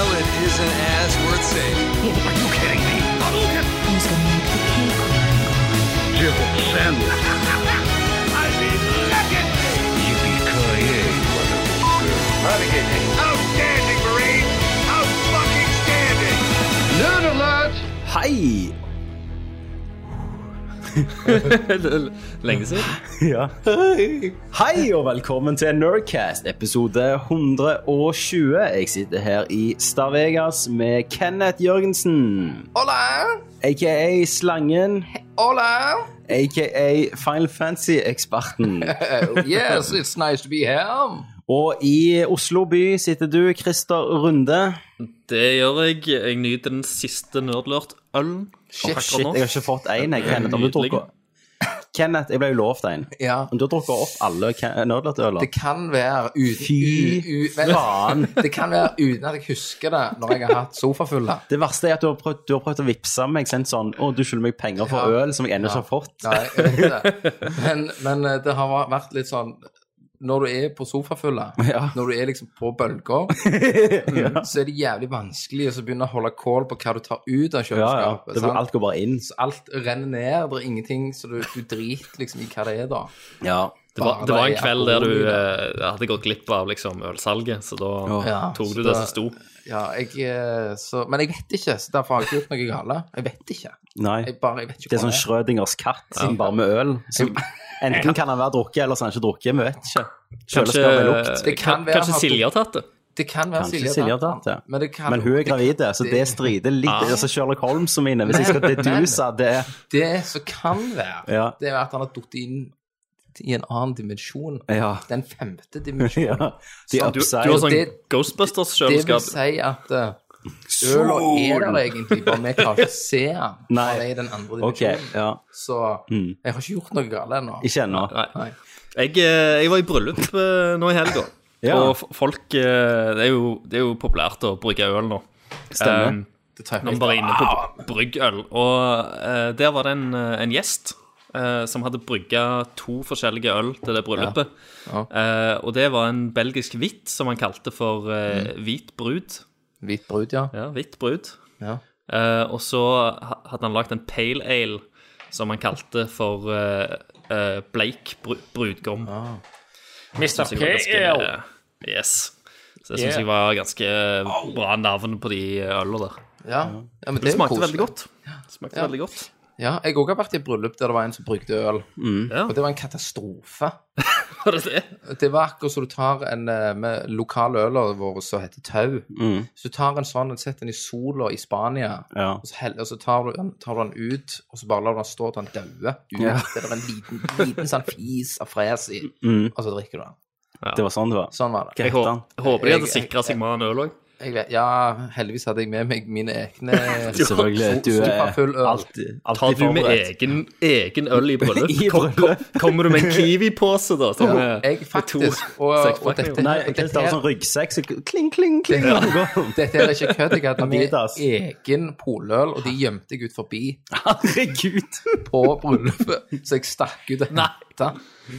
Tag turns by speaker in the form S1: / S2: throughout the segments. S1: isn't as worth saving.
S2: Outstanding, Marine! Out fucking standing!
S3: Hei! Lenge siden.
S4: Ja. Hei og velkommen til Nerdcast episode 120. Jeg sitter her i Star-Vegas med Kenneth Jørgensen.
S1: Hola!
S4: AKA Slangen,
S1: Hola!
S4: AKA Final Fantasy-eksperten.
S1: Uh, yes, it's nice to be here.
S4: Og i Oslo by sitter du, Christer Runde.
S3: Det gjør jeg. Jeg nyter den siste nerdlurt-ølen.
S1: Shit,
S3: akkurat
S4: Shit,
S3: nå.
S4: jeg har ikke fått én, jeg, Kenneth. Om du
S3: Nydelig.
S4: drukker Kenneth, jeg ble jo lovt en.
S1: Ja.
S4: Om du har drukket opp alle Ke- nerdlert-øler
S1: Det kan være uten
S4: Fy
S1: u- u- vent.
S4: faen.
S1: Det kan være uten at jeg husker det når jeg har hatt sofafulle.
S4: Det verste er at du har prøvd, du har prøvd å vippse meg sendt sånn Å, du skylder meg penger for
S1: Ja.
S4: øl som jeg ennå ikke har fått.
S1: Nei, jeg vet ikke det. Men, men eh, det har va- vært litt sånn Når du er på sofafulle,
S4: Ja.
S1: når du er liksom på bølger, mm, så er det jævlig vanskelig å så begynne å holde kål på hva du tar ut av
S4: Ja, ja.
S1: kjøleskapet.
S4: Det,
S1: sant?
S4: alt går bare inn.
S1: Så alt renner ned, det er ingenting, så du, du driter liksom i hva det er, da.
S4: Ja.
S3: Det var, det var en
S1: Bare
S3: kveld der du
S1: alkohol i
S3: eh, hadde gått glipp av liksom, ølsalget, så da
S1: Ja,
S3: tok
S1: så
S3: eh, du
S1: da-
S3: det som sto.
S1: Ja, jeg, eh, så, men jeg vet ikke, så derfor har jeg ikke gjort noe galt. Jeg vet ikke.
S4: Nei.
S1: Jeg bare, jeg vet ikke
S4: Det er
S1: hva
S4: sånn Schrødingers katt, bare med øl. Som enten kan han være drukket, eller så er han ikke drukket. Vi vet ikke.
S3: Kanskje,
S4: Kjøleskapet lukt.
S1: Det kan
S3: kan-
S1: være
S3: kanskje
S1: at-
S3: Silje har tatt det?
S1: Det kan være
S4: Kanskje Silje har tatt det.
S1: Men, det kan,
S4: Men hun er gravid, så
S1: det-
S4: det strider litt.
S3: Ah.
S4: Altså Sherlock Holmes og mine, hvis jeg skal
S1: Men-
S4: deduse det
S1: Det som kan være,
S4: Ja.
S1: det er at han har datt inn i en annen dimensjon.
S4: Ja.
S1: Den femte
S4: ja.
S1: dimensjonen.
S4: De
S1: Sånn,
S3: Du, du har
S4: upside.
S3: sånn
S1: det- Det vil
S3: Ghostbusters-kjøleskap.
S1: si at eh, øla er der egentlig, bare vi klarer ikke å se den. for
S4: Nei.
S1: den er i den andre
S4: OK.
S1: dimensjonen.
S4: Ja.
S1: Så jeg har ikke gjort noe galt ennå.
S4: Ikke ennå.
S3: Nei.
S1: Nei.
S3: Jeg, eh, jeg var i bryllup eh, nå i helga,
S4: Ja.
S3: og f- folk eh, det er, jo, det er jo populært å bruke øl nå.
S4: Stemmer.
S3: Um,
S1: Det tar jeg
S3: Nå er vi bare inne på bryggøl. Og eh, der var det en, eh, en gjest eh, som hadde brygga to forskjellige øl til det bryllupet. Eh, og det var en belgisk hvitt som han kalte for eh, hvit brud.
S1: Hvit brud, ja.
S3: Ja, hvitt brud.
S1: ja.
S3: Eh, og så ha- hadde han lagd en pale ale som han kalte for eh, eh, bleik bru brudgom.
S5: Mr.
S3: Det var ganske- eh, Yes. Så det syns
S5: Yeah.
S3: jeg var ganske bra navn på de ølene der.
S1: Ja, ja men det,
S3: Det
S1: er jo
S3: smakte
S1: koselig.
S3: veldig godt. Smakte
S1: Ja.
S3: veldig godt.
S1: Ja, jeg òg har vært i et bryllup der det var en som brukte øl.
S3: Ja.
S1: Og det var en katastrofe.
S3: Var det det?
S1: Det var akkurat som du tar en eh, med lokale øler våre som heter Tau. Så du tar en sånn og setter den i sola i Spania,
S4: Ja.
S1: og så, heller, og så tar, du den, tar du den ut, og så bare lar du den stå til den dauer ut. Det er en liten, liten sånn fis av fres i, og så drikker du den.
S4: Det var sånn det var.
S1: Sånn var det.
S4: Hva
S3: Jeg
S4: heter han?
S3: hå- håper de hadde
S1: Jeg-
S3: sikra seg med en øl òg.
S1: Jeg vet, ja, heldigvis hadde jeg med meg mine egne
S4: Selvfølgelig. Du
S1: Sofafull
S4: er
S1: øl.
S4: alltid,
S3: Tar
S4: alltid
S3: du med
S4: forberedt.
S3: egen, egen øl i bryllup?
S4: I
S3: Kom-
S4: bryllup.
S3: kom- Kommer du med en Kiwi-pose, da? Som, er-
S1: Jeg
S3: med to
S1: faktisk, og, og
S3: sekspakninger?
S1: dette,
S4: Nei,
S1: og
S4: Christer
S1: dette
S4: har
S1: her
S4: sånn ryggsekk, så kling, kling, kling. han går.
S1: Dette er ikke kødd. Jeg hadde med
S4: Adidas.
S1: egen poløl, og de gjemte jeg ut forbi
S4: Herregud.
S1: på bryllupet. Så jeg stakk ut og henta.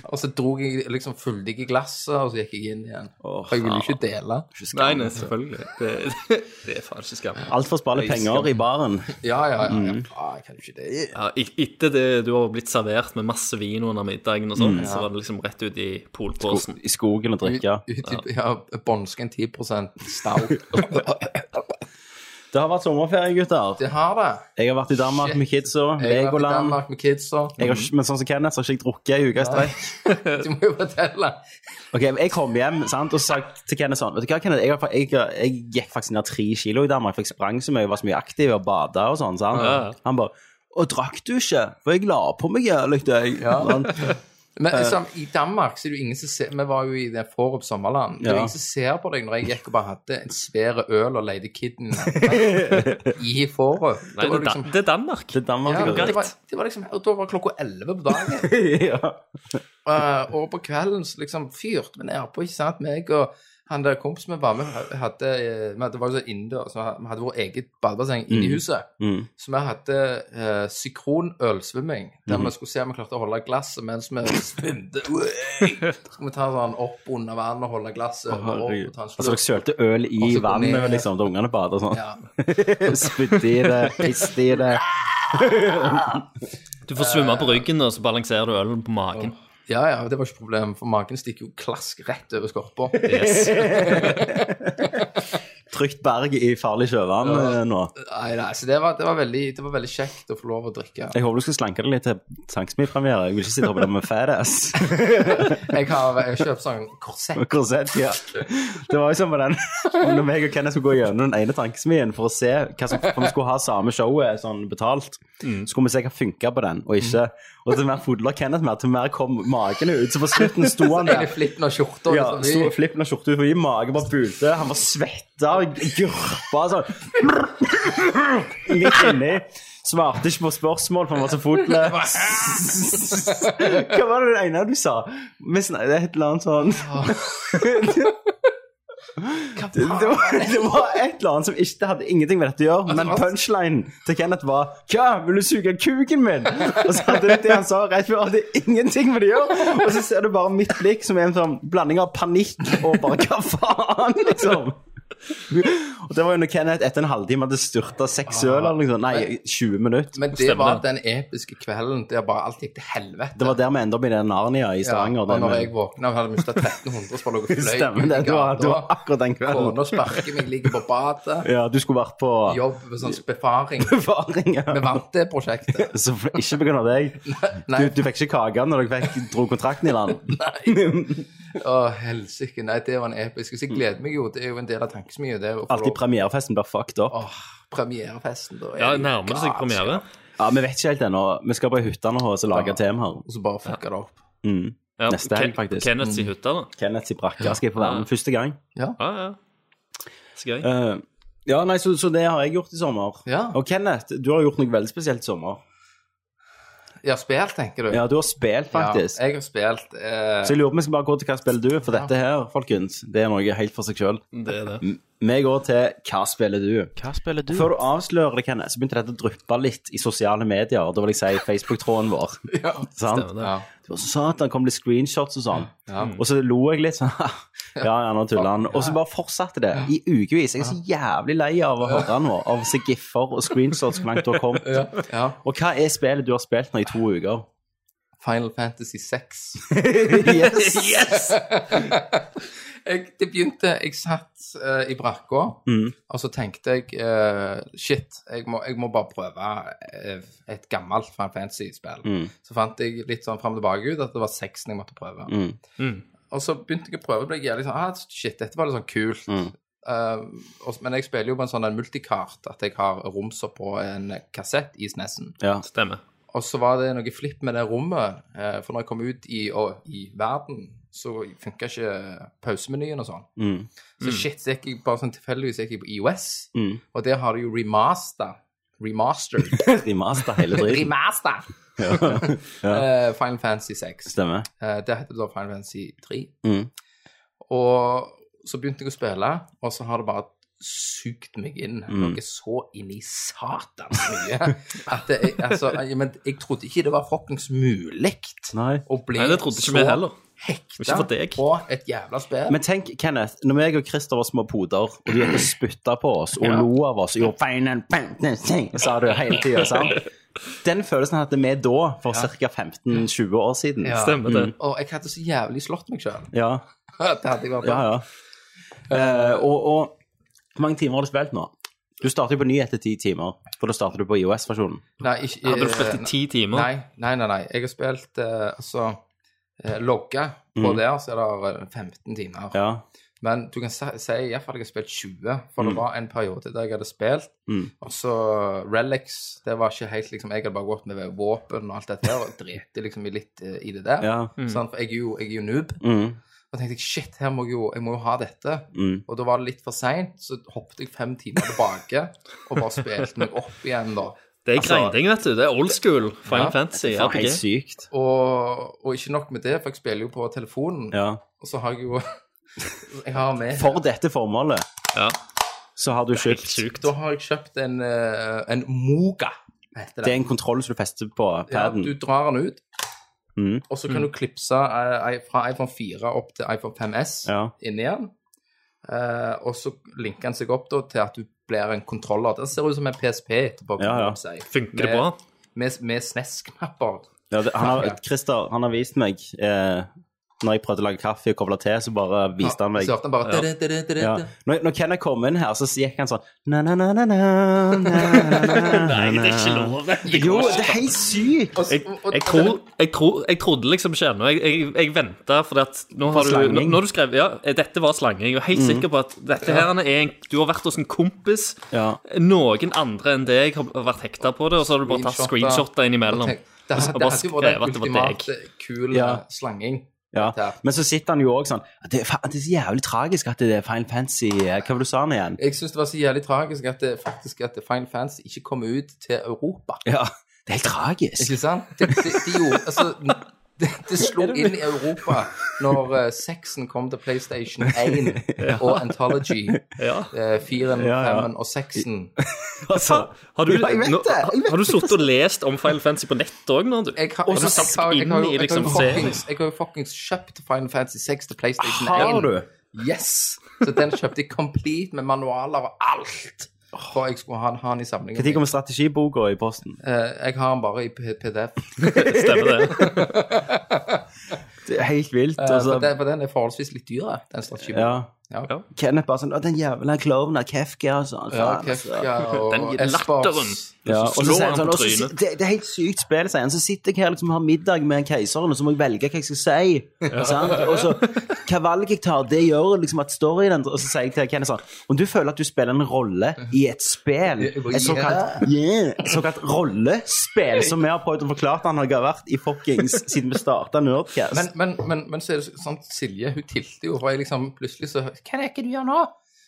S1: Og så dro jeg liksom fulgte jeg i glasset, og så gikk jeg inn igjen.
S4: Åh,
S1: For jeg ville jo ikke dele.
S3: Nei, nei, selvfølgelig. Det, det, det er faen ikke skam.
S4: Altfor spare penger i baren.
S1: Ja, ja, ja.
S4: Mm.
S1: ja. Ah, jeg kan jo ikke det.
S3: Ja, i- etter det du har blitt servert med masse vin under middagen, og sånn, så var det liksom rett ut i polposen.
S4: I skogen og
S1: Ut,
S4: drikke.
S1: ut, i- ja, bånske en 10 stout.
S4: Det har vært sommerferie, gutter.
S1: Det har det.
S4: Jeg har vært i Danmark
S1: Shit.
S4: med kidsa.
S1: Jeg har vært i
S4: Legoland.
S1: Danmark med kidsa.
S4: Jeg har, ikke- men sånn som Kenneth, så har ikke jeg drukket i uka i strekk.
S1: Du må jo fortelle.
S4: Ok, Jeg kom hjem sant, og sa til Kenneth sånn Vet du hva, Kenneth, jeg, har fa- jeg, jeg gikk faktisk ned tre kilo i Danmark, for jeg sprang så mye, var så mye aktiv og bada og sånn. sant?
S3: Ja.
S4: Han bare Å, drakk du ikke? For jeg la på meg jævlig, jeg. Sånn. Han-
S1: Men
S4: Eh.
S1: liksom, i Danmark så er det jo ingen som ser Vi var jo i det Forup sommerland. Det er
S4: Ja.
S1: jo ingen som ser på deg når jeg gikk og bare hadde en svær øl og leide kidden i Forup. Det
S3: Nei, det,
S1: var
S3: er Dan-
S1: liksom
S3: det er Danmark.
S4: Til Danmark.
S1: ja,
S4: jeg har
S1: det var, det var liksom, og Da var klokka elleve på dagen.
S4: drukket. ja.
S1: Eh, og på kvelden så liksom fyrte vi nedpå, ikke sant, meg og han der kompisen vi var med, hadde, eh, vi hadde vært innendørs. så Vi hadde vårt eget badebasseng inne i huset.
S4: Mm.
S1: Så vi hadde eh, synkronølsvømming, der vi skulle se om vi klarte å holde glasset mens vi svømte. Ui! Så skulle vi ta sånn opp under vann og holde glasset over opp og ta en
S4: Altså, dere
S1: slurk.
S4: sølte øl i
S1: så kom
S4: vannet
S1: jeg-
S4: liksom, da ungene bader og sånn.
S1: Ja.
S4: Spytte i det, piste i det.
S3: Du får svømme på ryggen, og så balanserer du ølen på magen.
S1: ja, ja, det var ikke problem, for magen stikker jo klask rett over skorpa.
S3: Yes.
S4: Trygt berg i farlig sjøvann eh, nå.
S1: Nei, nei, så det var, det, var veldig, det var veldig kjekt å få lov å drikke.
S4: Jeg håper du skal slanke deg litt til sangsmipremiere. Jeg vil ikke sitte og hoppe med fat ass.
S1: Jeg har jeg kjøpt sånn korsett.
S4: Og korsett, ja. Det var jo som på den Når meg og Kenneth skulle gå gjennom den ene tankesmien for å se hva som, om vi skulle ha samme showet sånn betalt,
S1: Mm.
S4: så skulle vi se hva funka på den, og ikke. Og til mer fodla Kenneth mer, til mer kom magen ut. Så på slutten sto han
S1: Jeg
S4: der.
S1: er flitten av skjorta.
S4: Ja,
S1: liksom.
S4: sto og flippen av skjorta ut forbi, magen bare bulte, han var svetta, gurpa sånn. Midt inni. Svarte ikke på spørsmål, for han var så fotle. Hva var det det ene du sa? Vi snak- Det er et eller annet sånn det, det, var, det var et eller annet som ikke det hadde ingenting med dette å gjøre, men punchlinen til Kenneth var 'Hva, vil du suge kuken min?' Og så hadde det det han sa rett før, hadde ingenting med det å gjøre. Og så ser du bare mitt blikk som er en sånn blanding av panikk og bare 'hva faen', liksom. Og det var jo når Kenneth etter en halvtime hadde styrta seks øl, eller noe sånt. Nei, 20 minutter.
S1: Ah. Men det var den episke kvelden der bare alt gikk til helvete.
S4: Det var der vi endte opp i den Narnia i Stavanger.
S1: og
S4: det
S1: når
S4: med-
S1: jeg våkna og hadde mista 1300, så var det noe fløy
S4: Stemmer det. Det var, det var akkurat den kvelden.
S1: Kona sparker meg, ligger på badet,
S4: Ja, du skulle vært på
S1: jobb med sånn befaring.
S4: befaring. ja.
S1: Vi vant det prosjektet.
S4: Så f- ikke på grunn av deg. Du,
S1: Nei.
S4: du fikk ikke kake når dere fikk, dro kontrakten i land.
S1: Å, helsike. Nei, det var en episk. Så jeg gleder meg jo. Det er jo en del av tankesmien. Det er jo å få
S4: Alltid
S1: lov-
S4: premierefesten blir fucked up.
S1: Åh, premierefesten, da. er
S3: Ja,
S1: det jo
S3: nærmer det seg
S1: galskap.
S3: premiere?
S4: Ja, Vi vet ikke helt ennå. Vi skal på hytta nå og så lage temaer.
S1: Og så bare fucka det opp.
S4: Mm.
S3: Ja,
S4: Neste helg,
S3: Ken-
S4: faktisk.
S3: Kenneths i hytta, da.
S4: Kenneth i brakka skal jeg få være med første gang.
S3: Ja, ja. Så gøy.
S4: Eh, ja, nei, så, så det har jeg gjort i sommer.
S1: Ja.
S4: Og Kenneth, du har gjort noe veldig spesielt i sommer.
S1: Ja, spill, tenker du?
S4: Ja, du har spilt, faktisk.
S1: Ja, jeg har spilt eh,
S4: Så jeg lurer på om vi skal bare gå til hva spiller du, for dette her, folkens, det er noe helt for seg sjøl.
S3: Det er det.
S4: Vi går til hva spiller du?
S5: Hva spiller du?
S4: Før du avslører det, Kenneth, så begynte dette å dryppe litt i sosiale medier. og Da vil jeg si Facebook-tråden vår.
S1: ja.
S4: sant?
S3: Stemmer det.
S1: Ja.
S4: Det var så satan, kom det screenshots og sånn.
S1: Ja.
S4: Og så lo jeg litt sånn. Ja, ja, nå tuller han. Og så bare fortsatte det i ukevis. Jeg er så jævlig lei av å høre nå, av å se giffer og screenshots hvor langt du har kommet.
S1: Ja. ja.
S4: Og hva er spillet du har spilt nå i to uker?
S1: Final Fantasy 6.
S4: Yes!
S1: jeg, det begynte Jeg satt eh, i brakka, og så tenkte jeg eh, Shit, jeg må, jeg må bare prøve eh, et gammelt Final Fantasy-spill. Så fant jeg litt sånn fram og tilbake ut at det var seksen jeg måtte prøve.
S4: Mm.
S1: Og så begynte jeg å prøve, og ble jeg jævlig sånn ah, Shit, dette var litt sånn kult. Eh, og, men jeg spiller jo på en sånn en multikart, at jeg har romser på en kassett i snessen.
S4: Ja.
S3: Stemmer.
S1: Og så var det noe flipp med det rommet, eh, for når jeg kom ut i, og, i verden, så funka ikke pausemenyen og sånn.
S4: Mm.
S1: Så shit, så gikk jeg bare sånn tilfeldigvis gikk jeg på IOS,
S4: Mm.
S1: og der har du jo remaster. Remastered.
S4: Remaster hele driten.
S1: remaster! Eh, Final Fantasy 6.
S4: Stemmer.
S1: Eh, det heter da Final Fantasy 3.
S4: Mm.
S1: Og så begynte jeg å spille, og så har det bare sugd meg inn
S3: Mm.
S1: noe så inn i satans mye. At det, altså, jeg, men jeg trodde ikke det var fuckings mulig
S4: Nei.
S1: å bli
S3: Nei, det trodde ikke
S1: så
S3: vi heller. Ikke for
S1: hekta
S3: deg.
S1: på et jævla spill.
S4: Men tenk, Kenneth, når meg og Christer var små poder, og du gikk og spytta på oss og lo av oss og gjorde «Final Fantasy», sa du hele tida, sant? Den følelsen hadde vi da, for ca. 15-20 år siden.
S1: Ja.
S3: Stemmer det.
S1: og jeg hadde så jævlig slått meg sjøl.
S4: ja,
S1: Det hadde jeg vært
S4: ja.
S1: bra.
S4: ja. Eh, og, og hvor mange timer har du spilt nå? Du starter jo på ny etter ti timer, for da starter du på IOS-versjonen.
S1: Nei, ikke, eh,
S3: Hadde du spilt i ti timer?
S1: Nei, nei, nei. nei. Jeg har spilt eh, altså eh, Logga på der, så er det eh, 15 timer.
S4: Ja.
S1: Men du kan si, si i hvert fall at jeg har spilt 20, for det var en periode der jeg hadde spilt,
S4: Mm.
S1: og så eh, Relics, det var ikke helt liksom, jeg hadde bare gått med våpen og alt dette her, og drepte liksom i litt eh, i det der,
S4: ja.
S1: sant? for jeg er jo, jeg er jo noob,
S4: Mm.
S1: og tenkte jeg, shit, her må jeg jo, jeg må jo ha dette,
S4: Mm.
S1: og da var det litt for sent, så hoppet jeg fem timer tilbake, og bare spilte meg opp igjen da,
S3: Det er grinding, vet du. Det er old school Final
S1: Ja.
S3: Fantasy.
S4: Det var
S3: RPG.
S4: helt sykt.
S1: og, og ikke nok med det, for jeg spiller jo på telefonen,
S4: Ja.
S1: og så har jeg jo Jeg har med
S4: For dette formålet
S3: Ja,
S4: så har du
S3: Helt
S4: kjøpt
S3: sjukt.
S1: Da har jeg kjøpt en, eh, en Moga, heter
S4: Det er en kontroll som du fester på
S1: Ja,
S4: paden.
S1: du drar den ut,
S4: Mhm.
S1: og så kan du klipse eh, i- fra iPhone 4 opp til iPhone 5S
S4: Ja.
S1: inni den. Eh, og så linker den seg opp da, til at du blir en kontroller. Den ser ut som en PSP etterpå. kan
S4: Ja, ja.
S1: man si.
S3: Funker det
S1: Med-
S3: bra?
S1: Med, med SNES-knapper.
S4: Ja, det, han
S1: Ja.
S4: har, Christer, han har vist meg eh, Når jeg prøvde å lage kaffe og koble til, så bare viste han meg
S1: Så hørte han bare
S3: Ja.
S1: dere, dere, dere,
S4: ja.
S1: dere.
S4: når, når Kenneth kom inn her, så gikk han sånn na, na, na, na, na, na, na, na, na.
S3: Nei, det er ikke lov. Det
S4: Jo,
S3: går ikke.
S4: det er helt sykt!
S1: Og s-
S3: Jeg,
S1: og-
S3: jeg, tror, jeg, tror, jeg trodde liksom ikke ennå. Jeg, jeg, jeg venta, for at nå har du,
S4: slanging.
S3: nå- når du skrev Ja, dette var slanging. Jeg er helt sikker på at dette her er en Du har vært hos en kompis.
S4: Ja.
S3: Noen andre enn deg har vært hekta på det, og så har du bare tatt
S1: Screenshotter.
S3: screenshotter innimellom.
S1: Tenk, det,
S3: Og så
S1: her- det
S3: bare
S1: her skulle vært
S3: skrev at
S1: en
S3: det var deg.
S1: ultimat kul
S4: Ja.
S1: eh, slanging.
S4: Ja.
S1: dette her.
S4: Men så sitter han jo òg sånn det, er fa- det er så jævlig tragisk at det er Final Fantasy eh, Hva var det du sa han igjen?
S1: Jeg syns det var så jævlig tragisk at det, faktisk at Final Fantasy ikke kom ut til Europa.
S4: Ja, Det er helt tragisk.
S1: Ikke sant? Det, det, de gjorde, altså, det, det slo inn i Europa når uh, sexen kom til PlayStation 1 og Anthology.
S3: Ja.
S1: eh, Firen,
S4: Ja, ja.
S1: femmen og seksen.
S4: Altså,
S3: Har du,
S4: Ja, jeg vet
S3: nå,
S4: det, jeg
S3: har-
S4: vet
S3: har du sittet og lest om Final Fantasy på nett òg nå, du?
S1: Jeg har,
S3: Og
S1: jeg,
S3: så
S1: har-
S3: satt
S1: jeg, har
S3: inn
S1: jo-
S3: i
S1: jeg har
S3: liksom
S1: jo
S3: serien.
S1: fuckings- jeg har jo fuckings kjøpt Final Fantasy 6 til PlayStation 1.
S4: Har du?
S1: Yes! Så den kjøpte jeg complete med manualer og alt. For jeg skulle ha den- ha den i samlingen.
S4: Når
S1: min.
S4: kommer strategiboka i posten?
S1: Eh, jeg har den bare i P- Eh, PDF.
S3: Stemmer det?
S4: Det er helt vilt.
S1: Eh,
S4: altså.
S1: for, den, for den er forholdsvis litt dyre, den strategien.
S4: ja.
S1: Ja.
S3: Ja.
S4: Kenneth bare sånn Å, den jævla klovnen av Kefka og sånn.
S1: Ja,
S4: faen, altså.
S1: Kefka og
S3: Den
S1: Espers.
S3: latteren.
S4: Ja, og så
S3: slår
S4: sier
S3: han
S4: han sånn,
S3: på
S4: og så si-
S3: trynet.
S4: det, det er helt sykt spill, sier han. Så sitter jeg her liksom og har middag med keiseren, og så må jeg velge hva jeg skal si. Sant? Og så, hva valg jeg tar, det gjør liksom at storyen endrer Og så sier jeg til Kenneth sånn Om du føler at du spiller en rolle i et spill, et såkalt, yeah, et såkalt rollespill, som vi har prøvd å forklare at han har vært i fuckings siden vi starta Nerdcast
S1: Men, men, men, men så er det så- sånn Silje, hun tilte jo, og jeg liksom plutselig så Hva er det ikke du gjør nå?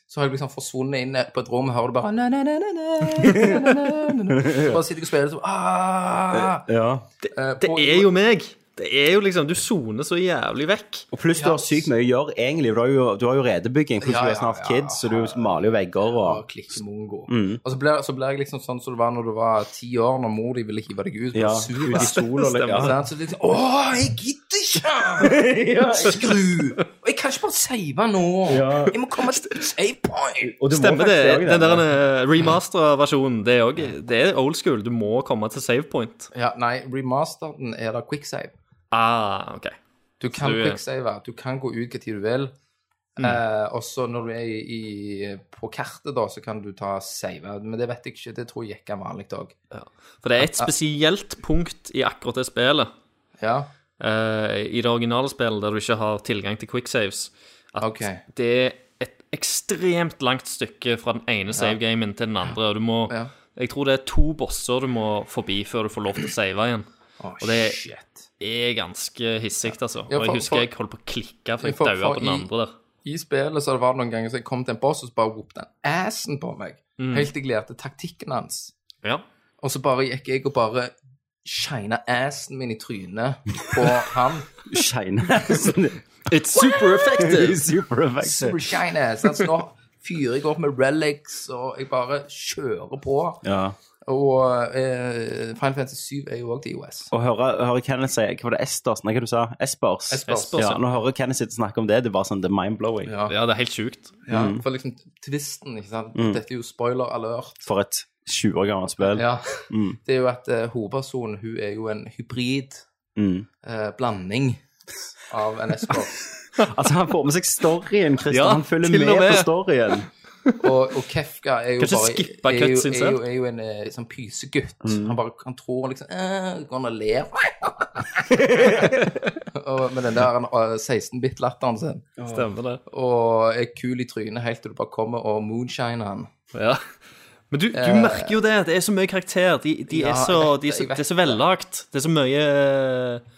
S1: Så har jeg liksom forsvunnet inn på et rom og hører du bare na, na, na, na, na, na, na, na, na. Bare sitter jeg og spiller sånn ah!
S4: ja.
S1: Eh,
S3: Det
S1: på-
S3: er jo meg. Det er jo liksom Du soner så jævlig vekk.
S4: Og pluss du har sykt mye å gjøre, egentlig. for Du har jo, du har jo redebygging, pluss
S1: Ja,
S4: du
S1: ja,
S4: er snart
S1: ja.
S4: kid, så du maler jo vegger
S1: og
S4: og
S1: klikke mongo.
S4: Mm.
S1: Og så ble, så ble jeg liksom sånn som det var når du var ti år, når mor di ville hive deg ut.
S4: ja,
S1: Ja. Sur,
S4: ut i sol og
S3: Stemmer.
S4: ja.
S1: Sånn, Så liksom, Åh, jeg gidder ikke! Skru! Og jeg kan ikke bare save nå. Jeg må komme til save point.
S4: Og du må
S3: Stemmer
S4: faktisk
S3: det.
S4: gjøre
S3: Den der remastera-versjonen, det er òg Det er old school. Du må komme til save point.
S1: Ja, nei, remasteren er da quicksave.
S3: Ah, OK.
S1: Du kan
S3: du-
S1: quicksave, du kan gå ut hva tid du vil.
S4: Mm.
S1: Eh, og så når du er i, i, på kartet, da, så kan du ta save. Men det vet jeg ikke, det tror jeg gikk vanlig òg.
S3: Ja. For det er et spesielt punkt i akkurat det spillet,
S1: Ja.
S3: eh, i det originale spillet, der du ikke har tilgang til quicksaves, at
S1: Ok.
S3: det er et ekstremt langt stykke fra den ene save-gamen til den andre. og Du må,
S1: Ja.
S3: Jeg tror det er to bosser du må forbi før du får lov til å save igjen.
S1: Å,
S3: det-
S1: shit.
S3: Det er ganske hissig, altså.
S1: Ja, for-
S3: Og jeg
S1: for-
S3: husker jeg holdt på å klikke, for jeg
S1: For-
S3: daua
S1: for
S3: på den
S1: i-
S3: andre der.
S1: i spillet så var det noen ganger så jeg kom til en boss, og så bare whoopte han assen på meg. Helt til jeg lærte taktikken hans.
S3: Ja.
S1: Og så bare gikk jeg og bare shina assen min i trynet på han.
S4: Shine.
S3: It's super effective!
S4: Super
S1: Super
S4: effective.
S1: shine ass. Altså, nå fyrer jeg opp med relics, og jeg bare kjører på.
S4: Ja.
S1: Og eh, Final Fantasy 7 er jo òg til IOS.
S4: Og høre, høre Kenneth si Hva var det Esters? Nei, hva du sa du? Espers?
S1: Espers.
S3: Espers,
S4: ja.
S3: ja.
S4: Når jeg hører Kenneth sitte og snakke om det, det er bare sånn det er mind-blowing.
S1: Ja.
S3: Ja, det er helt sjukt.
S1: Ja, For liksom twisten, ikke sant. Dette er jo spoiler alert.
S4: For et 20 år gammelt spill.
S1: Ja. Det er jo at eh, hovedpersonen, hun er jo en hybrid
S4: Mm.
S1: eh, blanding av en Espers.
S4: Altså, han får med seg storyen, Christer.
S3: Ja,
S4: han følger
S3: til
S4: med,
S3: og med.
S4: på storyen.
S1: Og, og Kefka er jo
S3: Kanskje
S1: bare
S3: skippa
S1: er jo,
S3: cutscene
S1: er jo,
S3: selv?
S1: er jo en eh, sånn pysegutt.
S4: Mm.
S1: Han bare han tror liksom «Eh», Går han og ler. og, med den der eh, 16-bit-latteren sin.
S3: Stemmer det.
S1: Og er kul i trynet helt til du bare kommer og moonshiner han.
S3: Ja. Eh, Men du, du merker jo det. Det er så mye karakter. De, de
S1: Ja,
S3: er
S1: jeg
S3: så,
S1: vet
S3: de er
S1: det,
S3: så,
S1: jeg vet
S3: det er så vellagt. Det er så mye eh,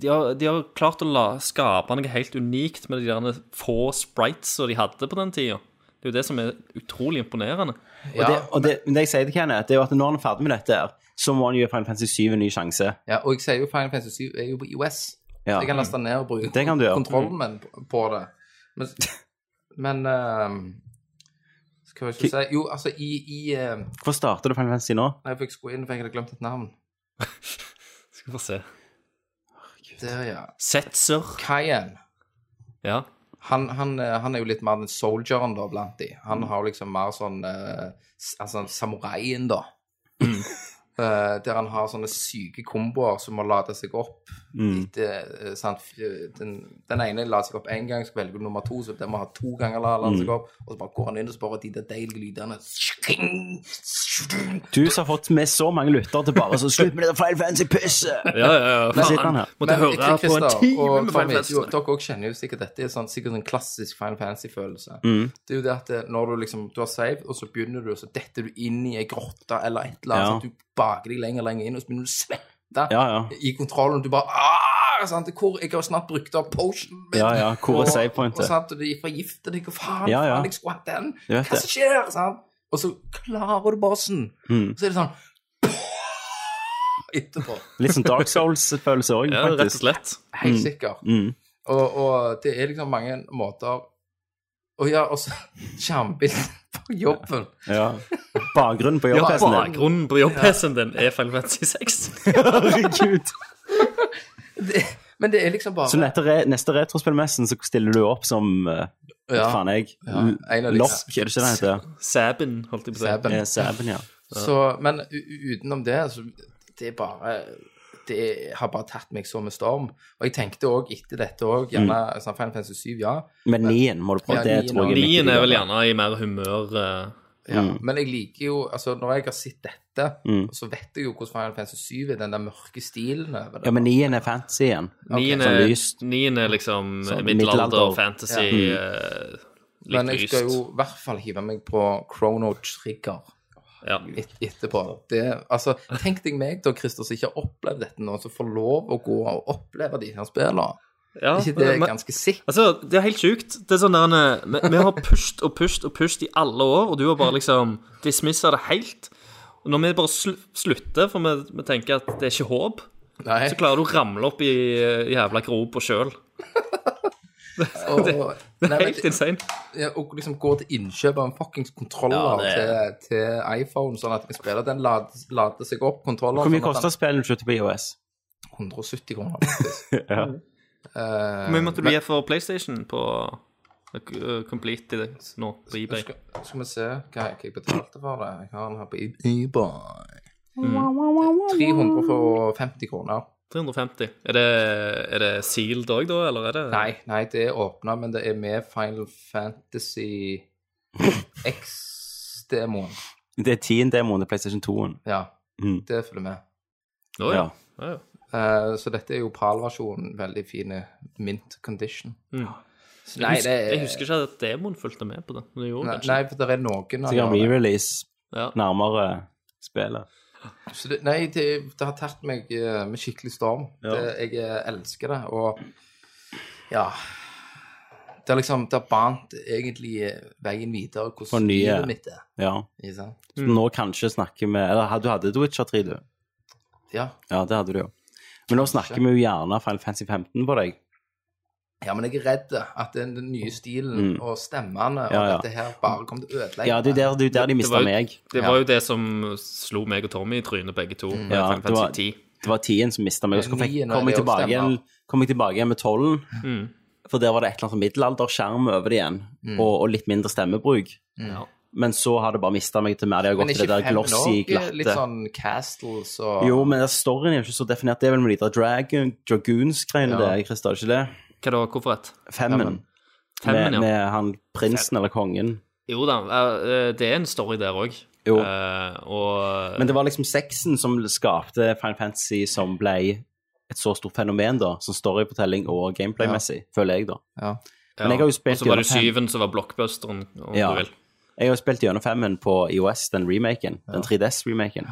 S3: de har, de har klart å la, skape noe helt unikt med de der få sprites som de hadde på den tida. Det er jo det som er utrolig imponerende.
S1: Ja,
S4: Det, og det, men det jeg sier til Kenneth, det er jo at når han er ferdig med dette, her, så må han gi Final Fantasy 7 en ny sjanse.
S1: ja, og jeg sier jo Final Fantasy 7 er jo på IOS.
S4: Ja.
S1: Jeg kan laste den ned og bruke
S4: Det kan du gjøre.
S1: kontrollen min på- på det. Men, men eh, Skal jeg ikke si Jo, altså, i, i eh,
S4: Hvorfor starter du Final Fantasy nå?
S1: Nei, jeg fikk sko inn, for jeg hadde glemt et navn.
S3: Skal vi få se.
S1: Der, ja.
S3: Setzer.
S1: Kayan.
S3: Ja.
S1: Han, han, eh, han er jo litt mer den soldieren da, blant de.
S4: Mm.
S1: Han har liksom mer sånn eh, s- Altså samuraien, da.
S4: Mm.
S1: Eh, der han har sånne syke komboer som må lade seg opp.
S3: Mm.
S1: Etter, eh, sant? Den, den ene lader seg opp én gang, så velger du nummer to, så den må ha to ganger la-
S3: Mm.
S1: lade seg opp. Og så bare går han inn og spør de der deilige lydene. Skring, skring.
S4: Du som har fått med så mange lyttere til bare så slutt med det der Final Fantasy-pisset!
S3: Ja, ja, ja.
S4: sitter han
S3: Faen.
S4: her.
S3: Måtte
S1: Men, eh,
S3: høre på
S1: Christer
S3: en time
S1: og
S3: med
S1: Tommy,
S3: Final Fantasy.
S1: jo, Dere også kjenner jo sikkert dette. er Sånn, sikkert en klassisk Final Fantasy-følelse.
S3: Mm.
S1: Det er jo det at det- når du liksom Du har save, og så begynner du, og så detter du inn i ei grotte eller et eller annet.
S4: Ja.
S1: sånn at Du baker deg lenger og lenger inn, og så begynner du å svette
S4: Ja, ja.
S1: i kontrollen. Du bare «Ah!» sant? Hvor, Jeg har snart brukt opp potionen min.
S4: Ja, ja, hvor er
S1: og-
S4: savepointet?
S1: Og sant, og de forgifter deg, og faen,
S4: Ja, ja.
S1: faen, jeg skulle hatt den.
S4: Du vet
S1: Hva som skjer? sant? Og så klarer du bossen.
S4: Mm.
S1: Og Så er det sånn Etterpå.
S4: Litt sånn Dark Souls-følelse òg,
S3: Ja, rett og
S4: faktisk.
S3: slett.
S1: Helt
S4: Mm.
S1: sikkert. Og, og det er liksom mange måter Og ja, også skjermbilde på jobben.
S4: Ja. Bakgrunnen på
S3: Ja,
S4: jobb-PC-en din.
S3: bakgrunnen på jobb-PC-en din er Final Fantasy 6.
S4: Herregud.
S1: Det, men det er liksom bare
S4: Så neste, re neste retrospillmessen så stiller du opp som uh,
S1: Ja.
S4: faen jeg,
S1: Ja, en av de-
S4: Losk, er det ikke det heter?
S3: Sæben, holdt jeg på å si.
S1: Sæben.
S4: Eh, Sæben, ja.
S1: Så, men u- u- utenom det, så det er bare Det har bare tatt meg så med storm. Og jeg tenkte òg etter dette òg, gjerne
S4: Mm.
S1: sånn Final Fantasy 7, ja.
S4: Men nien må du prøve.
S1: Ja,
S4: det
S1: nien,
S4: tror jeg er
S3: Nien er
S4: viktig.
S3: vel gjerne i mer humør eh,
S1: ja.
S4: Mm.
S1: Men jeg liker jo Altså, når jeg har sett dette, så vet jeg jo hvordan Final Fantasy 7 er, den der mørke stilen over
S4: Ja,
S1: det.
S4: men nien er fancy igjen.
S3: Nien
S4: Sånn
S3: er,
S4: lyst.
S3: nien er liksom
S4: Sånn middelalder.
S3: middelalder, fantasy, eh, litt
S1: Men jeg
S3: lyst.
S1: skal jo i hvert fall hive meg på Chrono Trigger.
S3: Ja.
S1: et, etterpå. Det, altså, tenk deg meg da, Christer, som ikke har opplevd dette nå, som får lov å gå og oppleve de her spillene.
S3: Ja,
S1: Er ikke det
S3: men-
S1: ganske sikkert?
S3: Altså, Det er helt sjukt. Det er sånn der, eh, vi, vi har pusht og pusht og pusht i alle år, og du har bare liksom dismissa det helt. Og når vi bare sl slutter, for vi, vi tenker at det er ikke håp,
S1: Nei.
S3: så klarer du å ramle opp i eh, jævla gropa sjøl.
S1: Og,
S3: Det
S1: nei,
S3: er
S1: men-
S3: helt insane.
S1: ja, og liksom gå til innkjøp av en fuckings
S4: Ja,
S1: kontroller
S4: det er-
S1: til, til iPhone, sånn at vi spiller den lader, lader seg opp, kontrolleren
S4: Hvor mye
S1: sånn at
S4: koster spillet når du slutter på IOS?
S1: den- 170 kroner, faktisk.
S4: Ja.
S1: Eh,
S3: Hvor mye måtte du gi for PlayStation på eh, Complete i det nå, på eBay?
S1: skal, skal vi se hva hva jeg betalte for det. Jeg har den her på E- eBay.
S4: Mm.
S1: 350 kroner.
S3: 350. Er det, er det sealed òg, da, eller er det
S1: Nei, nei, det er åpna, men det er med Final Fantasy X-demoen.
S4: Det er 10 demoen til PlayStation 2-en.
S1: Ja,
S4: Mm.
S1: det følger med.
S3: Å, ja.
S4: Ja.
S3: Ja, ja.
S1: Eh, så dette er jo PAL-versjonen. Veldig fine mint condition.
S3: Mm.
S1: Så Nei, det er
S3: Jeg husker ikke at demoen fulgte med på det. Men det gjorde
S1: Nei,
S3: den
S1: nei,
S3: kanskje.
S1: for det er noen av
S4: Sikkert
S1: dem.
S4: re-release
S3: Ja.
S4: nærmere spillet.
S1: Så det, Nei, det, det har tatt meg eh, med skikkelig storm.
S4: Ja.
S1: Det, jeg eh, elsker det, og ja Det har liksom Det har bant egentlig eh, veien videre
S4: For
S1: hvordan
S4: nye.
S1: livet mitt er.
S4: Ja.
S1: Ikke sant?
S4: Så Nå kanskje snakker vi Eller ha- du hadde The Witcher 3, du.
S1: Ja.
S4: Ja, det hadde du jo. Men nå snakker vi jo gjerne Final Fantasy 15 på deg.
S1: Ja, men jeg er redd at den, den nye stilen og stemmene og
S4: Mm. Ja, ja.
S1: dette her bare kommer til å ødelegge.
S4: Ja, det er jo der, det er jo der de mista
S3: var jo-
S4: meg.
S3: Det var jo det som slo meg og Tommy i trynet, begge
S1: Mm.
S3: to. med
S4: Ja,
S3: Final
S4: det var-
S3: Fantasy 10.
S4: Det var 10-en som mista meg. Og så kom jeg,
S1: Nieren er
S4: kom, jeg
S1: det også
S4: tilbake igjen,
S1: stemmer.
S4: kom jeg tilbake igjen med 12-en.
S3: Mm.
S4: For der var det et eller annet sånn middelalderskjerm over det igjen, og, og litt mindre stemmebruk.
S1: Mm.
S3: Ja.
S4: Men så har det bare mista meg til mer. Det har
S1: Men
S4: gått
S1: er
S4: til det
S1: ikke
S4: der
S1: fem
S4: glossy, glatte.
S1: litt sånn castles og
S4: Jo, men det- storyen er jo ikke så definert. Det er vel med de der dragon, dragoons-greiene
S1: Ja.
S4: der, Christer, ikke det?
S3: Hva da, hvorfor et?
S4: Femmen.
S3: Femmen,
S4: Med,
S3: ja.
S4: med han prinsen eller kongen.
S3: Jo da, eh, det er en story der òg.
S4: Jo.
S3: og
S4: Men det var liksom sexen som skapte Final Fantasy som ble et så stort fenomen, da. Som storyfortelling og gameplay-messig, føler jeg, da.
S1: Ja.
S3: ja.
S4: men jeg har jo spilt
S3: Og så var det
S4: gjennom fem.
S3: syven som var blockbusteren, om
S4: Ja.
S3: du vil.
S4: Jeg har jo spilt gjennom femmen på IOS, den remaken. Den 3DS-remaken.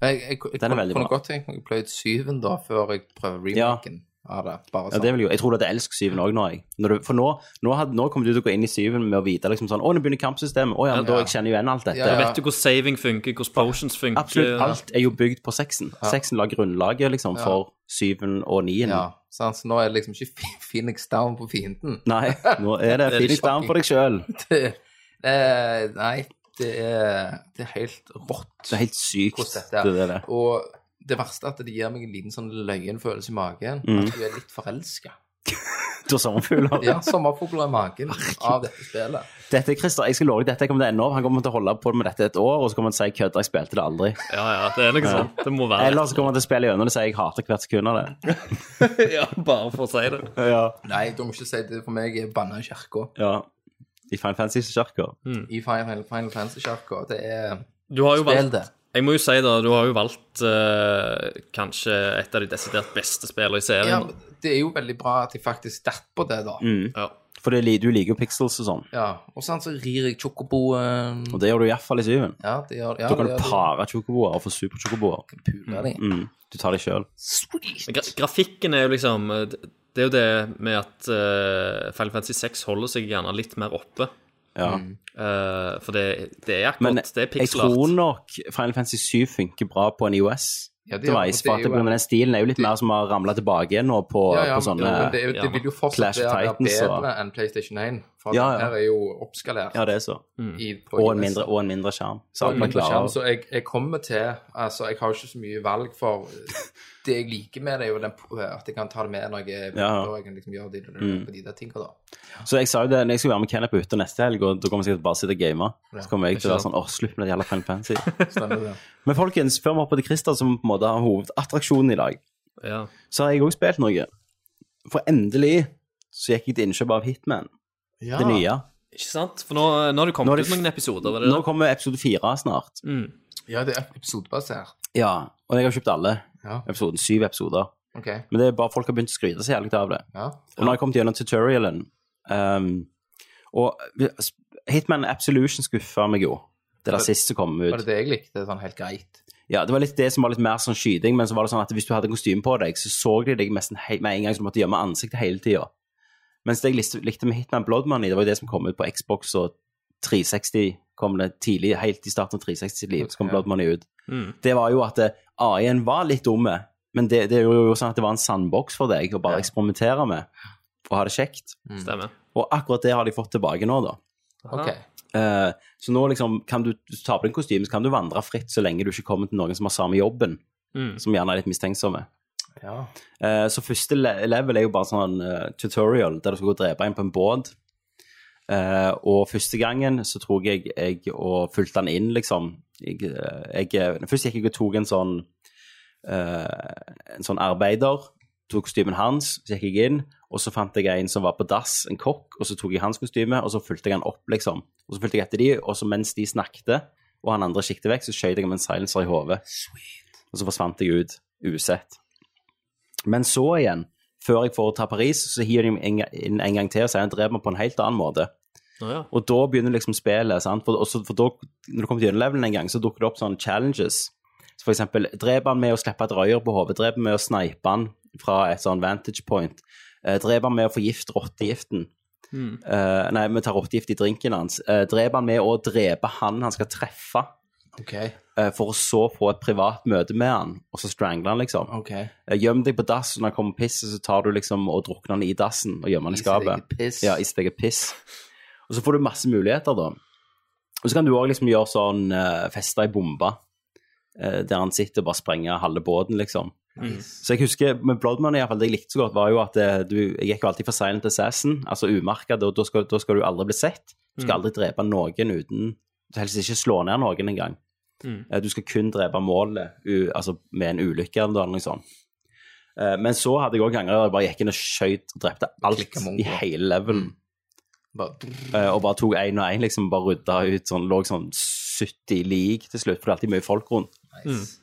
S1: Jeg, jeg, jeg,
S4: Den er
S1: kunne-
S4: veldig
S1: kunne
S4: bra.
S1: godt tenkt meg å pløye ut syven da, før jeg prøver remaken. av det. Bare
S4: Ja,
S1: sånn.
S4: det vil jeg jo. Jeg tror det er elsk syven òg nå. jeg. Når du, for nå, nå, had, nå kommer du til å gå inn i syven med å vite liksom sånn Å, nå begynner kampsystemet. Å ja, men da jeg kjenner jo igjen alt dette.
S1: Ja, ja.
S3: Vet du hvordan saving funker, hvordan potions funker?
S4: Absolutt alt er jo bygd på sexen. Sexen la grunnlaget liksom for syven og nien.
S1: ja, sant? Så nå er det liksom ikke Ph- Phoenix down på fienden.
S4: Nei, nå er det Phoenix down for deg sjøl.
S1: Det, eh, nei, det er, det er helt rått
S4: Det er helt sykt.
S1: hvordan
S4: Det
S1: dette er.
S4: er det.
S1: Og det verste er at det gir meg en liten sånn løyen følelse i magen.
S4: Mm.
S1: At du er litt forelska.
S4: Du har sommerfugler.
S1: Ja, sommerfugler i magen av dette spillet.
S4: Dette er Christer, jeg skal love deg, dette kommer til å ende opp. Han kommer til å holde på med dette et år, og så kommer han til å si 'kødda, jeg spilte det aldri'.
S3: Ja, ja, det er noe sånt. Det må være
S4: Eller så kommer han til å spille gjennom det og si 'jeg hater hvert sekund av det'.
S3: ja, bare for å si det.
S4: Ja.
S1: Nei, du må ikke si det for meg. Jeg banna i kirka.
S4: ja. I Fine Fantasy-kirka.
S1: I Final, Final Fantasy-kirka. Det er
S3: Du har jo
S1: Spill
S3: valgt
S1: det.
S3: Jeg må jo si da, du har jo valgt eh, kanskje et av de desidert beste spillene i
S1: Ja,
S3: serien.
S1: det er jo veldig bra at jeg faktisk datt på det, da.
S4: Mm.
S3: Ja.
S4: For det, li- du liker jo pixels og sånn,
S1: Ja, Og sånn så rir jeg chocoboen.
S4: og det gjør du iallfall i syven.
S1: Ja, det gjør ja,
S4: Da kan
S1: det
S4: du
S1: gjør
S4: pare chocoboer og få superchocoboer.
S1: det. Puler de.
S4: Mm. Du tar det sjøl.
S1: Sweet.
S3: Gra grafikken er jo liksom eh, det- Det er jo det med at uh, Final Fantasy 6 holder seg gjerne litt mer oppe.
S4: Ja.
S1: Mm.
S3: eh, for det, det er akkurat
S4: Men
S3: Det er
S4: jeg tror
S3: pixelart.
S4: nok Final Fantasy 7 funker bra på en IOS.
S1: Ja, det
S4: det
S1: gjør-
S4: var
S1: det
S4: for
S1: er E
S4: at
S1: jo-
S4: på grunn av den stilen er jo litt mer som har ramla tilbake igjen nå på,
S1: Ja, ja,
S4: på sånne
S1: men det, er jo- det vil jo fortsatt
S4: Clash of
S1: være
S4: Titans
S1: bedre
S4: og-
S1: enn PlayStation 1. For
S4: Ja,
S1: den
S4: ja.
S1: her er jo oppskalert.
S4: Ja, det er så.
S1: i, på E
S4: Og en
S1: US.
S4: mindre, og en mindre skjerm. Så
S1: Og
S4: alt man
S1: mindre
S4: klarer.
S1: skjerm, Så jeg, jeg kommer til Altså, jeg har jo ikke så mye valg for Det jeg liker med det, er jo den, at jeg kan ta det med når jeg er borte,
S4: Ja, Mm. ja.
S1: og jeg kan liksom gjøre de, på de der tinga, da.
S4: Så jeg sa jo det, når jeg skal være med Kenneth på hytta neste helg, og da kommer jeg sikkert bare sitte og game, så kommer jeg til å være sånn åh, slutt med det jævla Final Fantasy.
S1: Stemmer det.
S4: Men folkens, før vi hopper til Christer, som på en måte har hovedattraksjonen i dag,
S3: Ja.
S4: så har jeg òg spilt noe. For endelig så gikk jeg til innkjøp av Hitman, det nye.
S3: Ikke sant? For nå, eh, nå har det
S4: Nå
S3: kommet
S4: er det
S3: ut noen episoder. Var det
S4: Nå kommer episode fire snart.
S3: Mm.
S1: Ja, det er episodebasert.
S4: Ja, og jeg har kjøpt alle
S1: Ja.
S4: episoden, syv episoder.
S1: OK.
S4: Men det er bare folk har begynt å skryte så jævlig av det.
S1: Ja.
S4: Og nå har jeg kommet gjennom tutorialen. ehm, og Hitman Absolution skuffa meg jo. Det der siste som kom ut.
S1: Var det det jeg likte? Sånn helt greit.
S4: Ja, det var litt det som var litt mer sånn skyting, men så var det sånn at hvis du hadde kostyme på deg, så så de deg nesten he- med en gang, så du måtte gjemme ansiktet hele tida. Mens det jeg likte, likte med Hitman Blood Money, det var jo det som kom ut på Xbox og 360 kom det tidlig, helt i starten av 360 sitt liv, så kom
S1: Ja.
S4: Blood Money ut.
S3: mm,
S4: Det var jo at eh, AI-en var litt dumme, men det, det gjorde jo sånn at det var en sandboks for deg å bare eksperimentere med for å ha det kjekt.
S3: Stemmer.
S4: Og akkurat det har de fått tilbake nå, da.
S1: OK.
S4: Eh, så nå liksom, kan du, hvis du tar på deg kostyme, så kan du vandre fritt så lenge du ikke kommer til noen som har samme jobben,
S3: Mm.
S4: som gjerne er litt mistenksomme.
S1: Ja.
S4: Eh, så første le level er jo bare sånn eh, tutorial, der du skal gå og drepe en på en båt. Eh, og første gangen så tror jeg jeg og fulgte han inn, liksom. Jeg, eh, jeg, først gikk jeg og tok en sånn eh, en sånn arbeider, tok kostymen hans, så gikk jeg inn, og så fant jeg en som var på dass, en kokk, og så tok jeg hans kostyme, og så fulgte jeg han opp, liksom. Og så fulgte jeg etter de, og så mens de snakket, og han andre skikte vekk, så skjøt jeg med en silencer i hodet. Og så forsvant jeg ut, usett. Men så igjen, før jeg får ta Paris, så hiver de meg en, inn en gang til og sier han dreper meg på en helt annen måte.
S3: Å, ja.
S4: Og da begynner liksom spillet, sant? For, også, for da, når du kommer til gjennomlevelen en gang, så dukker det opp sånne challenges. Så for eksempel, drep han med å slippe et røyer på hodet, drep han med å snipe han fra et sånn vantage point, eh, drep han med å få gift rottegiften, eh, nei, vi tar rottegift i drinken hans, eh, drep han med å drepe han han skal treffe,
S1: OK.
S4: eh, for å så få et privat møte med han, og så strangle han liksom.
S1: OK.
S4: Eh, Gjem deg på dass, og når han kommer pisset, så tar du liksom og drukner han i dassen og gjemmer han
S1: I
S4: i
S1: sitt eget
S4: skapet.
S1: piss.
S4: Ja, i sitt eget piss. Og så får du masse muligheter, da. Og så kan du òg liksom gjøre sånn uh, feste i bombe, eh, der han sitter og bare sprenger halve båten, liksom. Så jeg husker med Bloodman, iallfall, det jeg likte så godt, var jo at eh, du, jeg gikk jo alltid for Silent Assassin, altså umerka, da, da, skal- da skal du aldri bli sett. Du skal aldri drepe noen uten Du helst ikke slå ned noen engang. Eh, Du skal kun drepe målet u, altså med en ulykke eller noe sånt. Eh, Men så hadde jeg òg ganger der jeg bare gikk inn og skjøt og drepte alt
S1: klikket mongo.
S4: i hele levelen.
S1: Bare,
S4: Eh, Og bare tok én og én, liksom bare rydda ut sånn, lå sånn 70 lik til slutt, for det er alltid mye folk rundt.
S1: nice.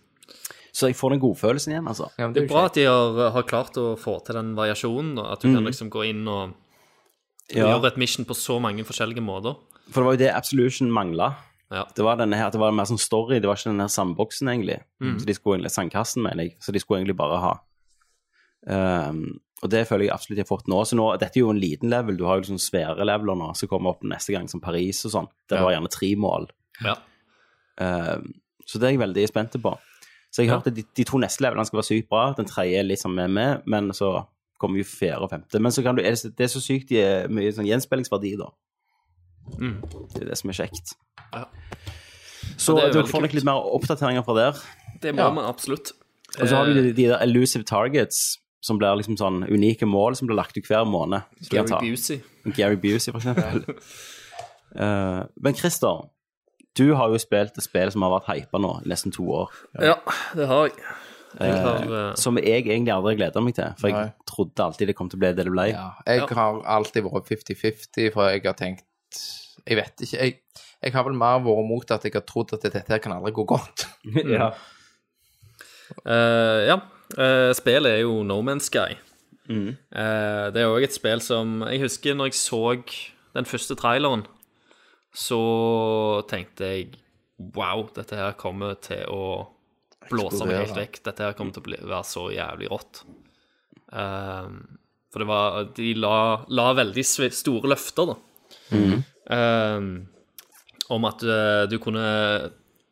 S4: Så jeg får den godfølelsen igjen, altså.
S1: Mm. Ja, men
S3: Det er
S1: jo
S3: bra
S1: kjekt.
S3: at de har, eh, har klart å få til den variasjonen, og at du kan liksom gå inn og, og
S4: Mm. Ja.
S3: gjøre et mission på så mange forskjellige måter.
S4: For det var jo det Absolution mangla.
S3: Ja.
S4: Det var denne her, at det var mer sånn story, det var ikke den her sandboksen, egentlig. Så de skulle egentlig, Sandkassen, mener jeg. Så de skulle egentlig bare ha. Ehm, Og det føler jeg absolutt jeg har fått nå. Så nå, dette er jo en liten level. Du har jo liksom svære leveler nå som kommer opp neste gang, som Paris og sånn. Der du har gjerne tre mål.
S3: Ja.
S4: Eh, så det er jeg veldig spent på. Så jeg har
S3: Ja.
S4: hørt at de, de to neste levelene skal være sykt bra. Den tredje er litt sånn med meg, men så kommer jo fjerde og femte. Men så kan du, er det, det er så sykt de er mye sånn gjenspillingsverdi, da.
S3: Mm.
S4: Det er det som er kjekt.
S3: Ja.
S4: Så
S3: Ja, det er
S4: dere
S3: veldig
S4: får nok
S3: kult.
S4: litt mer oppdateringer fra der.
S3: Det må
S1: Ja.
S3: man absolutt. Eh,
S4: Og så har du de, de der elusive targets, som blir liksom sånn unike mål som blir lagt ut hver måned. som du kan
S3: Gary
S4: ta.
S3: Busey.
S4: Gary Busey, for eksempel. Eh, men Christer, du har jo spilt et spill som har vært hypa nå i nesten to år.
S3: Ja, det har jeg. Jeg har, eh,
S4: Som jeg egentlig aldri gleda meg til, for jeg
S1: Nei.
S4: trodde alltid det kom til å bli det det ble.
S1: Ja, jeg
S3: Ja.
S1: har alltid vært 50-50, for jeg har tenkt Jeg vet ikke. Jeg, jeg har vel mer vært mot at jeg har trodd at dette her kan aldri gå godt.
S4: Ja.
S3: Eh, ja. Eh, spillet er jo No Man's Sky. Eh, det er òg et spill som Jeg husker når jeg så den første traileren, så tenkte jeg Wow, dette her kommer til å blåse meg helt vekk. Dette her kommer til å bli, være så jævlig rått. Eh, for det var De la, la veldig sve- store løfter, da. Eh, om at eh, du kunne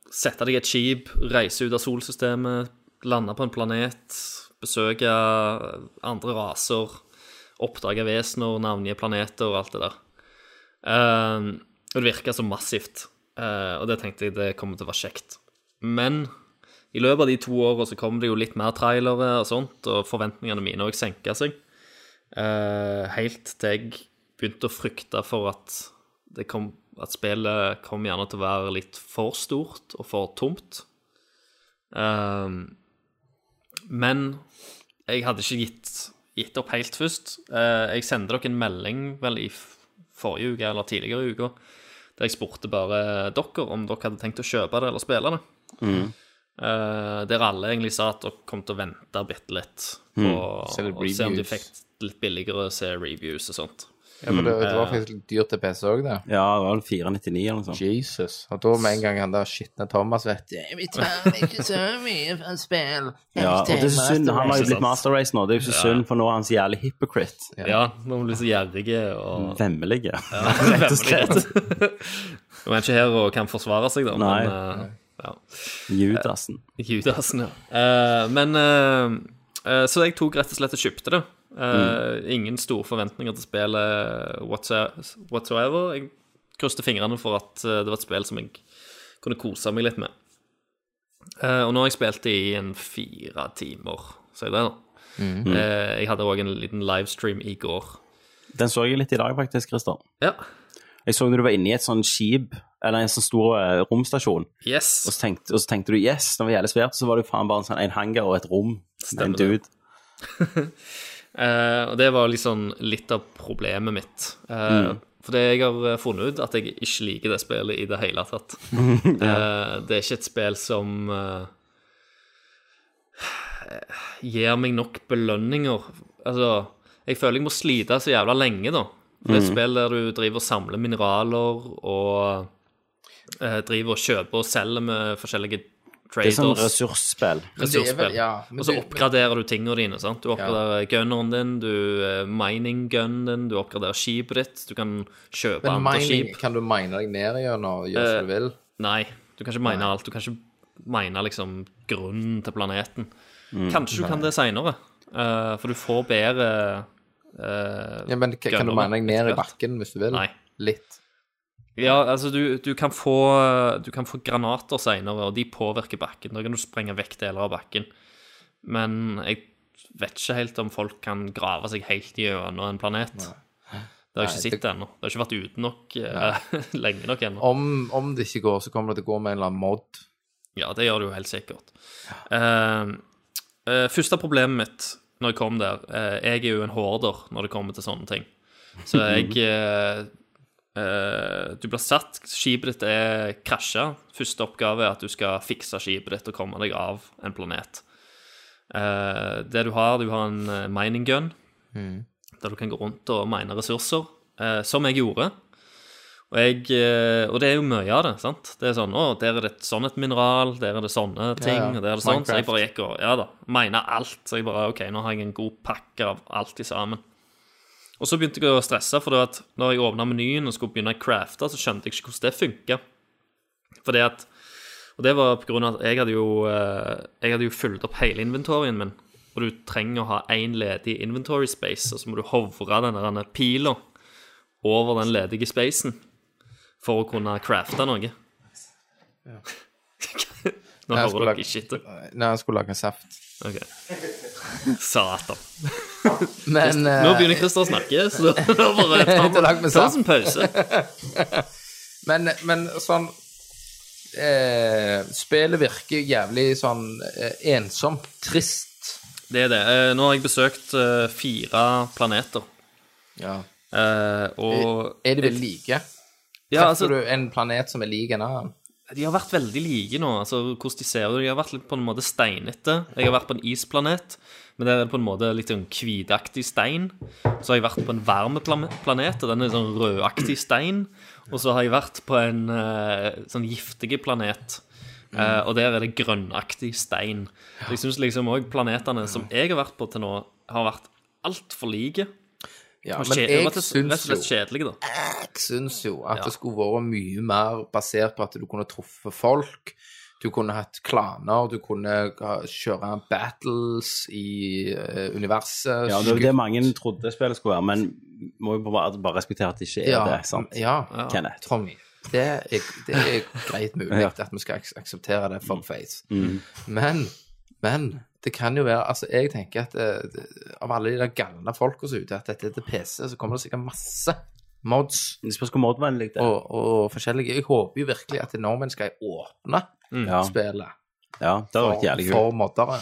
S3: sette deg i et skip, reise ut av solsystemet, lande på en planet, besøke andre raser, oppdage vesener, navngi planeter og alt det der. Eh, og det virka så massivt, eh, og det tenkte jeg det kommer til å være kjekt. Men i løpet av de to åra så kom det jo litt mer trailere og sånt, og forventningene mine òg senka seg. Eh, helt til jeg begynte å frykte for at det kom, at spillet kom gjerne til å være litt for stort og for tomt. Ehm, men jeg hadde ikke gitt, gitt opp helt først. Eh, jeg sendte dere en melding vel i f- forrige uke eller tidligere uke, der jeg spurte bare dere om dere hadde tenkt å kjøpe det eller spille det. Eh, der alle egentlig sa at dere kom til å vente bitte litt og,
S1: Se litt
S3: og se om de
S1: reviews.
S3: fikk litt billigere å se reviews og sånt.
S1: Ja, for det, det var faktisk litt dyrt til PC òg, det.
S4: ja, det var vel 499 eller noe sånt.
S1: Jesus. Og da med en gang han der skitne Thomas vet du,
S5: Vi tar ikke så mye fra spill.
S4: Ja, og det er så synd, Han har jo
S3: Ikke sant?
S4: blitt Master Race nå, det er jo så synd, for nå er han så jævlig hypocrite.
S3: Ja, nå blir de så gjerrige og
S4: Vemmelig.
S3: rett og slett. Nå er han ikke her og kan forsvare seg, da,
S4: Nei.
S3: men eh, ja.
S4: Judasen.
S3: Judasen, ja. Eh, men eh, eh, Så jeg tok rett og slett og kjøpte det. Eh,
S4: Mm.
S3: Ingen store forventninger til spillet whatso- whatsoever. Jeg krysset fingrene for at eh, det var et spill som jeg kunne kose meg litt med. Eh, og nå har jeg spilt det i en fire timer, sier det, da.
S4: Mm.
S3: Eh, jeg hadde òg en liten livestream i går.
S4: Den så jeg litt i dag, faktisk, Christer.
S3: Ja.
S4: Jeg så når du var inne i et sånn skip, eller en sånn stor eh, romstasjon,
S3: Yes.
S4: og så tenkte, og så tenkte du yes, det var jævlig svært, så var det jo faen bare en, sånn, en hangar og et rom. med
S3: Stemmer
S4: en
S3: det.
S4: dude.
S3: Eh, og det var liksom litt av problemet mitt. Eh,
S4: Mm.
S3: For det jeg har eh, funnet ut, at jeg ikke liker det spillet i det hele tatt. eh, det er ikke et spill som eh, gir meg nok belønninger. Altså, jeg føler jeg må slite så jævla lenge, da.
S4: Mm.
S3: For det er et spill der du driver og samler mineraler og eh, driver og kjøper og selger med forskjellige
S4: Det er sånn
S3: traders.
S4: ressursspill.
S1: Men det er vel-
S3: Ressursspill.
S1: ja, men
S3: og så
S1: det-
S3: oppgraderer du tingene dine. sant? Du oppgraderer gunneren din, du eh, mining gunnen din, du oppgraderer skipet ditt. Du kan kjøpe
S1: Men
S3: andre
S1: mining,
S3: skip.
S1: kan du mine deg ned gjennom og gjøre som du vil?
S3: Nei, du kan ikke mine alt. Du kan ikke mine liksom grunnen til planeten. Kanskje du kan det seinere, for du får bedre eh,
S1: Ja, men k- kan du
S3: gønner
S1: mine deg ned i
S3: etter hvert.
S1: bakken hvis du vil?
S3: Nei.
S1: Litt.
S3: Ja, altså, du, du, kan få, du kan få granater seinere, og de påvirker bakken. Da kan du sprenge vekk deler av bakken. Men jeg vet ikke helt om folk kan grave seg helt gjennom en planet. Det
S1: Nei,
S3: har jeg ikke sett ennå. Det har ikke vært ute nok eh, lenge nok ennå.
S1: Om, om det ikke går, så kommer det til å gå med en eller annen mod.
S3: Ja, det gjør det jo helt sikkert. Eh, eh, første problemet mitt når jeg kom der eh, Jeg er jo en horder når det kommer til sånne ting. Så jeg eh, eh, Du blir satt, skipet ditt er krasja. Første oppgave er at du skal fikse skipet ditt og komme deg av en planet. Eh, det du har, du har en eh, mining
S1: Mm.
S3: gun, der du kan gå rundt og mine ressurser, eh, som jeg gjorde. Og, jeg, eh, og det er jo mye av det. sant? Det er sånn Å, der er det et- sånn et mineral, der er det sånne ting,
S1: ja.
S3: og der er det sånn. Så jeg
S1: Minecraft.
S3: bare gikk og Ja da. Mena alt. Så jeg bare OK, nå har jeg en god pakke av alt i sammen. Og så begynte jeg å stresse, for det at når jeg åpna menyen og skulle begynne å crafte, så skjønte jeg ikke hvordan det funka. Fordi at Og det var på grunn av at jeg hadde jo eh, Jeg hadde jo fulgt opp hele inventorien min. Og du trenger å ha én ledig inventory space, og så må du hovre den der pila over den ledige spacen for å kunne crafte noe. Nå
S1: Jeg
S3: hører
S1: skulle
S3: dere ikke etter.
S1: Nei, jeg skulle lage saft.
S3: Ok. Satan.
S1: Men
S3: Nå
S1: eh,
S3: begynner Christer å snakke, så da bare
S1: Etter
S3: ta
S1: lag med
S3: ta
S1: saft.
S3: oss en pause.
S1: Men, men sånn eh, Spillet virker jævlig sånn eh, ensomt, trist.
S3: Det er det. Eh, Nå har jeg besøkt eh, fire planeter.
S1: Ja.
S3: eh, Og
S1: Er de vel like?
S3: ja,
S1: Treffer
S3: altså,
S1: du en planet som er lik en annen?
S3: de har vært veldig like nå. Altså, hvordan de ser ut. De har vært litt på en måte steinete. Jeg har vært på en isplanet, men der er det på en måte litt sånn hvitaktig stein. Så har jeg vært på en varm plane- planet, og den er sånn rødaktig stein. Og så har jeg vært på en eh, sånn giftig planet. Eh, og der er det grønnaktig stein. Så Jeg syns liksom òg planetene som jeg har vært på til nå, har vært altfor like.
S1: Ja,
S3: Og
S1: men
S3: kje-
S1: jeg
S3: rett og slett-
S1: syns
S3: rett
S1: jo,
S3: og slett kjedelige, da.
S1: jeg syns jo at det skulle vært mye mer basert på at du kunne truffet folk. Du kunne hatt klaner, du kunne ha- kjøre battles i eh, universet.
S4: Ja, det er jo det mange trodde spillet skulle være, men må jo bare, bare respektere at det ikke er
S1: Ja,
S4: det. sant?
S1: Ja,
S4: Kenneth.
S1: Tommy. Det er, det er greit mulig
S4: Ja. Mm.
S1: at vi skal ak akseptere det for face. Men, men det kan jo være Altså, jeg tenker at eh, det- av alle de der galne folka som er ute, at dette er til PC, så kommer det sikkert masse mods
S4: Det spørs hvor modvennlig det er.
S1: og, og forskjellige. Jeg håper jo virkelig at nordmenn skal åpne
S4: Ja,
S1: spillet
S4: ja, det hadde vært
S1: for,
S4: jævlig
S1: for
S4: kult.
S1: moddere.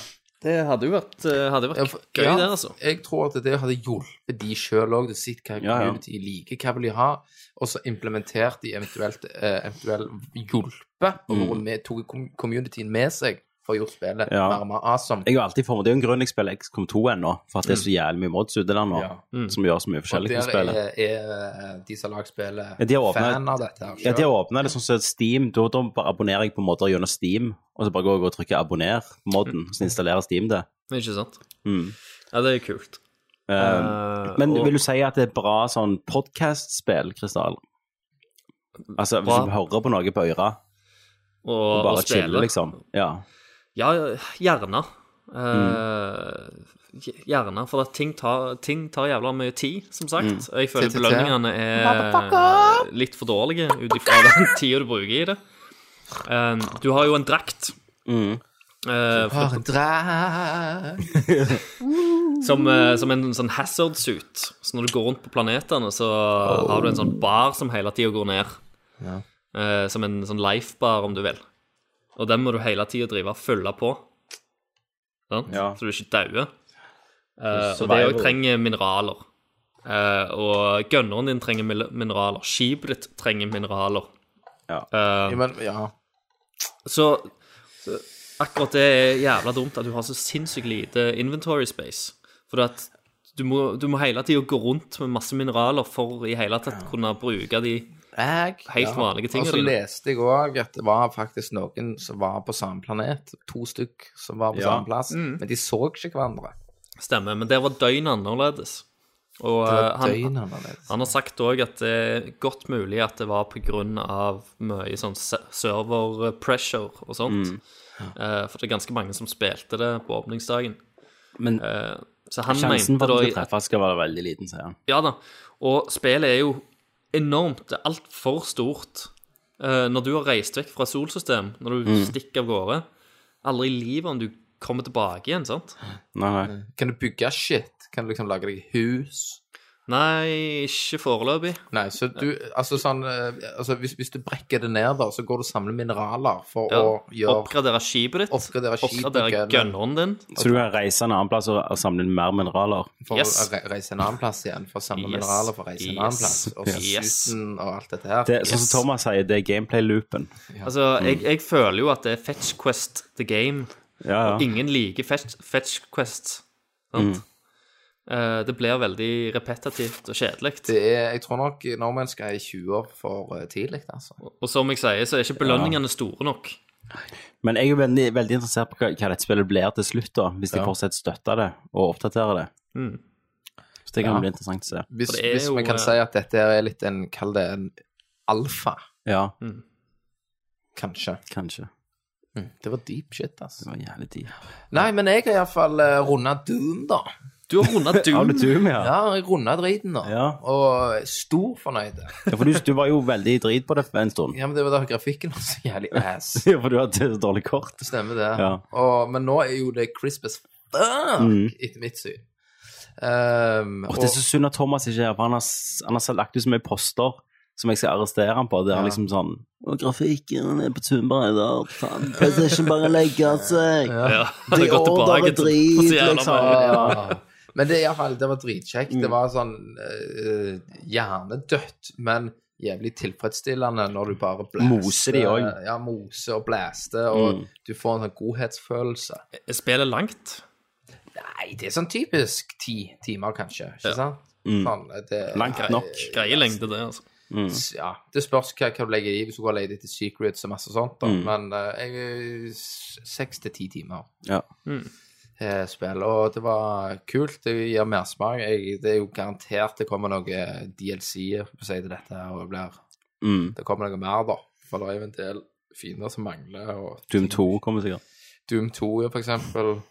S3: Det hadde jo vært, eh, hadde vært
S1: Ja, for-
S3: gøy,
S1: ja,
S3: det, altså.
S1: Jeg tror at det hadde hjulpet de sjøl òg, til å sitte hva
S4: Ja, ja.
S1: community liker, hva vil de ha, og så implementert de eventuelt, eh, eventuelt hjulpet, og
S4: Mm.
S1: hvor vi tok com- communityen med seg for å gjøre spillet
S4: Ja.
S1: mer og mer awesome.
S4: Jeg har alltid for meg, Det er jo en grunn jeg spiller XCOM 2 ennå, for at det er så jævlig mye mods ute der nå,
S1: Mm. Ja.
S3: Mm.
S4: som gjør så mye
S1: og
S4: forskjellig med
S1: der
S4: spillet.
S1: er, er eh, de som lager spillet,
S4: Ja, de har åpnet-
S1: fan av dette. her
S4: Ja, De
S1: selv.
S4: har åpna det sånn som Steam. Da, da bare abonnerer jeg på måter gjennom Steam, og så bare går jeg og trykker 'abonner' på modden, så installerer Steam det.
S3: Ikke sant?
S4: Mm.
S3: Ja, det er jo kult.
S4: Eh,
S3: Eh,
S4: men
S3: og-
S4: vil du si at det er bra sånn podkastspill, Krystall? Altså, hvis
S3: Bra.
S4: du hører på noe på øra
S3: Og,
S4: og bare chiller, liksom. Mm. Ja.
S3: Ja, gjerne. Eh, Gjerne, for at ting tar, ting tar jævla mye tid, som sagt.
S4: Mm.
S3: Og Jeg føler
S1: TTT.
S3: belønningene er litt for dårlige ut ifra den tida du bruker i det. Eh, du har jo en drakt.
S4: Mm.
S3: eh,
S1: Har en Ah, drag.
S3: som, eh, som en sånn hazard suit. Så når du går rundt på planetene, så har du en sånn bar som hele tida går ned. Eh, som en sånn life-bar, om du vil. Og den må du hele tida drive og følge på. Sant?
S4: Ja.
S3: Så du ikke dauer. Eh, og det òg trenger mineraler. Eh, og gønneren din trenger mil- mineraler. Skipet ditt trenger mineraler.
S4: Ja.
S3: Eh,
S1: Ja, men, ja.
S3: så, så akkurat det er jævla dumt at du har så sinnssykt lite inventory space. For at du må, du må hele tida gå rundt med masse mineraler for i hele tatt kunne bruke de
S1: Jeg,
S3: Helt vanlige ting,
S1: Og så
S3: Rune.
S1: leste jeg òg at det var faktisk noen som var på samme planet. To stykk som var på
S4: Ja. Mm.
S1: samme plass. Men de så ikke hverandre.
S3: stemmer. Men der var døgnet annerledes. Og eh, han,
S1: Døgnet annerledes.
S3: han har sagt òg at det er godt mulig at det var på grunn av mye sånn se- server pressure og sånt. Eh, for det er ganske mange som spilte det på åpningsdagen.
S4: Men
S3: Eh, så han
S4: sjansen
S3: mente
S4: for
S3: da
S4: at du
S3: i-
S4: skal treffe skal være veldig liten, sier han.
S3: Ja da. Og spillet er jo enormt. Det er altfor stort. Eh, når du har reist vekk fra solsystem, når du
S1: Mm.
S3: stikker av gårde Aldri i livet om du kommer tilbake igjen, sant?
S4: Nei, nei.
S1: Kan du bygge shit? Kan du liksom lage deg hus?
S3: Nei, ikke foreløpig.
S1: Nei, så du Altså sånn eh, altså, hvis, hvis du brekker det ned, da, så går du og samler mineraler for
S3: Ja.
S1: å gjøre
S3: Oppgradere skipet ditt.
S1: Oppgradere skipet,
S3: Oppgradere
S1: gunnen.
S3: gunneren din.
S4: Så du kan reise en annen plass og, og samle inn mer mineraler?
S1: For
S3: Yes.
S1: å re- reise en annen plass igjen. For å samle
S3: Yes.
S1: mineraler for å reise en annen plass.
S3: Yes.
S1: Og
S3: Yes.
S1: susen og alt dette her.
S4: Det, Sånn som Thomas sier, det er gameplay-loopen.
S3: Altså, jeg, jeg føler jo at det er Fetch Quest the game.
S4: Ja, ja.
S3: Ingen liker fetch, fetch Quest. Sant? Eh, det blir veldig repetitivt og kjedelig.
S1: Mm. Det er, jeg tror nok nordmenn skal i 20 år for eh, tidlig, altså.
S3: Og som jeg sier, så er ikke belønningene store nok.
S4: Men jeg er jo veldig, veldig interessert på hva, hva dette spillet blir til slutt, da, hvis de
S1: Ja.
S4: fortsatt støtter det og oppdaterer det.
S3: Mm.
S4: Så det kan
S1: Ja.
S4: bli interessant å se.
S1: Hvis,
S3: For det er
S1: hvis
S3: jo,
S1: vi
S3: eh,
S1: kan si at dette er litt en, kall det en alfa,
S4: Ja,
S1: kanskje.
S4: Mm. kanskje.
S3: Mm.
S1: Det var deep shit, altså.
S4: Det var jævlig tid.
S1: Nei, men jeg har iallfall uh, runda Doom, da.
S3: Du har runda
S4: Har
S3: Doom.
S4: du Doom, ja?
S1: Ja, jeg runda driten, da.
S4: Ja.
S1: Og stor fornøyd.
S4: ja for du, du var jo veldig drit på det for en stund.
S1: Ja, men det var da grafikken var så jævlig ass.
S4: Ja, for du hadde så dårlig kort.
S1: Stemmer det.
S4: Ja.
S1: Og, men nå er jo det crisp as fuck,
S4: Mm.
S1: etter mitt syn. Ehm,
S4: Og det er så synd at Thomas ikke er her, for han har, s- han har så lagt ut så mye poster som jeg skal arrestere han på. Det er
S1: Ja.
S4: liksom sånn Og grafikken er på Tunbreider. Faen, PlayStation bare legger seg.
S3: Ja,
S4: De
S3: hadde gått
S4: ordrer
S3: tilbake
S4: er
S3: til-
S4: drit,
S3: så jævla
S4: liksom.
S3: mange.
S1: Ja. Men det, i alle fall, det var dritkjekt.
S4: Mm.
S1: Det var sånn eh, hjernedødt, men jævlig tilfredsstillende når du bare blæster.
S4: Moser de også. Mm.
S1: Ja, mose og blæster, og du får en sånn godhetsfølelse.
S3: Spillet langt.
S1: Nei, det er sånn typisk ti timer, kanskje. Ikke
S3: Ja.
S1: sant?
S4: Mm.
S1: Sånn, det,
S4: Langt nok.
S3: Greie lengde, det, altså.
S1: Ja, det spørs hva, hva du legger i hvis du går og leter etter secrets og masse sånt, da. Men eh, jeg, s- seks til ti timer.
S4: Ja.
S1: eh, spill, og det var kult. Det gir mersmak. Jeg- Det er jo garantert det kommer noe eh, DLC på seg til dette. her, og det, blir,
S4: Mm.
S1: det kommer noe mer, da. For det er jo en del fiender som mangler. og
S4: Doom 2 kommer sikkert.
S1: Doom 2, ja, for eksempel.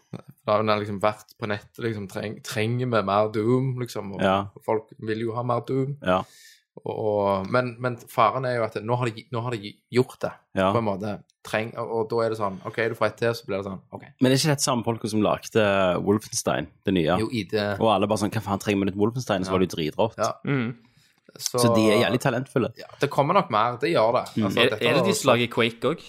S1: Da har den liksom vært på nettet. liksom, treng, Trenger vi mer Doom, liksom? Og
S4: Ja.
S1: Folk vil jo ha mer Doom.
S4: Ja.
S1: Og, men, men faren er jo at nå har de, nå har de gjort det,
S4: Ja.
S1: på en måte. Treng, og, og da er det sånn OK, du får ett til, så blir det sånn OK.
S4: Men det er ikke dette samme folket som lagde Wolfenstein, det nye?
S1: Jo, ID.
S4: Og alle bare sånn Hva faen, trenger vi nytt Wolfenstein? Og så var det jo dritrått.
S1: Ja.
S4: Så de er jævlig Mm. talentfulle.
S1: Ja, det kommer nok mer, det gjør det. Altså,
S3: Er,
S1: dette
S3: er det
S1: var-
S3: de som lager Quake òg?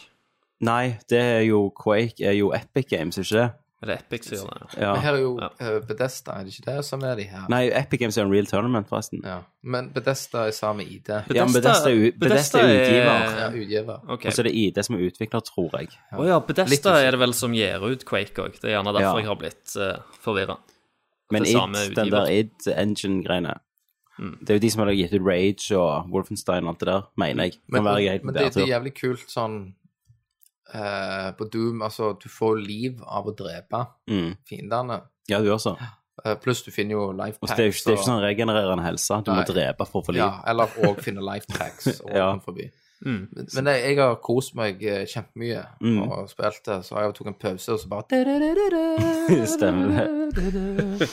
S4: Nei, det er jo Quake er jo Epic Games, ikke det?
S3: Er det Epic som gjør det?
S4: Ja.
S1: Men Her er jo
S3: Ja.
S1: eh, Bethesda, er det ikke det som er de her?
S4: Nei, Epic Games er en real tournament, forresten.
S1: Ja. Men Bethesda er samme ID.
S4: Ja, men Bethesda er u- Bethesda er utgiver.
S1: Ja, utgiver.
S3: Ok.
S4: Og så er det ID som er utvikler, tror jeg.
S3: Å ja,
S1: Litt
S3: Bedesta
S1: usikker.
S3: er det vel som gir ut Quake òg. Det er gjerne derfor
S4: Ja.
S3: jeg har blitt uh, forvirra.
S4: Men
S3: det
S4: id,
S3: samme
S4: den
S3: utgiver. Mm.
S4: der id engine-greiene Det er jo de som har gitt ut Rage og Wolfenstein og alt det der, mener jeg. Kan
S1: Men,
S4: være greit altså. på
S1: men det, det er
S4: bærtur.
S1: jævlig kult sånn eh, På Doom, altså, du får liv av å drepe
S4: Mm.
S1: fiendene.
S4: Ja, du også.
S1: Eh, pluss du finner jo life
S4: Og
S1: packs.
S4: så det er jo ikke, det er ikke sånn regenererende helse. Du må
S1: Nei.
S4: drepe for å få liv.
S1: Ja, eller òg finne life tracks og
S4: Ja.
S1: ja. forbi.
S3: Mm.
S1: Men, men jeg, jeg har kost meg eh, kjempemye
S4: Mm.
S1: og spilt det, så jeg tok en pause, og så bare
S4: Stemmer det.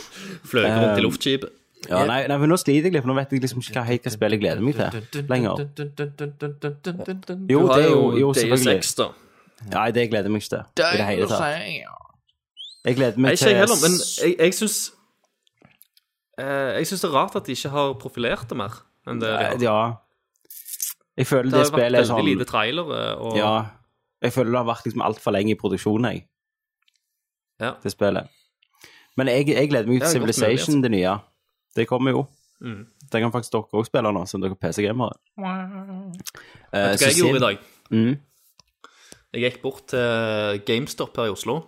S3: Fløy rundt
S4: Um,
S3: i luftskipet.
S4: Ja, nei, nei, men nå sliter jeg litt, for nå vet jeg liksom ikke hva jeg hva spillet jeg gleder meg til lenger. Jo, det
S3: Du har
S4: er jo, jo
S3: Deus
S4: selvfølgelig.
S3: Ex, da.
S4: Nei, det gleder jeg meg ikke til i det hele tatt. Jeg gleder
S3: Nei,
S4: meg
S3: ikke jeg
S4: til
S3: heller, men jeg, jeg syns eh, Jeg syns det er rart at de ikke har profilert det mer enn det de
S4: Nei,
S3: har.
S4: Ja. Jeg føler
S3: Det
S4: det
S3: har jo vært
S4: spillet er
S3: veldig
S4: sånn
S3: lite trailere og
S4: Ja. Jeg føler det har vært liksom altfor lenge i produksjonen, jeg.
S3: Ja.
S4: Det spillet. Men jeg, jeg gleder meg
S3: Ja,
S4: til
S3: det altså. Mm. er godt
S4: Civilization, det nye. Det kommer jo. Det kan faktisk dere òg spille nå, som dere er PC-gamere. Eh,
S3: Vet du hva jeg gjorde i dag? Eh,
S4: Mm.
S3: Jeg gikk bort til GameStop her i Oslo.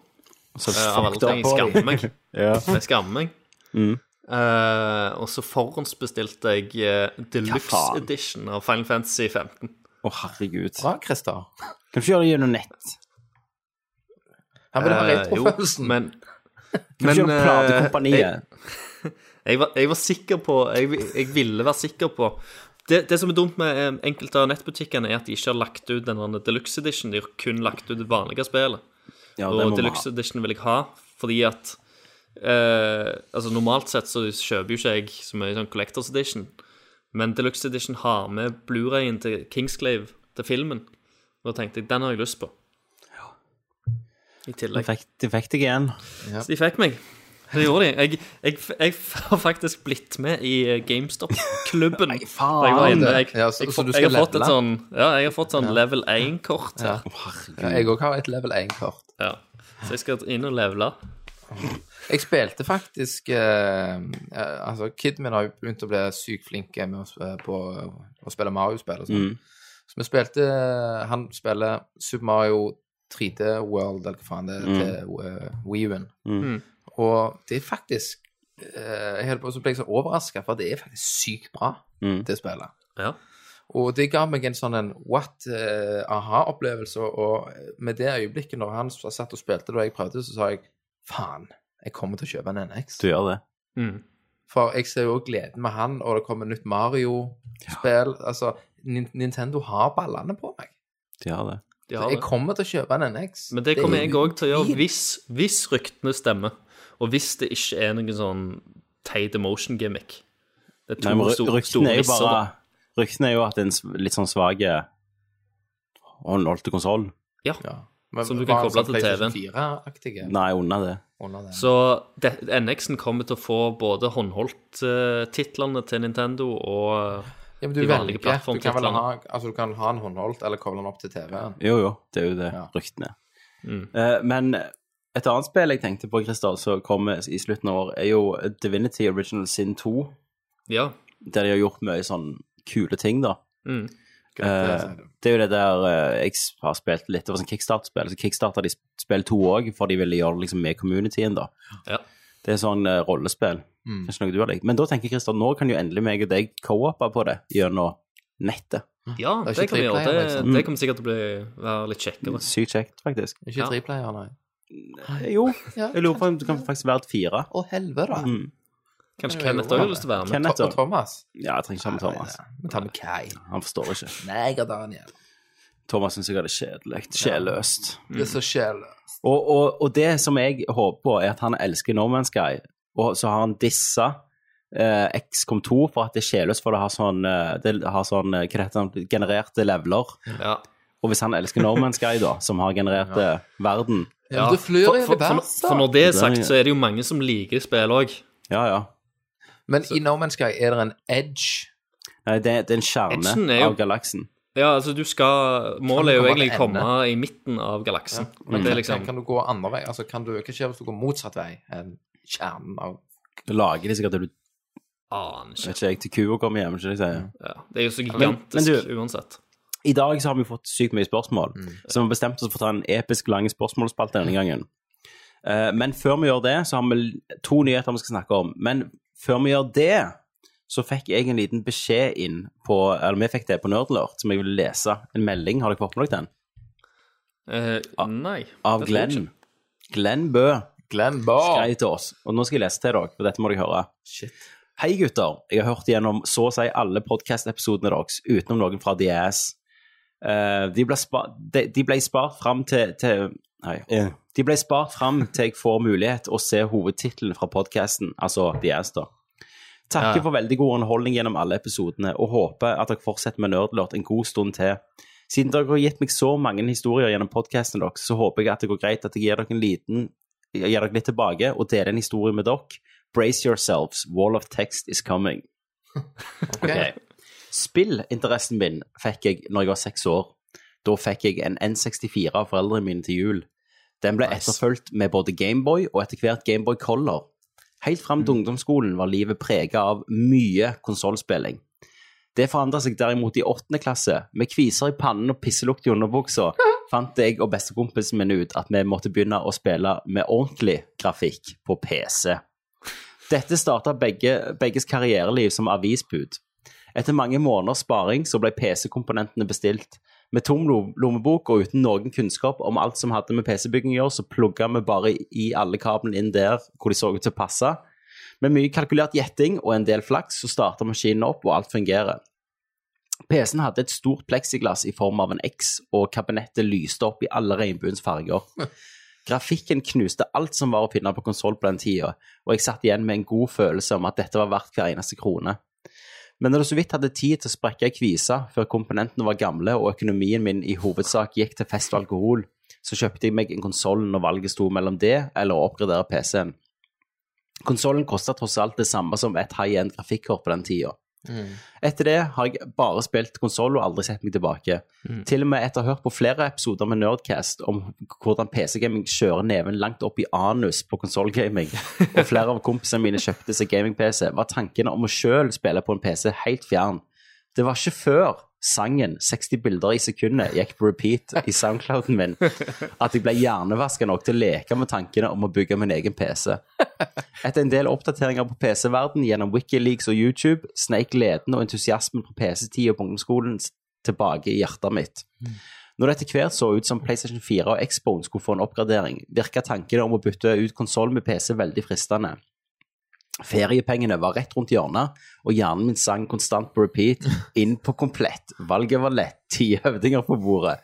S4: Så
S3: Eh, Av alle
S4: fucked
S3: ting. Jeg
S4: up. Mm.
S3: skammer meg.
S4: Ja.
S3: Jeg skammer meg. Eh, og så forhåndsbestilte jeg eh, Deluxe
S4: faen?
S3: Edition av Final Fantasy 15.
S4: Å, herregud.
S1: Bra, Christer.
S4: Kan du ikke gjøre det gjennom nett?
S1: Han vil ha
S3: Eh,
S1: retrofølelsen.
S3: men
S4: Kan du ikke gjøre
S3: eh, jeg,
S4: platekompaniet?
S3: jeg, var, jeg var sikker på Jeg, jeg ville være sikker på det, det som er dumt med eh, enkelte av nettbutikkene, er at de ikke har lagt ut den der Deluxe Edition. De har kun lagt ut det vanlige spillet.
S4: Ja, det
S3: Og
S4: må vi ha.
S3: Deluxe Edition vil jeg ha fordi at eh, Altså Normalt sett så kjøper jo ikke jeg så mye sånn Collectors Edition, men Deluxe Edition har med Blu-rayen til Kingsglaive til filmen. Og da tenkte jeg den har jeg lyst på. I
S4: De
S3: tillegg.
S4: fikk, de fikk deg igjen.
S3: Så de fikk meg. Det gjorde de. Jeg, jeg, jeg har faktisk blitt med i eh, GameStop-klubben. Nei,
S4: faen.
S3: Jeg, var inne. jeg,
S1: Ja, så-
S3: jeg,
S1: så du
S3: jeg, jeg
S1: skal
S3: har fått et
S1: levele?
S3: sånn, ja, jeg har fått sånn level 1-kort her.
S1: Ja, jeg òg har et level 1-kort.
S3: Ja. Så jeg skal inn og levele.
S1: Jeg spilte faktisk eh, eh, Altså, kiden min har jo begynt å bli sykt flink med å, sp- på, å spille Mario-spill og sånn. Så vi spilte eh, Han spiller Super Mario eh, 3D World, eller hva faen det er, til uh, Wii-en. Og det er faktisk eh, jeg holdt på, så ble jeg så overraska, for det er faktisk sykt bra, det spillet.
S3: Ja.
S1: Og det ga meg en sånn en what eh, aha-opplevelse. Og eh, med det øyeblikket når han satt og spilte det, og jeg prøvde, så sa jeg faen, jeg kommer til å kjøpe en NX.
S4: Du gjør det.
S3: Mm.
S1: For jeg ser jo gleden med han, og det kommer nytt Mario-spill. Altså, Nin- Nintendo har ballene på meg.
S4: Du gjør det.
S3: De
S1: Så
S3: har
S1: jeg
S3: det.
S1: kommer til å kjøpe en NX.
S3: Men det kommer
S1: er
S3: jeg
S1: jo
S3: òg til å gjøre
S1: utvilsomt.
S3: hvis, hvis ryktene stemmer, og hvis det ikke er noen sånn teit emotion gimmick. Det er to
S4: Nei, men
S3: store,
S4: ry- ryktene
S3: store
S4: er jo
S3: nisser,
S4: bare
S3: da.
S4: Ryktene er jo at det er en s- litt sånn svak håndholdte konsoll.
S3: Ja.
S1: Ja. Men
S3: Som du
S1: var
S3: kan
S1: han
S3: koble
S1: sånn
S3: til
S1: PlayStation
S3: TV-en.
S1: 4-aktige
S4: Nei, under det.
S1: under det.
S3: Så det- NX-en kommer til å få både håndholdt-titlene til Nintendo og eh,
S1: Ja, men du
S3: de vanlige
S1: velger. Du kan, vel
S3: plattformtitlene.
S1: ha, altså, du kan ha en håndholdt, eller koble den opp til TV-en.
S4: Jo, jo, det er jo det
S1: Ja.
S4: ryktene.
S3: Mm.
S4: Eh, men et annet spill jeg tenkte på, Christer, som kommer i slutten av år, er jo Divinity Original Sin 2.
S3: Ja.
S4: Der de har gjort mye sånn kule ting, da.
S3: Mm.
S1: Greit,
S4: Eh,
S1: det sier du.
S4: det er jo det der eh, jeg har spilt litt, det var sånn kickstart-spill, så kickstarta de spill to òg, for de ville gjøre det liksom med communityen, da.
S3: ja.
S4: Det er sånn eh, rollespill. Kanskje noe du har likt. Men da tenker jeg, Christer, nå kan jo endelig meg og deg co-oppe på det gjennom nettet.
S3: Ja,
S1: Det er
S3: det,
S1: ikke
S3: kan vi gjøre.
S1: triplayer,
S3: Det,
S1: liksom.
S4: Mm.
S1: Mm.
S3: det kommer sikkert til å bli, være litt kjekkere.
S4: Sykt kjekt, faktisk.
S1: Ikke
S3: Ja.
S1: treplayer, nei.
S4: Eh, Jo, jeg lurer på om det kan faktisk være et fire.
S1: Å, helvete.
S4: Mm.
S3: Kanskje
S1: Ja,
S3: Kenneth
S1: jo, ja.
S3: òg har lyst til å være med.
S4: Kenneth
S1: Og Thomas.
S4: Ja, jeg trenger ikke ha med Thomas.
S1: Vi tar med Kai.
S4: Han forstår ikke.
S1: Meg og Daniel.
S4: Thomas syns jeg er kjedelig. Sjelløst.
S1: Det er så sjel.
S4: Og, og, og det som jeg håper på, er at han elsker No Man's Sky, og så har han dissa eh, XCOM 2 for at det er sjelløst, for det har sånn, eh, det har sånn eh, hva det heter det, genererte leveler.
S3: Ja.
S4: Og hvis han elsker No Man's Sky, da, som har generert eh, verden
S1: Ja, men du flyr
S3: for,
S1: i
S3: for, for,
S1: universet.
S3: for når det er sagt,
S4: Det er-
S3: så er det jo mange som liker spill òg.
S4: Ja, ja.
S1: Men i No Man's Sky er det en edge.
S4: Nei, det, det er en kjerne
S3: Edsen er jo-
S4: av galaksen.
S3: Ja, altså, du skal Målet er jo
S1: Kan komme
S3: egentlig
S1: til
S3: å komme i midten av galaksen. Men
S4: Mm.
S3: det er liksom
S1: Mm. Kan du gå andre vei? Altså, kan du, hva skjer hvis du går motsatt vei enn kjernen av
S4: Da lager de sikkert til du
S3: Aner
S4: vet
S3: ikke.
S4: ikke jeg, til kua kommer hjem. ikke det jeg sier.
S3: Ja, det er jo så
S4: Men-
S3: gigantisk
S4: men du-
S3: uansett.
S4: I dag så har vi fått sykt mye spørsmål,
S3: Mm.
S4: så vi har bestemt oss for å ta en episk lang spørsmålsspalte denne gangen. Eh, men før vi gjør det, så har vi l- to nyheter vi skal snakke om. Men før vi gjør det, så fikk jeg en liten beskjed inn på Eller vi fikk det på Nerdlert, som jeg vil lese. En melding, har dere fått med dere den?
S3: Eh, nei.
S4: Av
S3: det tror jeg
S4: Glenn.
S3: ikke.
S4: Glenn Bø
S1: Glenn Barr.
S4: skrev til oss. Og nå skal jeg lese til dere, og dette må dere høre.
S1: Shit.
S4: Hei gutter, jeg har hørt gjennom så å si alle podcast-episodene deres, utenom noen fra DS. Eh, de, ble spa de, de ble spart fram til, til Nei. eh, De ble spart fram til jeg får mulighet å se hovedtittelen fra podcasten, altså DS, da. Takker for veldig god underholdning gjennom alle episodene, og håper at dere fortsetter med Nerdlert en god stund til. Siden dere har gitt meg så mange historier gjennom podcasten deres, så håper jeg at det går greit at jeg gir dere en liten jeg gir dere litt tilbake og deler en historie med dere. Brace yourselves, wall of text is coming.
S1: Ok.
S4: Ok. Spillinteressen min fikk jeg når jeg var seks år. Da fikk jeg en N64 av foreldrene mine til jul. Den ble etterfulgt med både Gameboy og etter hvert Gameboy Color. Helt fram til ungdomsskolen var livet prega av mye konsollspilling. Det forandra seg derimot i åttende klasse. Med kviser i pannen og pisselukt i underbuksa fant jeg og bestekompisen min ut at vi måtte begynne å spille med ordentlig grafikk på PC. Dette starta begge, begges karriereliv som avisbud. Etter mange måneders sparing så ble PC-komponentene bestilt. Med tom lo- lommebok og uten noen kunnskap om alt som hadde med PC-bygging å gjøre, så plugga vi bare i alle kablene inn der hvor de så ut til å passe. Med mye kalkulert gjetting og en del flaks så starter maskinen opp, og alt fungerer. PC-en hadde et stort pleksiglass i form av en X, og kabinettet lyste opp i alle regnbuens farger. Grafikken knuste alt som var å finne på konsoll på den tida, og jeg satt igjen med en god følelse om at dette var verdt hver eneste krone. Men når det så vidt hadde tid til å sprekke ei kvise før komponentene var gamle og økonomien min i hovedsak gikk til fest og alkohol, så kjøpte jeg meg en konsoll når valget sto mellom det eller å oppgradere PC-en. Konsollen kosta tross alt det samme som et high-end grafikkort på den tida. Etter det har jeg bare spilt konsoll og aldri sett meg tilbake. Til og med etter å ha hørt på flere episoder med Nerdcast om hvordan PC-gaming kjører neven langt opp i anus på konsollgaming, og flere av kompisene mine kjøpte seg gaming-PC, var tanken om å sjøl spille på en PC helt fjern. Det var ikke før sangen 60 bilder i sekundet gikk på repeat i soundclouden min at jeg ble hjernevaska nok til å leke med tankene om å bygge min egen PC. Etter en del oppdateringer på PC-verden gjennom Wikileaks og YouTube sneik gleden og entusiasmen på PC-tida på ungdomsskolen tilbake i hjertet mitt. Når det etter hvert så ut som PlayStation 4 og Xbone skulle få en oppgradering, virka tankene om å bytte ut konsoll med PC veldig fristende. Feriepengene var rett rundt hjørnet, og hjernen min sang konstant på repeat inn på komplett. Valget var lett, ti høvdinger på bordet.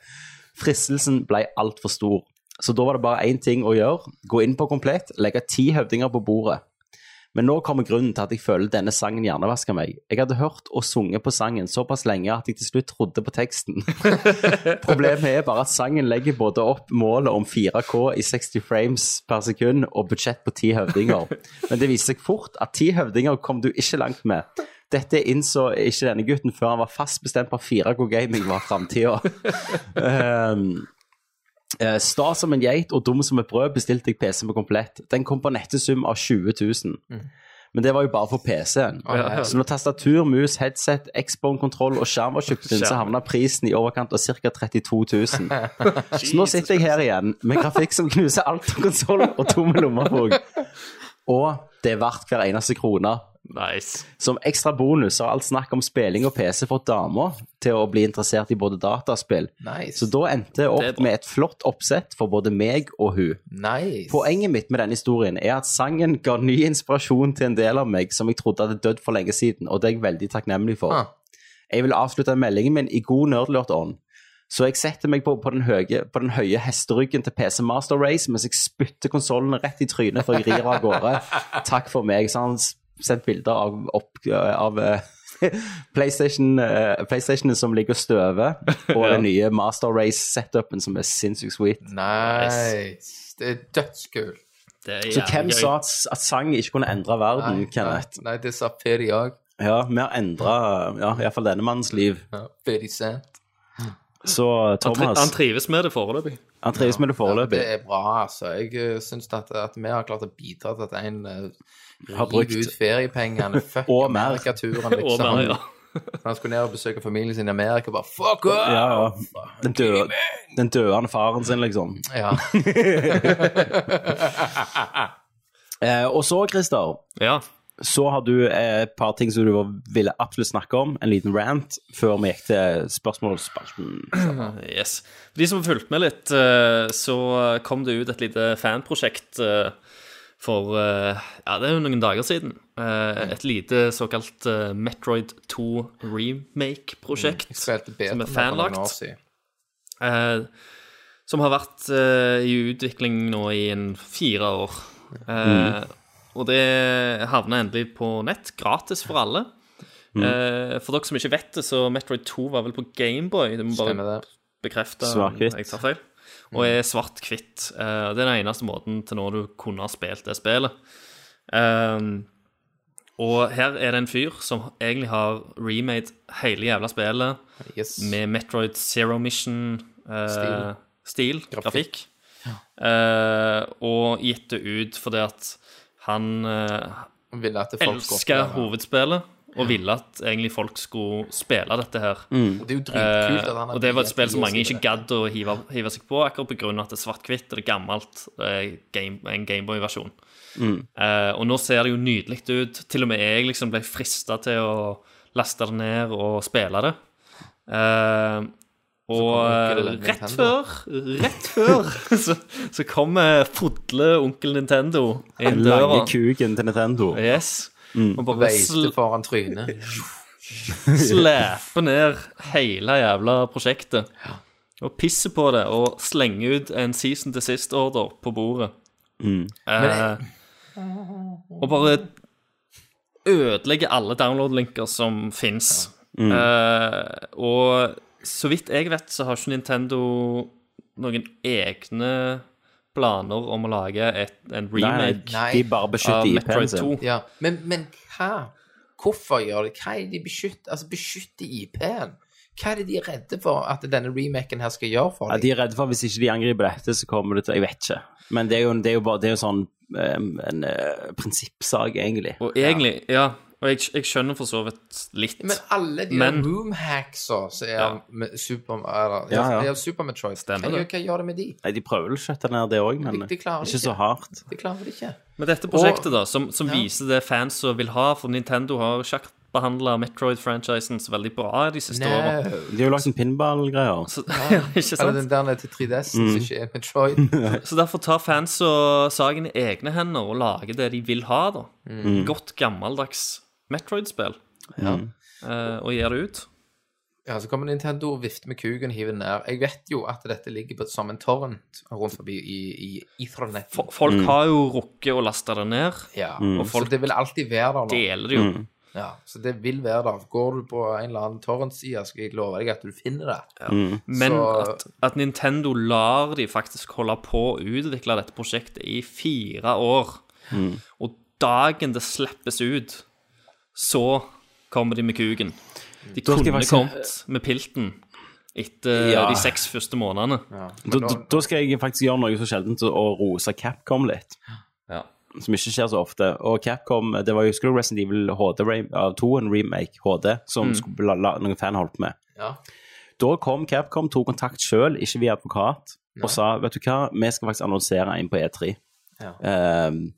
S4: Fristelsen ble altfor stor. Så da var det bare én ting å gjøre. Gå inn på komplett, legge ti høvdinger på bordet. Men nå kommer grunnen til at jeg føler denne sangen hjernevasker meg. Jeg hadde hørt og sunget på sangen såpass lenge at jeg til slutt trodde på teksten. Problemet er bare at sangen legger både opp målet om 4K i 60 frames per sekund og budsjett på 10 høvdinger. Men det viser seg fort at 10 høvdinger kom du ikke langt med. Dette innså ikke denne gutten før han var fast bestemt på at 4K gaming var framtida. um, Eh, Sta som en geit og dum som et brød bestilte jeg PC med komplett. Den kom på nette sum av 20 000. Men det var jo bare for PC-en.
S1: ja.
S4: Så når tastatur, mus, headset, Xbone-kontroll og skjerm var kjøpt inn, så havna prisen i overkant av ca. 32 000. Så nå sitter jeg her igjen med grafikk som knuser alt av konsoll og tomme lommebok. Og det er verdt hver eneste krone.
S3: Nice.
S4: Som ekstra bonus har alt snakk om spilling og PC fått damer til å bli interessert i både dataspill.
S1: Nice.
S4: Så da endte jeg
S3: Det er
S4: opp
S3: bra.
S4: med et flott oppsett for både meg og hun.
S1: Nice.
S4: Poenget mitt med denne historien er at sangen ga ny inspirasjon til en del av meg som jeg trodde hadde dødd for lenge siden, og det er jeg veldig takknemlig for.
S1: Ah.
S4: Jeg vil avslutte meldingen min i god nerdlurt ånd. Så jeg setter meg på, på, den høye, på den høye hesteryggen til PC Master Race mens jeg spytter konsollene rett i trynet før jeg rir av gårde. Takk for meg. Så har han s- sendt bilder av, opp, av eh, PlayStation, eh, PlayStationen som ligger og støver, og den nye Master Race-setupen som er sinnssykt sweet.
S1: nice. Det er dødskult.
S3: Det er
S4: Så
S3: jævlig
S4: hvem
S3: gøy.
S4: sa at, at sang ikke kunne endre verden, Kenneth?
S1: Nei, det sa Pedi òg.
S4: Ja, vi har endra ja, iallfall denne mannens liv.
S1: Pedi Sant.
S4: Så
S3: han, tri
S4: Thomas,
S3: han trives med det foreløpig.
S4: han trives med det foreløpig.
S1: Det er bra, altså. Jeg uh, syns at, at vi har klart å bidra til at en uh,
S4: Har brukt-
S1: ut feriepengene. Fuck
S4: Og mer.
S1: Amerikaturen,
S3: Og
S1: liksom.
S3: mer, ja.
S1: Han skulle ned og besøke familien sin i Amerika, bare fuck off!
S4: Ja, ja. Den, dø, den døende faren sin, liksom.
S1: Ja.
S4: Eh, og så, Christer,
S3: ja.
S4: så har du eh, et par ting som du ville absolutt snakke om. En liten rant før vi gikk til spørsmålsspalten.
S3: Yes. For de som har fulgt med litt, eh, så kom det ut et lite fanprosjekt eh, for eh, Ja, det er jo noen dager siden. Eh, Et lite såkalt eh, Metroid 2
S4: Mm,
S3: remake-prosjekt
S1: Spilte bedre
S3: som er
S1: for noen år
S3: fanlagt.
S1: siden.
S3: eh, Som har vært eh, i utvikling nå i en fire år. Eh, Og det havna endelig på nett, gratis for alle. Eh, for dere som ikke vet det, så Metroid 2 var vel på Gameboy. Du må bare
S1: Stemmer det.
S3: bekrefte
S4: Svart-hvitt.
S3: jeg tar feil. Og er svart-hvitt. Eh, det er den eneste måten til nå du kunne ha spilt det spillet. Ehm, og her er det en fyr som egentlig har remade hele jævla spillet
S1: Yes.
S3: med Metroid Zero Mission-stil,
S1: Stil.
S3: stil, grafikk.
S1: Grafikk.
S3: Eh, og gitt det ut fordi at han eh,
S1: Ville at folk
S3: elska
S1: skulle-
S3: hovedspillet og ville at egentlig folk skulle spille dette her.
S1: Og Det er jo dritkult at han har
S3: Eh, og det var et
S1: gitt
S3: spill som
S1: tid
S3: mange
S1: til det.
S3: ikke gadd å hive, hive seg på, akkurat pga. at det er svart-hvitt og det er gammelt. Det er game, en Gameboy-versjon. Eh, og nå ser det jo nydelig ut. Til og med jeg liksom ble frista til å laste det ned og spille det. Eh, og
S1: kommer onkel
S3: eh, rett
S1: Nintendo.
S3: før, rett før så, så kommer fodle onkel Nintendo inn
S4: Den
S3: døra.
S4: lange kuken til Nintendo.
S3: Yes. Og bare sl
S1: Veiste foran trynet.
S3: Slepe ned hele jævla prosjektet. Og pisse på det og slenge ut en season til sist-order på bordet.
S4: Mm.
S3: Eh, og bare ødelegge alle download-linker som fins.
S4: Mm.
S3: Eh, og så vidt jeg vet, så har ikke Nintendo noen egne planer om å lage et, en
S4: Nei, nei,
S3: remake
S1: Nei. Ah,
S4: de bare
S3: av
S4: beskytter IP-en
S3: Metroid 2.
S4: sin.
S1: Ja, men, men hva? Hvorfor gjør de Hva er de beskytter? Altså, beskytter IP-en? Hva er det de er redde for at denne remaken her skal gjøre for
S4: Ja,
S1: dem?
S4: de er redde for at hvis ikke de angriper dette, så kommer det til Jeg vet ikke. Men det er jo, det er jo bare det er jo sånn eh, en eh, prinsippsak, egentlig.
S3: Og egentlig, ja. Og jeg, jeg skjønner for så vidt litt.
S1: Men alle de
S3: Men-
S1: der roomhacksa som er
S3: Ja.
S1: med Super, eller,
S4: Ja, ja.
S1: er av Super Metroid,
S3: Stemmer
S1: hva,
S3: det.
S1: gjør- hva gjør det med de?
S4: Nei, de prøver vel å skjøtte ned det òg, men
S1: De- de klarer
S4: ikke
S1: ikke.
S4: så hardt.
S1: De klarer det ikke.
S3: Men dette prosjektet, da, som, som viser det fans vil ha, for Nintendo har sjakkbehandla Metroid-franchisen så veldig bra de siste årene.
S1: Nei.
S4: De har jo lagd en altså. pinball-greier.
S3: Så, ja, ikke
S1: Eller
S3: sant?
S1: den der nede til 3DS
S4: Mm.
S1: som ikke er Metroid.
S3: Så derfor tar fans og saken i egne hender og lager det de vil ha, da. Godt gammeldags Metroid-spill. Eh, og gir det ut.
S1: Ja, så kommer Nintendo og vifter med kuken og hiver den ned. Jeg vet jo at dette ligger på, som en torrent rundt forbi i, i Ethernet.
S3: Fo- Folk har jo rukket å laste det ned.
S1: ja.
S4: Mm.
S3: Og folk
S1: Så det vil alltid være der nå.
S3: Deler det jo.
S1: Ja, så det vil være der. Går du på en eller annen torrent-side, skal jeg love deg at du finner det.
S3: Men
S1: Så-
S3: at, at Nintendo lar de faktisk holde på å utvikle dette prosjektet i fire år,
S4: Mm.
S3: og dagen det slippes ut, så kommer de med kuken. De
S4: Da skal jeg
S3: kunne
S4: faktisk-
S3: kommet med pilten etter
S4: Ja.
S3: de seks første månedene.
S4: Da, da, da skal jeg faktisk gjøre noe så sjeldent og rose Capcom litt.
S3: Ja.
S4: Som ikke skjer så ofte. Og Capcom det var jo Screw Resident Evil HD Re- av 2, en remake HD, som skulle la, la, noen fan holdt med.
S1: Ja.
S4: Da kom Capcom, tok kontakt sjøl, ikke via advokat, og sa vet du hva, vi skal faktisk annonsere inn på E3.
S1: Ja.
S4: Ehm,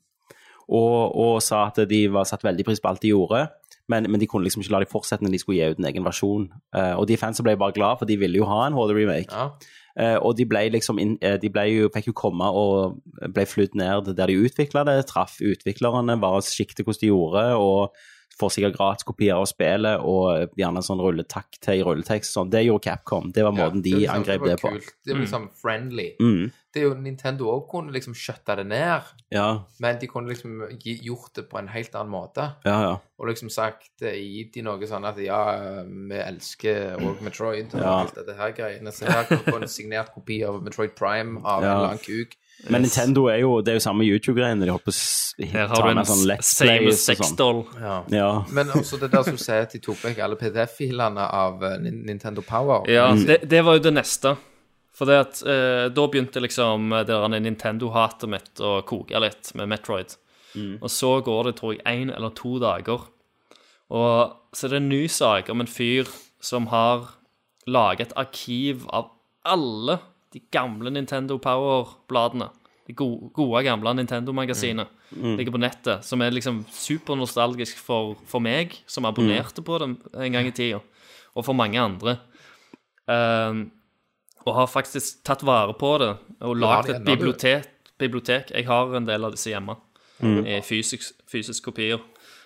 S4: og, og sa at de var satt veldig pris på alt de gjorde, men, men de kunne liksom ikke la de fortsette når de skulle gi ut en egen versjon. Eh, og de fansa ble bare glad, for de ville jo ha en HD-remake.
S1: Ja.
S4: Eh, og de ble liksom inn, eh, de ble jo, fikk jo komme og ble flydd ned der de utvikla det, traff utviklerne, var siktet hvordan de gjorde, og får sikkert gratiskopier av spillet og gjerne sånn rulletakk til i rulletekst. Sånn. Det gjorde Capcom. Det var måten
S1: Ja,
S4: de
S1: var liksom-
S4: angrep
S1: var
S4: det på.
S1: kult. Det var liksom friendly.
S4: Mm.
S1: Det er jo Nintendo òg kunne liksom skjøtte det ned,
S4: Ja,
S1: men de kunne liksom gi, gjort det på en helt annen måte.
S4: ja, ja.
S1: Og liksom sagt eh, gitt de noe sånn at ja, vi elsker òg Metroid og
S4: Ja.
S1: alt dette her greiene. Så her kan du få en signert kopi av Metroid Prime av en
S4: Ja.
S1: eller annen kuk.
S4: Men Nintendo er jo det er jo samme YouTube-greiene. De holdt på å s-
S3: Her har
S4: ta
S3: du en
S4: med sånn Let's
S3: Samus
S4: Plays og sånn.
S3: Sexdoll.
S4: Ja.
S1: Men også det der som sier at de tok vekk alle PDF-filene av eh, Nin- Nintendo Power.
S3: Ja, det, det var jo det neste. For det at, eh, da begynte liksom det der Nintendo-hatet mitt å koke litt med Metroid. Og så går det, tror jeg, én eller to dager. Og så er det en ny sak om en fyr som har laget et arkiv av alle de gamle Nintendo Power-bladene. De gode, gode gamle Nintendo-magasinet. Ligger på nettet. Som er liksom supernostalgisk for, for meg, som abonnerte på dem en gang i tida. Og for mange andre. Ehm, og har faktisk tatt vare på det og lagd
S1: det
S3: et
S1: ennå, du.
S3: bibliotek, bibliotek. Jeg har en del av disse hjemme. I fysisk, fysisk kopier.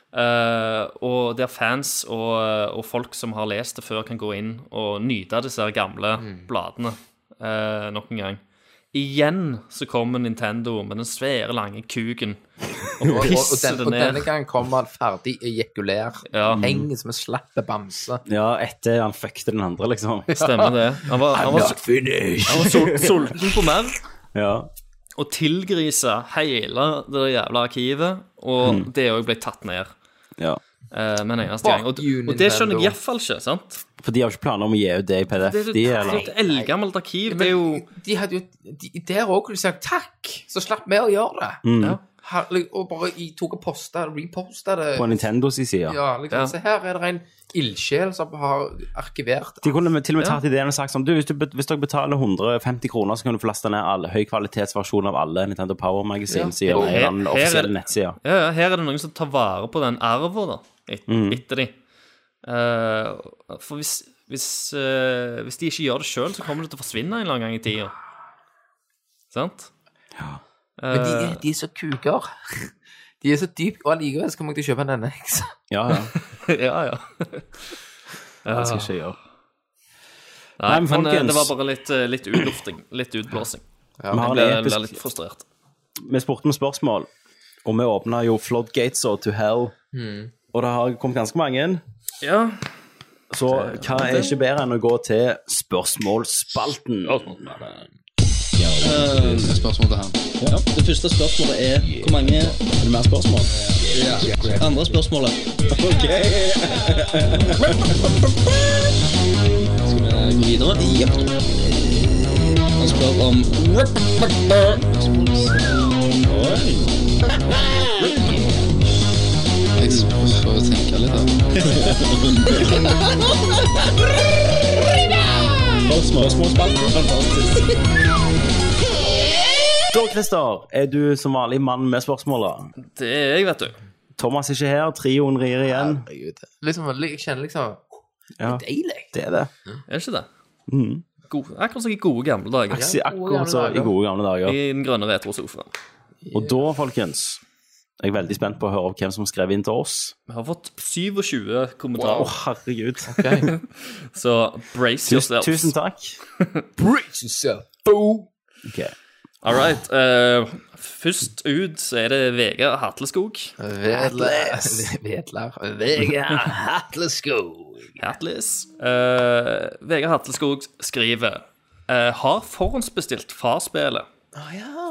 S3: Eh, og der fans og, og folk som har lest det før, kan gå inn og nyte disse her gamle
S1: Mm.
S3: bladene eh, nok en gang. Igjen så kommer Nintendo med den svære, lange kuken og
S1: Og, og, og, den,
S3: pisser det
S1: og denne
S3: ned.
S1: gangen kom han ferdig ejakulær.
S3: Ja.
S1: Henger som en slapp bamse.
S4: ja, etter han fuckte den andre, liksom.
S3: Stemmer det. Han var, han var,
S4: Not finished!
S3: han var sol, sulten på mer.
S4: Ja.
S3: Og tilgrise hele det jævla arkivet, og det òg ble tatt ned
S4: ja.
S3: eh, med en
S1: Mm. Fuck
S3: eneste gang. Og,
S1: you,
S3: og det skjønner
S1: Nintendo.
S3: jeg iallfall ikke, sant?
S4: For de har jo ikke planer om å gi ut det i PDF,
S3: Det er
S4: de,
S3: jo
S4: eller?
S3: et eldgammelt arkiv. Det
S1: Men
S3: er jo
S1: de hadde jo de, Der òg kunne de sagt takk, så slapp vi å gjøre det.
S4: Mm.
S3: ja.
S1: Herlig, og bare i- tok og posta det, reposta det.
S4: På Nintendos side.
S1: Ja, liksom,
S3: Ja.
S1: så her er det en ildsjel som har arkivert
S4: De kunne med- til og med tatt ideen og sagt sånn du, hvis, du, bet- hvis dere betaler 150 kroner, så kan du få laste ned alle høykvalitetsversjon av alle Nintendo Power-magasin som gjør
S3: Og
S4: det
S3: her-
S4: i den
S3: her er
S4: offisielle
S3: det-
S4: nettsida.
S3: Ja, ja, her er det noen som tar vare på den arven da, et, etter de. Eh, for hvis, hvis, eh, hvis de ikke gjør det sjøl, så kommer det til å forsvinne en eller annen gang i tida. Sant?
S1: Men de er, de er så kuker. De er så dypt, og allikevel skal man ikke kjøpe en liksom. NX.
S4: Ja, ja.
S3: ja, ja.
S4: Det skal jeg ikke gjøre. men
S3: Nei, men, eh,
S4: folkens.
S3: det var bare litt, eh, litt utlufting. Litt utblåsing.
S4: Vi har
S3: Jeg
S4: en
S3: ble, ble
S4: episk
S3: litt frustrert.
S4: vi spurte om spørsmål, og vi åpna jo floodgates og to hell.
S3: Hmm.
S4: Og det har kommet ganske mange.
S3: Ja,
S4: Så hva er ikke bedre enn å gå til spørsmålsspalten?
S6: Det første spørsmålet er hvor mange Er det mer spørsmål? Andre spørsmålet. Ok. Skal vi gå videre? Ja. Han spør om Oi.
S7: Jeg prøver å tenke
S6: Spørsmålsspalten. Fantastisk.
S4: Da, Christer, er du som vanlig mann med spørsmålet.
S3: Det er jeg, vet du.
S4: Thomas er ikke her, trioen rir igjen.
S1: Herregud. Liksom, jeg kjenner liksom
S4: Ja,
S1: Deilig.
S4: det er det.
S3: Er det ikke det? Mm. God, akkurat som i gode gamle dager.
S4: Si akkurat så i gode gamle dager.
S3: I den grønne retrosofaen.
S4: Og da, folkens, er jeg veldig spent på å høre opp hvem som skrev inn til oss.
S3: Vi har fått 27
S4: Å,
S3: kommentarer,
S4: herregud.
S3: så brace
S4: Tusen,
S3: yourselves.
S4: tusen takk.
S1: Brace yourself. Boom.
S4: Ok.
S3: All right. eh, først ut så er det Vegard Hatleskog.
S1: Vedler. Vedler. Vegard Hatleskog.
S3: Hatlis. Eh, Vegard Hatleskog skriver eh, Har forhåndsbestilt farspillet.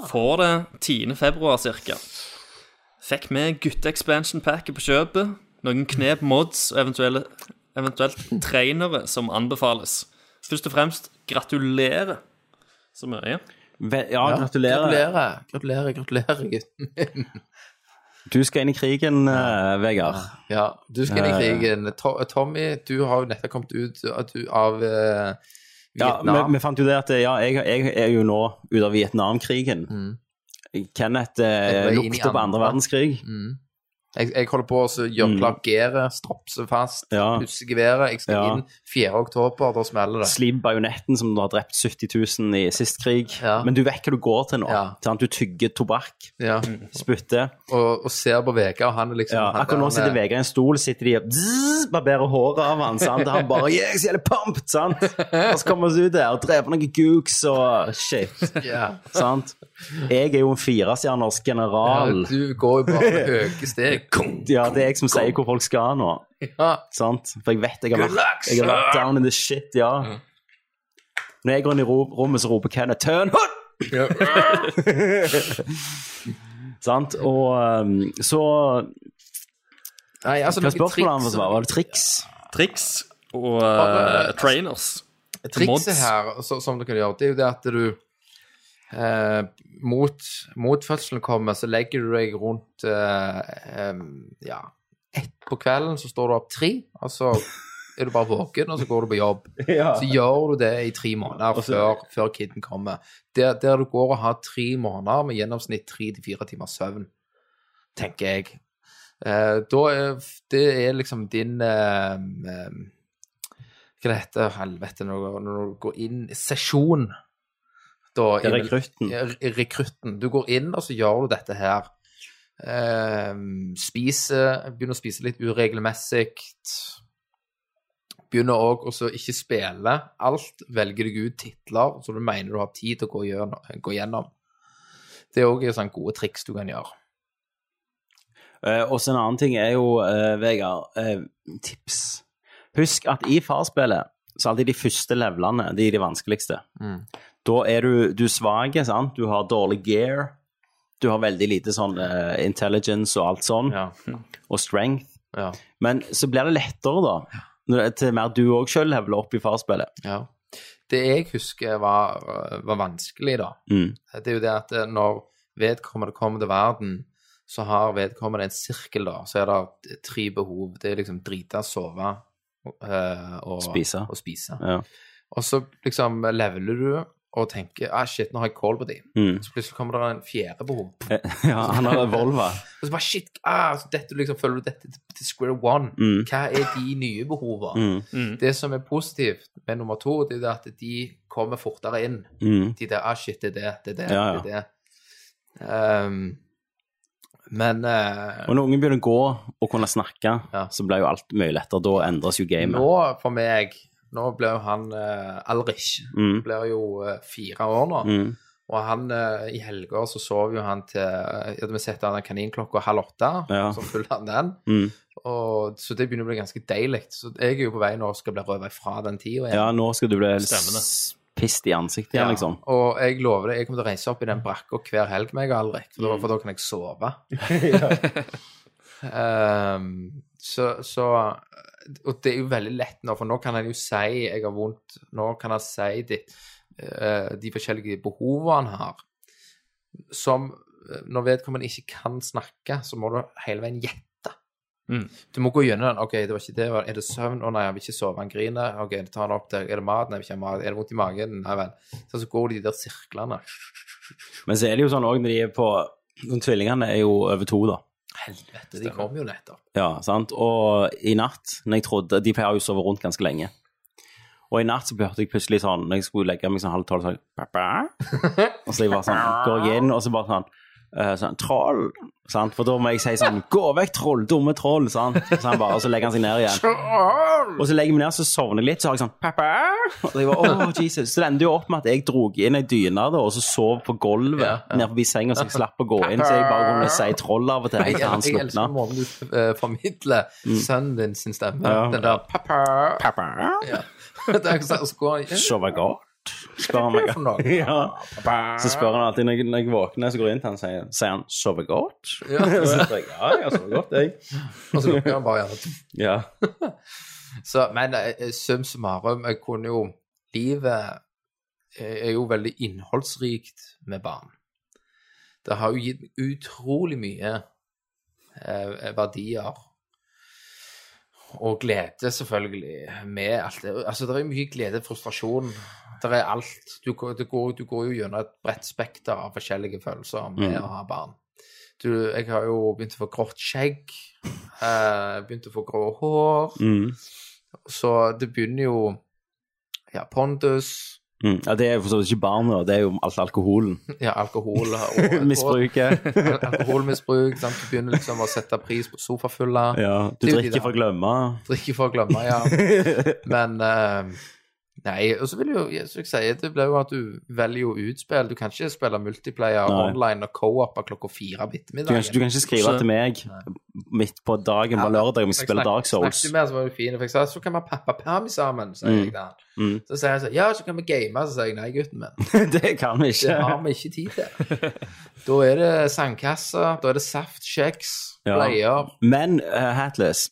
S3: Får det 10. februar ca. Fikk med gutte-expansion-packet på kjøpet. Noen knep mods og eventuelle, eventuelt trainere som anbefales. Først og fremst gratulerer så mye.
S4: Ve- Ja, gratulerer.
S1: Gratulerer. Gratulerer, gratulerer, gutten.
S4: Du skal inn i krigen, eh, Vegard.
S1: Ja, du skal inn i krigen. To- Tommy, du har jo nettopp kommet ut at du- av eh,
S4: Ja,
S1: Vietnam.
S4: vi, vi fant jo det at eh, ja, jeg, jeg er jo nå ute av Vietnamkrigen. Kenneth eh,
S1: Mm. Jeg ble inn i
S4: lukter på andre
S1: andre.
S4: verdenskrig.
S1: Mm. Jeg, jeg holder på å så gjøre klar geret, stropse fast,
S4: Mm. Ja.
S1: pusse geværet. Jeg skal
S4: Ja.
S1: inn 4. oktober, da smeller det.
S4: Slim bajonetten som du har drept 70 000 i sist krig.
S1: Ja.
S4: Men du vet hva du går til nå.
S1: Ja.
S4: Sant? Du tygger tobakk,
S1: Ja.
S4: spytter.
S1: Og, og ser på Vegard, og han er liksom
S4: Ja,
S1: han,
S4: akkurat nå sitter Vegard i en stol, sitter de og bzz, barberer håret av han, sant? Han bare yeah, så jævlig pumped, sant? Og så kommer vi ut der og dreper noen gooks og shit,
S1: Ja.
S4: sant? Jeg er jo en firestjerners general.
S1: Du går jo bare med høye steg. Kong!
S4: Ja, det er jeg som sier hvor folk skal nå,
S1: Ja.
S4: sant? For jeg vet jeg har vært, jeg har vært down in the shit, ja. Når jeg går inn i ro- rommet, så roper Kenneth 'Turn hood!' Sant? Og um, så
S1: Nei, altså,
S4: Hva
S1: noen
S4: er spørsmålet han
S1: triks-
S4: får svare? Var det triks?
S3: Triks og
S1: Bare-
S3: eh, trainers.
S1: Trikset
S3: Mods.
S1: her, så, som du kan gjøre, det er jo det at du eh, mot, mot fødselen kommer, så legger du deg rundt eh, em, ja, ett på kvelden, så står du opp tre, og så er du bare våken, og så går du på jobb.
S4: Ja.
S1: Så gjør du det i tre måneder før, før kiden kommer. Der, der du går og har tre måneder med gjennomsnitt tre til fire timer søvn, tenker jeg. Eh, da er det er liksom din eh, eh, Hva det heter helvete når, når du går inn Sesjon. Da,
S4: Det er
S1: i-
S4: rekrutten.
S1: ja, re- rekrutten. Du går inn, og så gjør du dette her. Ehm, spise, begynner å spise litt uregelmessig. Begynner òg å så ikke spille alt. Velger deg ut titler som du mener du har tid til å gå gjennom. Gå gjennom. Det er òg sånne gode triks du kan gjøre.
S4: Eh, og så en annen ting er jo, eh, Vegard, eh, tips. Husk at i farspillet så er alltid de første levelene de er de vanskeligste. Da er du, du svak, sant? Du har dårlig gear. Du har veldig lite sånn eh, intelligence og alt sånn,
S1: Ja.
S4: og strength.
S1: Ja.
S4: Men så blir det lettere, da. når det- Til mer du òg sjøl leveler opp i farspillet.
S1: ja. Det jeg husker var, var vanskelig, da,
S4: Mm.
S1: det er jo det at eh, når vedkommende kommer til verden, så har vedkommende en sirkel, da. Så er det tre behov. Det er liksom drite, sove eh, og
S4: Spise.
S1: Og, spise.
S4: Ja.
S1: og så liksom leveler du og tenker ah, shit, nå har jeg kål på de.
S4: Mm.
S1: Så plutselig kommer det en fjerde behov.
S4: ja, han har revolver.
S1: Og så bare shit, ah, så dette, liksom, følger du dette til, til square one.
S4: Mm.
S1: Hva er de nye behovene?
S4: Mm.
S1: Det som er positivt med nummer to, det er jo det at de kommer fortere inn
S4: Mm.
S1: de der, ah shit, det er det, det er det,
S4: Ja, ja.
S1: det er det. Ehm, men eh,
S4: Og når ungen begynner å gå og kunne snakke,
S1: Ja.
S4: så blir jo alt mye lettere. Da endres jo gamet.
S1: nå for meg, nå ble jo han eh, Alrich,
S4: Mm.
S1: blir jo eh, fire år nå,
S4: Mm.
S1: og han eh, i helger så sov jo han til, eh, ja, vi setter han en kaninklokka halv åtte,
S4: Ja.
S1: så fyller han den,
S4: Mm.
S1: og, så det begynner å bli ganske deilig, så jeg er jo på vei nå og skal bli røvet fra den tiden.
S4: Ja, nå skal du bli
S3: Stemmer det.
S4: s- pist i ansiktet igjen, liksom.
S1: Og jeg lover deg, jeg kommer til å reise opp i den brakka hver helg meg og Alrik, for,
S4: Mm.
S1: da- for da kan jeg sove. Ehm, så, så Og det er jo veldig lett nå, for nå kan han jo si 'jeg har vondt'. Nå kan han si de, eh, de forskjellige behovene han har. Som eh, når vedkommende ikke kan snakke, så må du hele veien gjette
S4: Mm.
S1: Du må gå gjennom den. OK, det var ikke det. var- Er det søvn? Å nei, han vil ikke sove. Han griner. OK, ta han opp der. Er det mat? Nei, jeg vil ikke ha mat. Er det vondt i magen? Nei vel. Så, så går de der sirklene.
S4: Men så er det jo sånn òg når de er på når Tvillingene er jo over to, da.
S1: Helvete, de kom jo nettopp.
S4: Ja, sant? Og i natt, når jeg trodde De pleier jo å sove rundt ganske lenge. Og i natt så hørte jeg plutselig sånn Når jeg skulle legge meg sånn halv tolv, så jeg, «Pappa?» Og så jeg bare sånn, går jeg inn, og så bare sånn eh, sånn, Troll! Sant? For da må jeg si sånn Gå vekk, troll! Dumme troll! Sant? Så han bare, og så legger han seg ned igjen. Og så legger jeg meg ned, så sovner jeg litt, så har jeg sånn Pappa! Og så jeg bare, «Åh, Jesus. Så det endte jo opp med at jeg drog inn ei dyne da, og så sov på gulvet ned forbi senga, så jeg slapp å gå inn, så jeg bare kunne si troll av og til helt
S1: Jeg,
S4: til han
S1: jeg, jeg
S4: slukna.
S1: elsker måten du eh, formidler
S4: Mm.
S1: sønnen din sin stemme. Den der pappa.
S4: Pappa!
S1: Ja. Det er ikke sant, og så går han
S4: Sove godt? Spør han meg.
S1: for noe?
S4: Ja. Så spør han alltid når jeg, når jeg våkner, så går jeg inn til han og sier, sier han 'sove godt'?
S1: Ja.
S4: Og så sier jeg ja, jeg sover godt, jeg.
S1: Og så lukker han bare gjerne.
S4: Ja.
S1: Så, men eh, sum summarum, jeg kunne jo Livet eh, er jo veldig innholdsrikt med barn. Det har jo gitt meg utrolig mye eh, verdier. Og glede, selvfølgelig, med alt det. Altså, det er mye glede, frustrasjon. Det er alt. Du, går- det går, du går jo gjennom et bredt spekter av forskjellige følelser med
S4: Mm.
S1: å ha barn. Du, jeg har jo begynt å få grått skjegg. Eh, begynt å få grå hår.
S4: Mm.
S1: Så det begynner jo Ja, pondus,
S4: Mm. ja. Det er jo for så vidt ikke barna, det er jo alt alkoholen.
S1: ja, alkohol og
S4: Misbruket.
S1: og Alkoholmisbruk. Sant? Du begynner liksom å sette pris på sofafulla.
S4: Ja. Du
S1: Det er jo de
S4: drikker for å
S1: der.
S4: glemme.
S1: Drikke for å glemme, ja. Men eh, Nei, og så vil jo, ja, som jeg sier, det blir jo at du velger jo utspill. Du kan ikke spille multiplayer
S4: Nei.
S1: online og co-op klokka fire
S4: Du kan, ikke,
S1: på
S4: du
S1: ettermiddagen.
S4: kan ikke skrive til meg midt på dagen på lørdag om jeg spiller Dark Souls.
S1: Snakket med han som var fin, for jeg sa så kan vi ha pappaperm sammen, sier jeg da.
S4: Mm.
S1: Så sier han sånn, ja, så kan vi game, så sier jeg nei, gutten min.
S4: Det kan vi
S1: Det
S4: ikke.
S1: har vi ikke tid til. Da er det sandkasse, da er det saft, kjeks,
S4: Ja.
S1: bleier.
S4: Men eh, Hatless,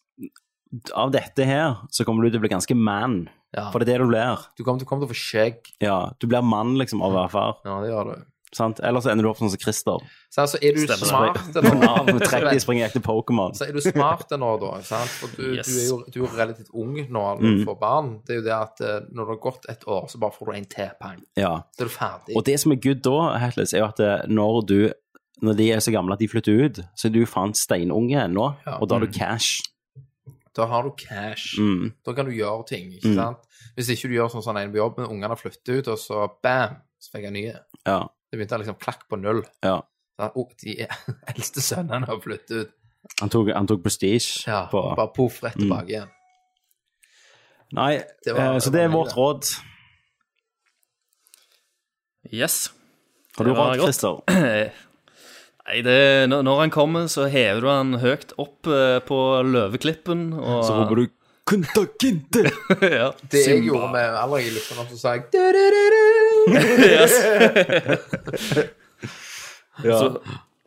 S4: av dette her så kommer du til å bli ganske man.
S1: Ja.
S4: For det er det du blir.
S1: Du kommer til, kommer til å få skjegg.
S4: Ja, du blir mann liksom av å være far.
S1: Ja, det gjør du.
S4: Sant? Ellers ender du opp sånn som Christer.
S1: Så altså, er du
S3: Stemmer.
S1: smart
S4: På Nav
S1: nå?
S4: med 30 springer etter Pokémon.
S1: Så er du smart nå, da. Sant? For du,
S3: Yes.
S1: du er jo du er jo relativt ung nå når
S4: Mm.
S1: du får barn. Det er jo det at eh, når det har gått et år, så bare får du en til pang.
S4: Ja.
S1: Så er du ferdig.
S4: Og det som er good da, Hatles, er jo at eh, når du når de er så gamle at de flytter ut, så er du faen steinunge ennå,
S1: Ja. Mm.
S4: og da har du cash.
S1: Da har du cash.
S4: Mm.
S1: Da kan du gjøre ting, ikke sant? Hvis ikke du gjør sånn som en på jobb, men ungene flytter ut, og så bam, så fikk jeg nye.
S4: Ja.
S1: Det begynte liksom klakk på null.
S4: ja.
S1: Da, oh, de eldste sønnene har flyttet ut.
S4: Han tok, han tok prestige
S1: Ja,
S4: på
S1: bare poff
S4: Mm.
S1: rett tilbake igjen.
S4: Nei,
S1: Det var-
S4: eh, så det er
S1: det var
S4: vårt råd.
S3: Yes.
S4: Har du
S3: Det var
S4: råd,
S3: godt.
S4: Christer?
S3: Nei, det, når- når han kommer, så hever du han høyt opp eh, på løveklippen. Og,
S4: Så roper du Kunta Kinte!
S3: ja,
S1: Det jeg
S3: Simba.
S1: gjorde med alle jeg lyttet om, så sa jeg «Du-du-du-du!»
S4: Ja.
S3: Så,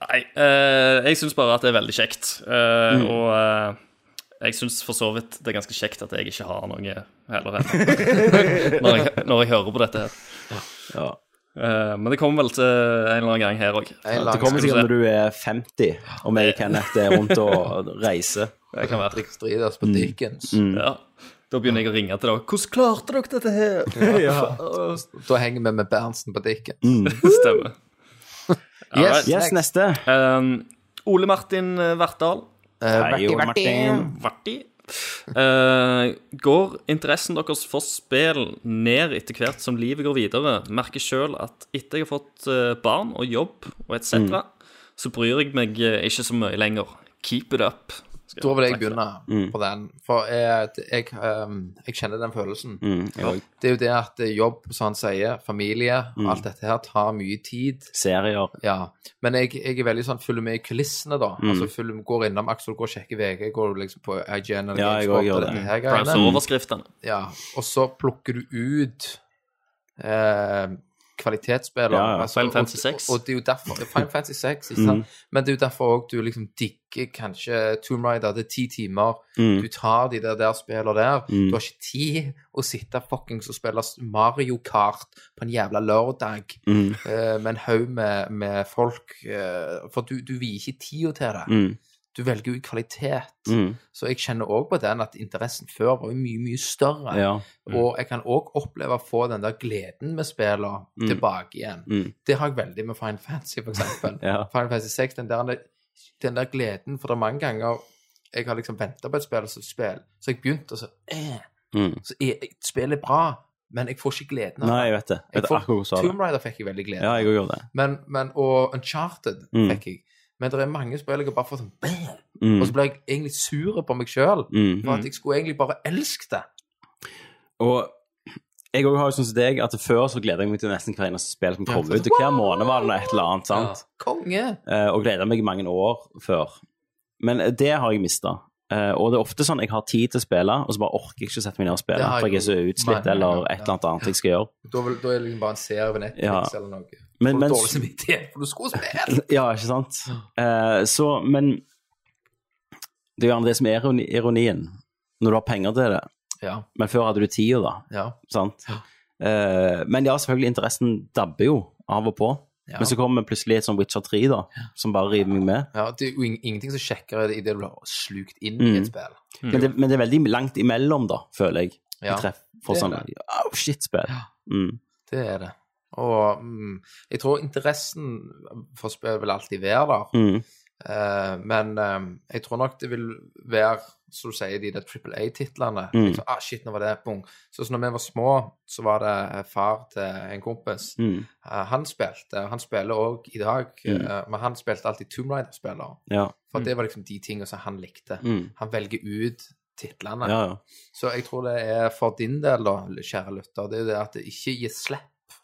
S3: nei, eh, jeg syns bare at det er veldig kjekt. eh,
S4: Mm.
S3: Og eh, jeg syns for så vidt det er ganske kjekt at jeg ikke har noe heller ennå. når, jeg- når jeg hører på dette her.
S4: Ja.
S3: Eh, men det kommer vel til en eller annen gang her òg.
S1: Jeg
S4: Det kommer
S1: lagde
S4: sikkert når du er 50, om jeg og Kenneth er rundt og reiser.
S3: Det kan være.
S1: strides
S4: Mm.
S1: på Dickens.
S3: Ja. Da begynner jeg å ringe til dere. 'Hvordan klarte dere dette her?'
S1: Da henger vi med Berntsen på Dickens.
S4: Mm.
S3: Stemmer.
S1: Yes,
S3: Alright.
S4: Yes, neste.
S3: Eh, Ole Martin Vartdal.
S1: Eh,
S4: Hei, Ole Martin.
S3: Varti. Eh, går interessen deres for spill ned etter hvert som livet går videre? Merker sjøl at etter jeg har fått eh, barn og jobb og etc., så bryr jeg meg eh, ikke så mye lenger. Keep it up. Skal
S1: da vil jeg
S3: takk for det.
S1: begynne
S4: Mm.
S1: på den. For jeg, jeg, ehm, jeg kjenner den følelsen.
S4: Mm, jeg òg.
S1: Det er jo det at jobb, som han sier, familie,
S4: Mm.
S1: alt dette her tar mye tid.
S4: Serier.
S1: Ja, men jeg, jeg er veldig sånn, følger med i kulissene da.
S4: Mm.
S1: Altså, følger, går innom Axel, går og sjekker VG, går du liksom på IGN eller
S4: Ja, jeg også
S1: Gamesport
S4: gjør
S1: og
S4: det.
S1: dette her
S3: Browse
S1: greiene.
S3: overskriftene.
S1: Ja, og så plukker du ut eh, kvalitetsspillere.
S4: Ja, Mm. ja.
S3: Final Fantasy 6.
S1: Og, og det er jo derfor, Final Fantasy 6, ikke sant? Men det er jo derfor også du liksom digger kanskje Tomb Raider, det er ti timer.
S4: Mm,
S1: Du tar de der, der spiller der. Du har ikke tid å sitte fuckings og spille Mario Kart på en jævla lørdag
S4: mm,
S1: eh, med en haug med, med folk, eh, for du, du vier ikke tida til det. du velger jo kvalitet.
S4: Mm.
S1: Så jeg kjenner òg på den at interessen før var jo mye, mye større.
S4: Ja. Mm.
S1: Og jeg kan òg oppleve å få den der gleden med spillene tilbake igjen.
S4: Mm.
S1: Det har jeg veldig med Final Fantasy, for eksempel.
S4: Ja.
S1: Final Fantasy 6, den der, den der gleden, for det er mange ganger jeg har liksom venta på et spill, og så spill, så jeg begynte, og så eh,
S4: Mm.
S1: så er, spillet er bra, men jeg får ikke gleden av
S4: Nei,
S1: det.
S4: jeg vet det. Jeg
S1: Jeg
S4: vet
S1: får-
S4: akkurat hvordan du sa det.
S1: Tomb Raider fikk jeg veldig glede
S4: Ja,
S1: av.
S4: jeg òg gjorde det.
S1: Men, men, og Uncharted
S4: Mm.
S1: fikk jeg. Men det er mange spill jeg har bare fått sånn bæ!
S4: Mm.
S1: Og så ble jeg egentlig sur på meg sjøl.
S4: Mm.
S1: For at jeg skulle egentlig bare elske det.
S4: Og jeg òg har jo sånn som deg at før så gleder jeg meg til nesten hver eneste spill som
S1: Ja,
S4: kom
S1: for-
S4: ut. Og hver måned var det noe et eller annet, sant?
S1: Konge!
S4: Eh, og gleder meg i mange år før. Men eh, det har jeg mista. og det er ofte sånn jeg har tid til å spille, og så bare orker jeg ikke å sette meg ned og
S1: Det
S4: spille.
S1: har jeg
S4: For jeg er så
S1: jo.
S4: utslitt,
S1: Nei, nei,
S4: eller
S1: nei,
S4: et eller annet annet jeg skal gjøre.
S1: Da, vil, da er det liksom bare en serie på Netflix
S4: Ja.
S1: eller noe.
S4: Men-
S1: Men,
S4: men-
S1: dårlig samvittighet, for du skulle spille!
S4: Ja, ikke sant? Eh, så, men det er jo gjerne det som er ironi- ironien. Når du har penger til det.
S1: Ja.
S4: Men før hadde du tida, da.
S1: ja.
S4: Sant? Eh, men ja, selvfølgelig, interessen dabber jo av og på.
S1: Ja.
S4: Men så kommer plutselig et sånn Witcher 3, da, som bare river meg med.
S1: ja det er jo ing- ingenting som sjekker det i det du blir slukt inn i
S4: Mm.
S1: et spill.
S4: Men det, men det er veldig langt imellom, da, føler jeg.
S1: Ja.
S4: Jeg treffer for
S1: Det er
S4: sånn oh, shit-spill. Mm.
S1: Det er det. Og mm, jeg tror interessen for spill vil alltid være der.
S4: Mm.
S1: Eh, men eh, jeg tror nok det vil være, som du sier, de der Triple A-titlene.
S4: Mm.
S1: Liksom, ah, shit, nå var det bong. Så, så når vi var små, så var det eh, far til en kompis.
S4: Mm.
S1: Eh, han spilte, han spiller òg i dag, eh, men han spilte alltid Tomb Raider-spillere.
S4: Ja.
S1: For det var liksom de tingene som han likte.
S4: Mm.
S1: Han velger ut titlene.
S4: ja, ja.
S1: Så jeg tror det er for din del, da, kjære lytter, det er jo det at det ikke gir slipp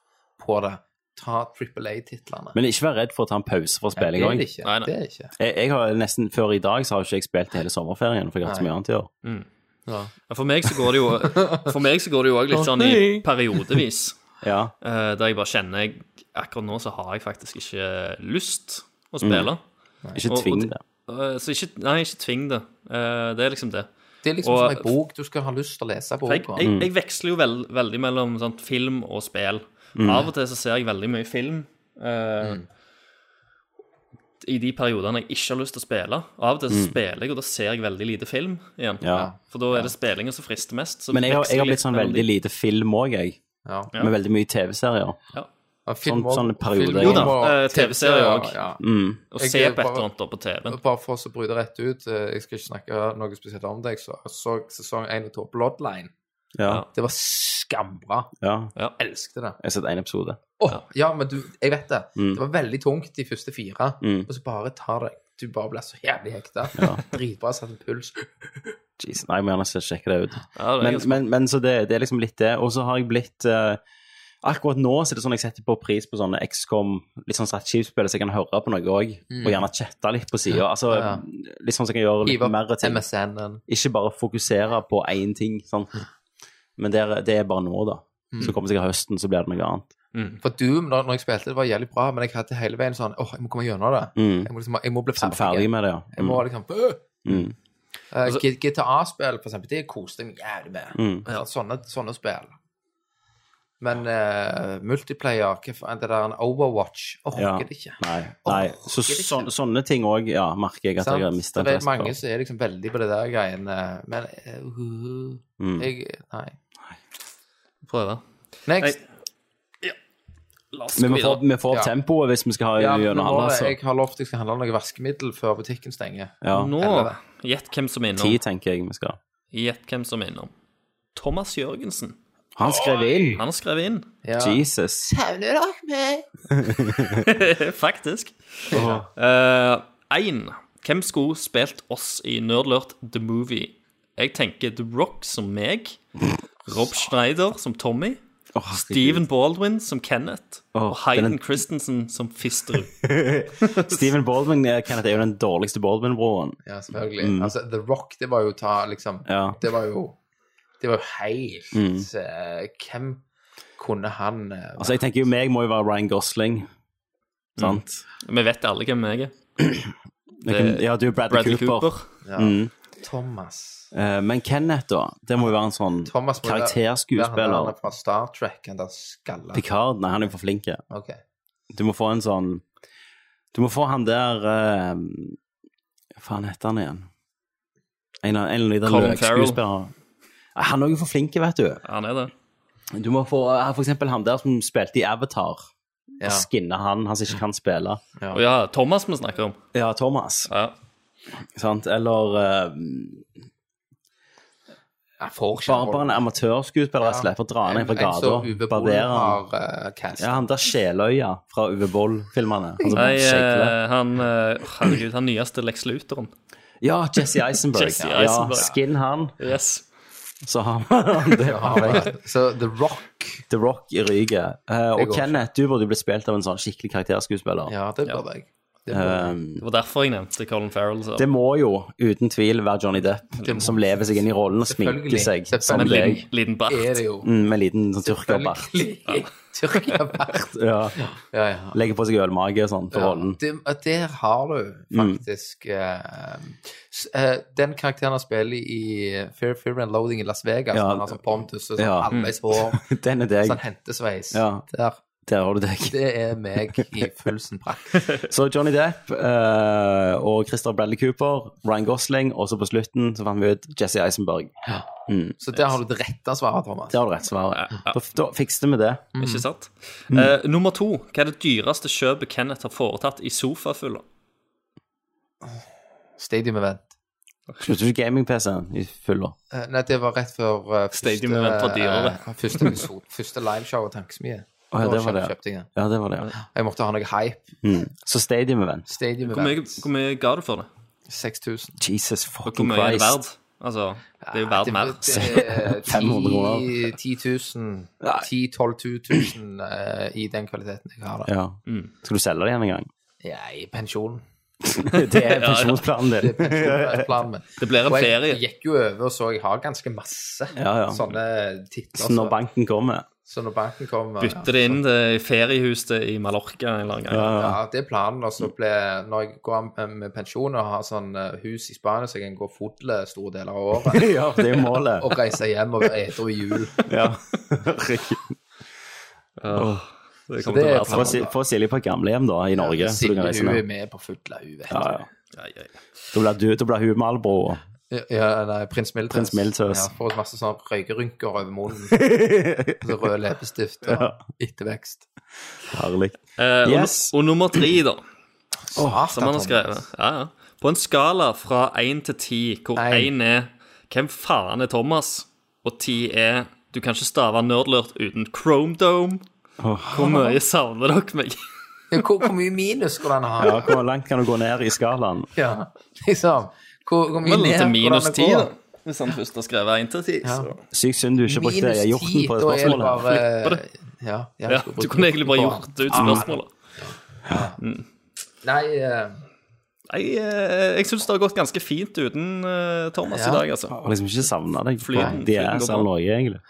S1: på det. Ta Triple A-titlene.
S4: Men ikke vær redd for å ta en pause fra
S1: det
S4: spilling
S1: er
S4: òg.
S1: det ikke.
S3: Nei, nei.
S1: Det er ikke.
S4: Jeg, jeg har nesten før i dag så har ikke jeg spilt hele sommerferien, for jeg har hatt så
S1: Nei.
S4: mye annet å gjøre.
S3: For meg så går det jo For meg så går det jo òg litt sånn i periodevis.
S4: Ja.
S3: eh, der jeg bare kjenner jeg, Akkurat nå så har jeg faktisk ikke lyst å spille. Og-
S4: Ikke
S3: og
S4: tving
S3: det-
S4: det.
S3: Eh, så ikke Nei, ikke tving det. Eh, det er liksom det.
S1: Det er liksom
S3: Og-
S1: som en bok du skal ha lyst til å lese
S3: For jeg,
S1: boka.
S4: Mm.
S3: jeg, jeg veksler jo vel, veldig mellom sånn, film og spill.
S4: Mm.
S3: Av og til så ser jeg veldig mye film. eh, I de periodene jeg ikke har lyst til å spille. Av og til så spiller jeg, og da ser jeg veldig lite film igjen.
S4: Mm. Ja.
S3: For da er det spillingen som frister mest. Så
S4: Men jeg har,
S3: veksler
S4: jeg har
S3: litt
S4: blitt sånn
S3: mellom de.
S4: veldig lite film òg, jeg.
S1: Ja.
S4: Med veldig mye TV-serier.
S1: Og film
S4: sånn-
S1: og-
S4: sånne perioder.
S1: film
S4: Jo
S3: da,
S1: og
S3: eh, TV-serier også.
S1: Ja.
S4: Mm.
S3: Å
S1: Jeg
S3: se
S1: er
S3: på et
S1: bare-
S3: eller annet da på TV-en.
S1: Bare for å bryte rett ut, eh, jeg skal ikke snakke noe spesielt om det. Jeg så, så sesong 1 og 2 Bloodline.
S4: Ja.
S1: Det var skambra.
S4: ja.
S1: Elsket det.
S4: Jeg har sett én episode.
S1: Åh, ja, men du, jeg vet det.
S4: Mm.
S1: Det var veldig tungt de første fire. Og så bare tar det Du bare blir så jævlig hekta. Dritbra satt en puls.
S4: Jeez. Nei, jeg må gjerne se- sjekke det ut.
S3: Ja, det er
S4: Men,
S3: ganske-
S4: men, men så det, det er liksom litt det. Og så har jeg blitt eh, Akkurat nå så er det sånn jeg setter på pris på sånne XCOM, litt sånn strategispill, så jeg kan høre på noe òg. Og gjerne chatte litt på sida. Altså,
S1: Mm. Ja.
S4: Litt sånn så jeg kan gjøre litt
S1: Hive
S4: mer
S1: opp
S4: ting.
S1: MSN-en.
S4: Ikke bare fokusere på én ting. Sant?
S1: Mm.
S4: Men det er, det er bare nå, da. Så kommer sikkert høsten, så blir det noe annet.
S3: Mm.
S1: For Doom, da når jeg spilte, det var jævlig bra, men jeg hadde hele veien sånn Åh, jeg må komme gjennom det. Jeg, må liksom, jeg må bli
S4: Så Mm.
S1: ferdig.
S4: Sånn ferdig med det,
S1: Jeg
S4: ja.
S1: må liksom øh!
S4: Mm.
S1: Eh, G- GTA-spill, for eksempel, det koste jeg meg jævlig med.
S4: Mm.
S1: Ja, sånne, sånne spill. Men eh, multiplayer, hva faen, det der en Overwatch, orker
S4: Ja.
S1: det ikke.
S4: Nei. nei. Så, så, sånne ting òg, ja, merker jeg at
S1: Sant?
S4: jeg har mista
S1: For det er mange som er liksom veldig på det der greiene, men eh, uhuhu.
S4: Mm.
S1: jeg, Nei.
S3: Prøve.
S1: Next.
S3: La oss gå
S4: Men vi får,
S3: videre.
S4: vi får opp
S1: Ja.
S4: tempoet hvis vi skal ha
S1: Ja, men
S4: gjennom
S1: nå,
S4: alle, altså.
S1: jeg har lovt jeg skal handle om noe vaskemiddel før butikken stenger.
S4: Ja.
S3: Nå,
S1: Elleve.
S3: gjett hvem som er
S4: Ti,
S3: innom.
S4: tenker jeg vi skal.
S3: Gjett hvem som er innom. Thomas Jørgensen.
S4: Han skrev inn!
S3: Han har skrevet inn.
S1: Ja.
S4: Jesus.
S3: Faktisk. Én. hvem skulle spilt oss i Nerdlurt The Movie? Jeg tenker The Rock som meg. Rob Schneider som Tommy.
S4: Å, herregud.
S3: Steven Baldwin som Kenneth.
S4: det er
S3: og
S4: den-
S3: Hayden Christensen som Fisterud.
S4: Steven Baldwin eh, Kenneth, er jo den dårligste Baldwin-broren.
S1: Ja, selvfølgelig. Altså, The Rock, det var jo ta, liksom
S4: Mm. Ja. Mm.
S1: Det var jo Det var jo helt eh, Hvem kunne han eh,
S4: Altså, jeg tenker jo meg må jo være Ryan Gosling.
S1: Mm.
S4: Sant?
S3: Vi vet alle hvem jeg er.
S4: Jeg
S1: Eh,
S4: kan- Ja, du er Bradley,
S3: Bradley
S4: Cooper.
S3: Cooper.
S1: ja. Thomas
S4: Eh, men Kenneth, da? Det må jo være en sånn
S1: Thomas må være- være Han
S4: karakterskuespiller.
S1: der fra Star Trek, han der skalla.
S4: Picard, nei, han er jo for flink. ja.
S1: Ok.
S4: Du må få en sånn Du må få han der eh, Hva faen heter han igjen? En av en eller annen
S3: Colin Farrell.
S4: løkskuespiller. Nei, Han er jo for flink, vet du.
S3: Han er det.
S4: Du må få eh, for eksempel han der som spilte i Avatar.
S1: Ja.
S4: Skinne han, han som ikke kan spille.
S3: Og ja, Thomas vi snakker om.
S4: Ja, Thomas.
S3: Ja.
S4: Sant? Eller eh,
S1: Jeg får ikke
S4: bare, bare en amatørskuespiller, rett og slett. For å dra ned fra
S1: Jeg
S4: gata.
S1: så Uwe
S4: Barbere
S1: Boll
S4: han.
S1: har eh, castet.
S4: Ja, han der Sjeløya fra Uwe Boll-filmene. Han som
S3: Nei,
S4: skjegler.
S3: eh, han eh, Herregud, han nyeste Lex Lutheren.
S4: Ja, Jesse Eisenberg.
S3: Jesse
S4: Ja,
S3: Eisenberg.
S4: skin han,
S3: Yes.
S4: så har han det.
S1: Så The Rock
S4: The Rock i ryget. Eh,
S1: Det
S4: og
S1: går
S4: Kenneth, du burde blitt spilt av en sånn skikkelig karakterskuespiller.
S1: Ja, det burde jeg. Det burde jeg.
S4: Um,
S3: Det var derfor jeg nevnte Colin Farrell. Så.
S4: det må jo uten tvil være Johnny Depp
S1: Det må-
S4: som lever seg inn i rollen og sminker
S1: Selvfølgelig.
S4: seg
S1: Selvfølgelig.
S4: som
S3: En
S4: deg.
S3: liten, liten bart.
S1: er det jo.
S4: Mm, med liten sånn tyrkerbart.
S1: Tyrkiabart.
S4: Ja.
S1: Ja, ja.
S4: Legger på seg ølmage og sånn for
S1: Ja,
S4: rollen. Mm.
S1: det, at der har du faktisk eh, s- eh, Den karakteren han spiller i eh, Fear, Fear and Loading i Las Vegas,
S4: Ja.
S1: han har sånn Pontus og sånn
S4: Ja.
S1: halvveis hår,
S4: Den er deg.
S1: sånn hentesveis
S4: Ja.
S1: der.
S4: Der har du deg.
S1: Det er meg i full sånn sin prakt.
S4: Så Johnny Depp eh, og Christer Bradley Cooper, Ryan Gosling, og så på slutten så fant vi ut Jesse Eisenberg.
S1: Så der har du det rette svaret, Thomas.
S4: Det har du rett svaret.
S3: Ja.
S4: Da, da fikste vi det.
S3: Ikke sant? Eh, nummer to. Hva er det dyreste kjøpet Kenneth har foretatt i sofafylla?
S1: Stadium Event.
S4: Slutter du gaming-PC-en i fulla?
S1: Eh, nei, det var rett før eh, første,
S3: Stadium Event var dyrere.
S1: eh, første, episode- første liveshow av Tankesmie.
S4: Å, ja,
S1: Da
S4: det var
S1: kjøp-
S4: det.
S1: kjøpte jeg den.
S4: Ja, det var det.
S1: Jeg måtte ha noe hype.
S4: Mm. Så Stadium Event.
S1: Stadium
S3: Hvor mye,
S1: Event.
S3: hvor mye ga du for det?
S1: 6000.
S4: Jesus
S3: Og hvor
S4: fucking
S3: mye er det
S4: Christ.
S3: verd? Altså, det er jo verdt mer.
S1: mer.
S4: 500 kroner.
S1: 10 000,
S4: Nei.
S1: 10 12 000 eh, i den kvaliteten jeg har. da.
S4: Ja.
S3: Mm.
S4: Skal du selge det igjen en gang?
S1: Ja, i pensjonen.
S4: Det er pensjonsplanen
S1: Det er
S4: din.
S1: pensjonsplanen min.
S3: Det blir en
S1: Og jeg
S3: ferie.
S1: gikk jo over og så jeg har ganske masse
S4: Ja, ja.
S1: sånne titler.
S4: Så når
S1: Så,
S4: banken kommer.
S1: så når banken kommer
S3: Bytte det inn til feriehuset i Mallorca en eller annen gang.
S1: Ja, det er planen. Og så ble, når jeg går av med- med pensjon og har sånn eh, hus i Spania, så jeg kan gå fotle store deler av året,
S4: Ja, det er jo målet.
S1: og reise hjem og være edru i jul
S4: Ja.
S3: Det
S1: det
S3: kommer til å
S1: er
S3: være
S1: for
S4: Få
S3: sånn.
S4: Si- Få Silje på et gamlehjem da, i Norge, så du kan
S1: Silje
S4: reise
S1: hun er
S4: ned.
S1: med på fulla, hun vet
S4: Ja, ja.
S3: sånn. Ja, ja, ja.
S4: Da blir du- da blir hun Malbro.
S1: Ja, Ja, nei, prins Mildtøs.
S4: Prins Mildtøs.
S1: Ja, får masse sånn røykerynker over munnen. og så rød leppestift og ettervekst.
S4: Herlig.
S3: Eh, og,
S4: Yes.
S3: og nummer tre, da,
S1: Satan,
S3: som han har
S1: Thomas.
S3: skrevet. Ja, ja. På en skala fra én til ti, hvor
S1: Nei.
S3: én er Hvem faen er Thomas? Og ti er Du kan ikke stave nerdlurt uten Chromedome. Hvor mye savner dere meg?
S1: Ja, hvor, hvor mye minus skulle han ha?
S4: Ja, hvor langt kan du gå ned i skalaen?
S1: Ja, liksom. Hvor, hvor mye
S3: Vel
S1: ned
S3: til minus
S1: hvordan det
S3: ti,
S1: går?
S3: da. Hvis han først har skrevet én til ti, så
S4: Sykt synd du ikke brukte
S1: Minus
S4: hjorten
S1: ti,
S4: på det
S1: da er det
S4: spørsmålet.
S1: bare eh,
S3: Flipper
S1: Ja, ja,
S3: ja,
S1: skulle
S3: Du
S1: brukt-
S3: kunne egentlig bare
S1: brukt
S3: gjort det ut spørsmålet.
S1: Nei, eh,
S3: Nei, eh, jeg syns det har gått ganske fint uten eh, Thomas
S1: Ja.
S3: i dag, altså.
S4: Og liksom ikke savna deg. på
S3: Flyten-
S4: de
S3: flyten
S4: er
S3: går
S4: sånn
S3: bra.
S4: Norge, egentlig.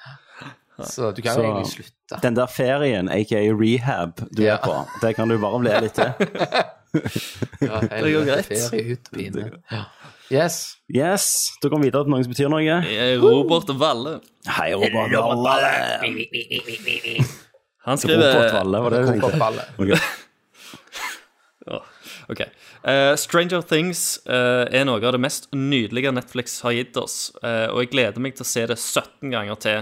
S1: så du kan
S4: Så-
S1: jo egentlig slutte.
S4: Den der ferien, aka rehab, du
S1: Ja.
S4: er på, det kan du bare bli litt eh. til.
S1: Ja,
S3: det går greit.
S1: Feriehyttepine. Ja. Yes.
S4: Yes, da kom vi videre til noen som betyr noe.
S3: Eh, Robert Valle.
S4: Hei, Robert Valle.
S3: Han skriver
S4: Robert Valle, var det du tenkte?
S1: Fotballet.
S4: Ok.
S3: Ja, OK. Eh, Stranger Things eh, er noe av det mest nydelige Netflix har gitt oss, eh, og jeg gleder meg til å se det 17 ganger til.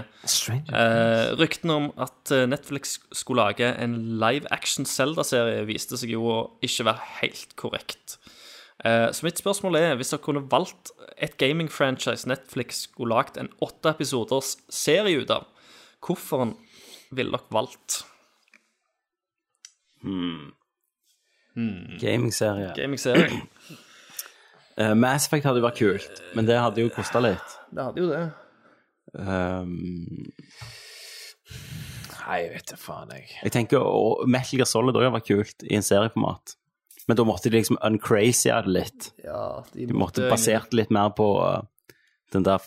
S3: Eh, ryktene om at eh, Netflix skulle lage en live action Zelda-serie, viste seg jo å ikke være helt korrekt. Eh, så mitt spørsmål er, hvis dere kunne valgt et gaming-franchise Netflix skulle lagd en åtte episoders serie ut av, hvorfor ville dere valgt
S4: Gamingserie.
S3: gaming-serie?
S4: Eh, Mass Effect hadde jo vært kult, men det hadde jo kosta litt.
S3: Det hadde jo det.
S4: Um,
S1: Nei, jeg vet da faen, jeg.
S4: jeg tenker og Metal Gear Solid òg hadde vært kult i en serieformat. Men da måtte de liksom uncrazya det litt.
S3: Ja, de,
S4: De måtte basert litt mer på eh, den der,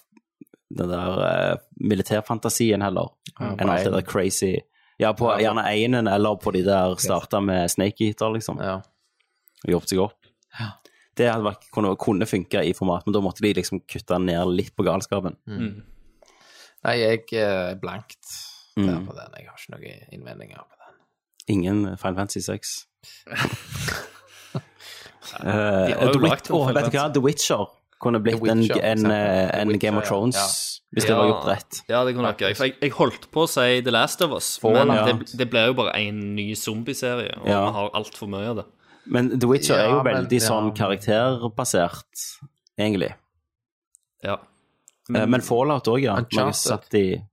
S4: den der eh, militærfantasien heller, enn alt det der crazy. Ja, på gjerne einen, eller på de der starta med Snake Eater, liksom,
S1: Ja.
S4: og jobbet seg opp. Det hadde vært, kunne, kunne funka i format, men da måtte de liksom kutte ned litt på galskapen.
S1: Nei, jeg eh, er blankt
S4: Mm.
S1: der på den. Jeg har ikke noen innvendinger på den.
S4: Ingen Final Fantasy 6. Eh,
S3: har jo
S4: The Wit-
S3: lagt noen
S4: Åh, vet du hva? The Witcher kunne blitt
S1: The
S4: en,
S1: Witcher, for
S4: en,
S1: eksempel.
S4: eh, en
S1: The Witcher,
S4: Game of
S1: ja.
S4: Thrones, hvis det
S3: Ja.
S4: var gjort rett.
S3: Ja, det kunne vært gøy. For jeg, jeg holdt på å si The Last of Us, men
S4: ja.
S3: det, det blir jo bare en ny zombieserie, og vi
S4: Ja.
S3: har altfor mye av det.
S4: Men The Witcher er jo
S1: Ja, men-
S4: veldig sånn
S1: ja.
S4: karakterbasert, egentlig.
S3: Ja.
S4: Men, Eh, men Fallout òg, ja.
S1: Uncharted.
S4: Mange satt i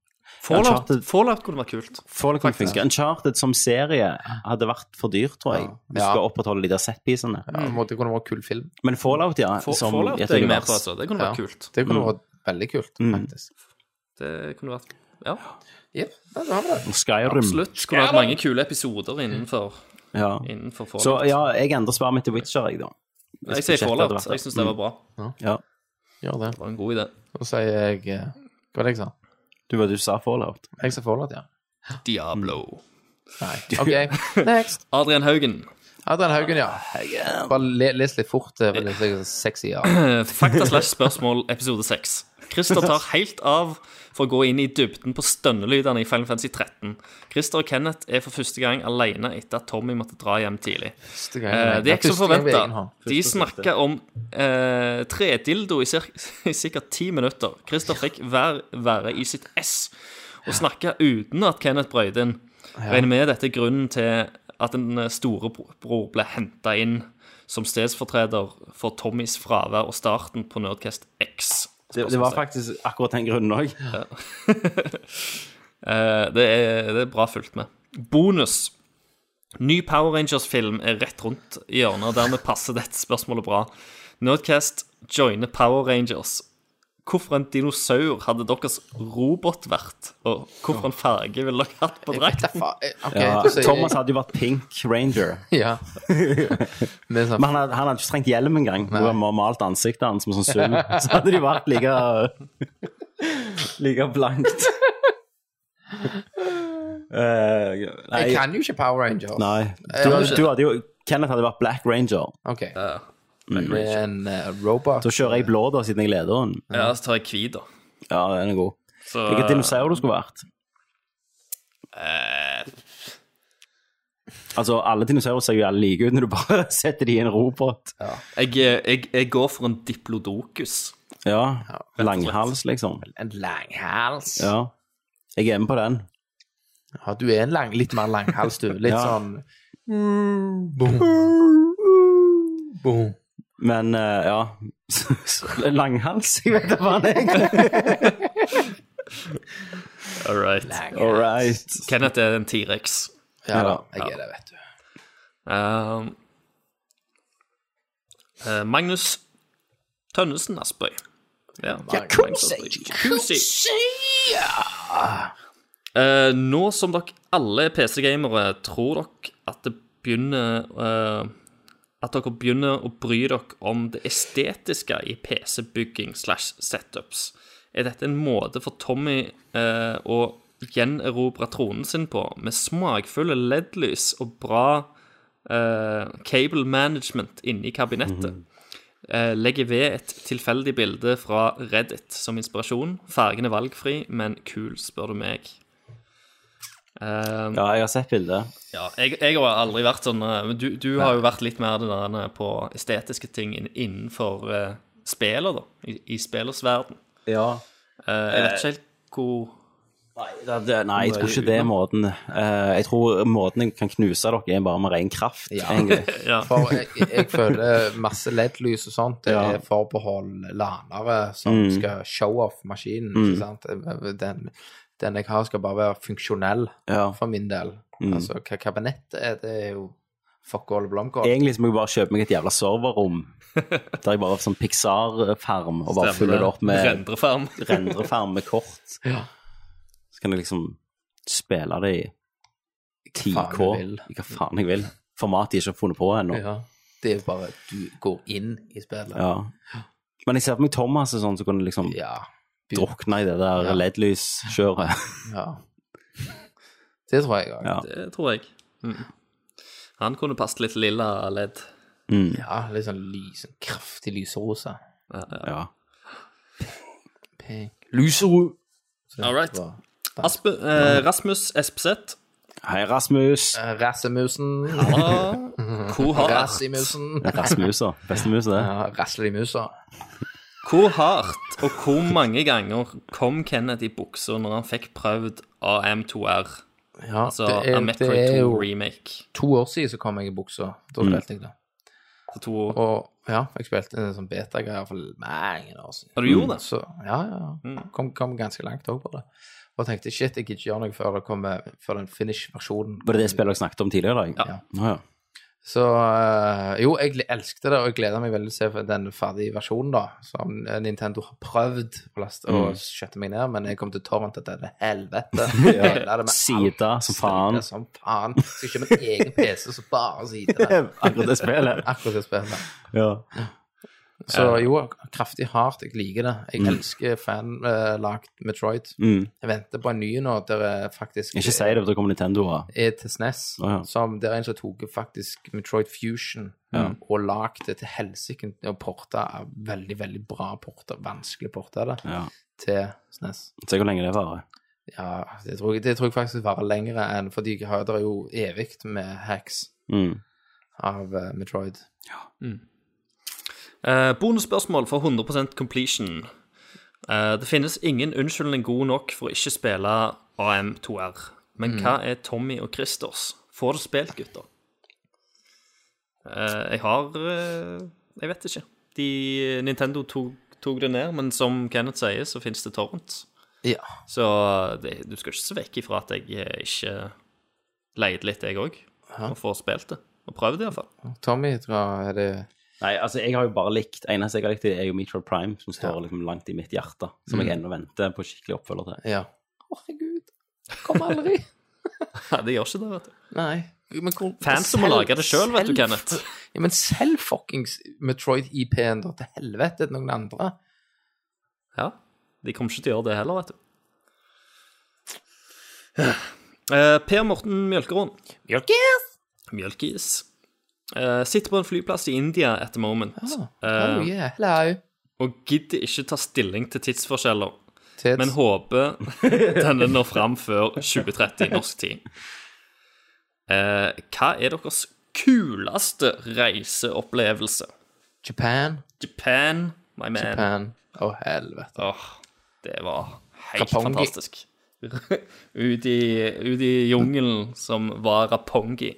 S3: Fallout,
S4: Uncharted-
S3: Fallout kunne vært kult.
S4: Fallout kunne funke. Uncharted som serie hadde vært for dyr, tror jeg. Hvis du
S1: Ja.
S4: skal opprettholde de der setpisene.
S1: Ja, det måtte- det kunne vært kul film.
S4: Men Fallout, ja.
S3: Fa-
S4: som
S3: Fallout
S4: i et
S3: er jeg med
S4: univers.
S3: på, altså. Det kunne
S1: Ja.
S3: vært kult.
S1: Det kunne vært veldig kult, faktisk.
S3: Det kunne vært Ja,
S1: Jepp, ja, da har vi det.
S4: Skyrim.
S3: absolutt. Det kunne vært mange kule episoder innenfor,
S4: Ja.
S3: innenfor Fallout.
S4: Så ja, jeg endrer svaret mitt til Witcher, jeg, da.
S3: jeg sier
S4: budsjettet hadde
S3: Fallout.
S4: vært-
S3: Jeg syns det var bra.
S4: Ja.
S1: Gjør det.
S3: Det var en god idé.
S1: Så sier jeg eh, Hva var det jeg sa?
S4: Du hva du sa, Fallout?
S1: Jeg sa forlatt, ja.
S3: Diablo.
S1: Nei. OK, next.
S3: Adrian Haugen.
S1: Adrian Haugen, ja. Bare le, les litt fort. eh, for Det er så sexy, ja.
S3: Eh, Fakta slash spørsmål episode 6. Christer tar helt av for å gå inn i dybden på stønnelydene i Final Fantasy 13. Christer og Kenneth er for første gang alene etter at Tommy måtte dra hjem tidlig.
S1: Første gang
S3: Eh,
S1: jeg-
S3: det er ikke som
S1: første gang vi
S3: forventa.
S1: egen hånd.
S3: De snakka om eh, tredildo i, cir i sikkert ti minutter. Christer fikk hver være i sitt ess og snakka uten at Kenneth brøyde inn. Regner med dette er grunnen til at en eh, storebror ble henta inn som stedsfortreder for Tommys fravær og starten på Nerdcast X.
S4: Det, det var faktisk akkurat den grunnen òg.
S3: Eh, det, er, det er bra fulgt med. Bonus. Ny Power Rangers-film er rett rundt i hjørnet, og dermed passer dette spørsmålet bra. Nerdcast joiner Power Rangers. Hvorfor en dinosaur hadde deres robot vært? Og hvorfor en farge ville dere hatt på
S1: Da
S3: drakten?
S1: fa- eh, OK,
S4: Ja.
S1: da sier jeg-
S4: Thomas hadde jo vært Pink Ranger.
S1: Ja. Det er sånn
S4: Men han hadde, han hadde ikke trengt hjelm engang. Hun hadde malt ansiktet hans med sånn sølv. Så hadde de vært like Like blankt. Eh, nei,
S1: Jeg kan jo ikke Power Rangers.
S4: nei.
S1: Jeg
S4: Du,
S1: har
S4: hadde-
S1: ikke-
S4: du hadde jo Kenneth hadde vært Black Ranger.
S1: OK. Men eh, Robot
S4: Da kjører jeg blå, da, siden jeg leder den.
S3: Ja, så tar jeg hvit, da.
S4: Ja, den er god.
S3: Så
S4: Hvilken dinosaur du skulle vært? Eh. Altså, alle dinosaurer ser jo alle like ut når du bare setter de i en robot.
S3: jeg, jeg, jeg går for en diplodocus.
S4: Ja. Langhals, liksom.
S1: En langhals. Ja.
S4: Ja. Jeg er med på den.
S1: du er en lang, litt mer langhals, du. Litt
S4: Ja.
S1: sånn Boom. Boom.
S4: Men eh, ja Langhals, jeg vet da hva det er.
S3: All right.
S4: All right.
S3: Kenneth er en T-rex.
S1: Ja da,
S4: Ja.
S1: jeg er det, vet du.
S3: Um, eh, Magnus Tønnesen Aspøy. Ja, Magnus Aspøy. Kusi. Eh, nå som dere alle er PC-gamere, tror dere at det begynner eh, At dere begynner å bry dere om det estetiske i PC-bygging slash setups? Er dette en måte for Tommy eh, å gjenerobre tronen sin på, med smakfulle LED-lys og bra eh, cable management inni kabinettet. Eh, legger ved et tilfeldig bilde fra Reddit som inspirasjon. Fargen er valgfri, men kul, spør du meg. Eh,
S4: Ja, jeg har sett bildet.
S3: ja, jeg, jeg har aldri vært sånn eh, men Du, du har jo vært litt mer det der eh, på estetiske ting inn- innenfor uh, spillet, da. I, i spillers verden.
S4: Ja.
S3: Eh, jeg vet ikke helt hvor
S4: Nei, det, det, nei, jeg tror ikke det er måten. Eh, jeg tror måten jeg kan knuse dere er bare med ren kraft, egentlig.
S3: ja.
S1: For jeg, jeg føler masse LED-lys og sånt, det
S4: Ja. Mm.
S1: er forbeholdt lanere som skal show off maskinen, ikke sant? Den, den jeg har skal bare være funksjonell,
S4: Ja.
S1: for min del.
S4: Mm.
S1: Altså, hva kabinettet er, det er jo fuck all blomkål.
S4: Egentlig så må jeg bare kjøpe meg et jævla serverrom der jeg bare har sånn Pixar-farm og bare fyller det opp med
S3: Rendrefarm.
S4: rendrefarm med kort.
S1: Ja.
S4: Så kan jeg liksom spille det i 10K,
S1: Faen, jeg vil.
S4: i hva faen jeg vil. Format de ikke har funnet på ennå.
S1: Ja. Det er jo bare at du går inn i spillet.
S4: Ja. Men jeg ser for meg Thomas er sånn som kunne liksom
S1: Ja.
S4: drukne i det der
S1: Ja.
S4: LED-lyskjøret.
S1: ja. Det tror jeg òg.
S4: Ja.
S3: Det tror jeg. Mm. Han kunne passet litt lilla ledd.
S1: Ja, litt sånn lys, en kraftig lyserosa.
S4: Ja.
S1: Lyserød!
S3: All right.
S1: Det var-
S3: Aspe, eh, Rasmus Espseth
S4: Hei, Rasmus.
S1: Eh, Rassemusen.
S3: Hvor hardt?
S1: Rassimusen.
S4: Rasmusa. Beste musa, det.
S1: Ja, Raslemusa.
S3: Hvor hardt og hvor mange ganger kom Kenneth i buksa når han fikk prøvd AM2R?
S1: Ja,
S3: Altså
S1: det, er, det
S3: Ametroid
S1: er
S3: 2
S1: jo
S3: remake.
S1: to år siden så kom jeg i buksa. Da
S4: Mm.
S1: spilte jeg det.
S3: For to år.
S1: Og ja, jeg spilte en sånn beta-greier for mange år siden.
S3: Og du gjorde det?
S1: Så ja, ja. ja.
S4: Mm.
S1: Kom, kom ganske langt òg på det. Og tenkte shit, jeg gidder ikke gjøre noe før, det kommer, før den finish-versjonen.
S4: Var det det spillet dere snakket om tidligere i dag?
S3: Ja.
S4: Å, ja.
S1: Så eh, jo, jeg gl- elsket det, og jeg gleder meg veldig til å se den ferdige versjonen, da. Som eh, Nintendo har prøvd å laste og
S4: Mm.
S1: skjøtte meg ned, men jeg kom til torrent til dette helvete. Jeg la det med
S4: Sida
S1: alt.
S4: som faen.
S1: Sida Som faen. Skal kjøpe en egen PC som bare sider der.
S4: Akkurat det spillet.
S1: Akkurat det spillet.
S4: Ja.
S1: Så jo, kraftig hardt. Jeg liker det. Jeg elsker fanlagt Metroid.
S4: Mm.
S1: Jeg venter på en ny nå der jeg faktisk
S4: Ikke si det, for da kommer Nintendo. og-
S1: er til SNES.
S4: Å, ja.
S1: som der er en som tok faktisk Metroid Fusion og lagde det til helsike og porta veldig, veldig bra porter, vanskelig porta det,
S4: Ja.
S1: til SNES.
S4: Se hvor lenge det varer.
S1: Ja, det tror jeg, det tror jeg faktisk varer lenger enn For de har det er jo evig med hacks
S4: Mm.
S1: av eh, Metroid.
S3: Eh, bonusspørsmål for 100 completion. Eh, det finnes ingen unnskyldning god nok for å ikke spille AM2R. Men hva er Tommy og Christers? Får du spilt, gutter? Eh, jeg har eh, Jeg vet ikke. De, Nintendo tok, tok det ned, men som Kenneth sier, så fins det torrent.
S1: Ja.
S3: Så det, du skal ikke se vekk ifra at jeg eh, ikke leide litt, jeg òg, og får spilt det. Og prøvd det, iallfall.
S1: Tommy, tror jeg er det
S4: Nei, altså, jeg har jo bare likt Eneste jeg har likt, det er jo Metroid Prime, som står liksom langt i mitt hjerte. Som jeg ennå venter på skikkelig oppfølger til.
S1: Ja. Å, Herregud. Kom aldri.
S3: Nei, det gjør ikke det, vet du.
S1: Nei. Men hvor,
S3: Fans som må
S1: selv-
S3: lage det selv, vet du,
S1: selv-
S3: Kenneth.
S1: Ja, men selv fuckings Metroid-IP-en, da, til helvete, til noen andre.
S3: Ja, de kommer ikke til å gjøre det heller, vet du. Eh, per Morten Mjølkeråen. Mjølkis. Eh, sitter på en flyplass i India at the moment,
S1: Oh,
S3: eh,
S1: yeah. Hello.
S3: og gidder ikke ta stilling til tidsforskjeller,
S1: Tits.
S3: men håper denne når fram før 2030 norsk tid. Eh, hva er deres kuleste reiseopplevelse?
S1: Japan.
S3: Japan, my man.
S1: Japan. Å, helvete.
S3: Åh, det var helt
S1: Rapongi.
S3: fantastisk. ut, i, ut i jungelen som var Rapongi.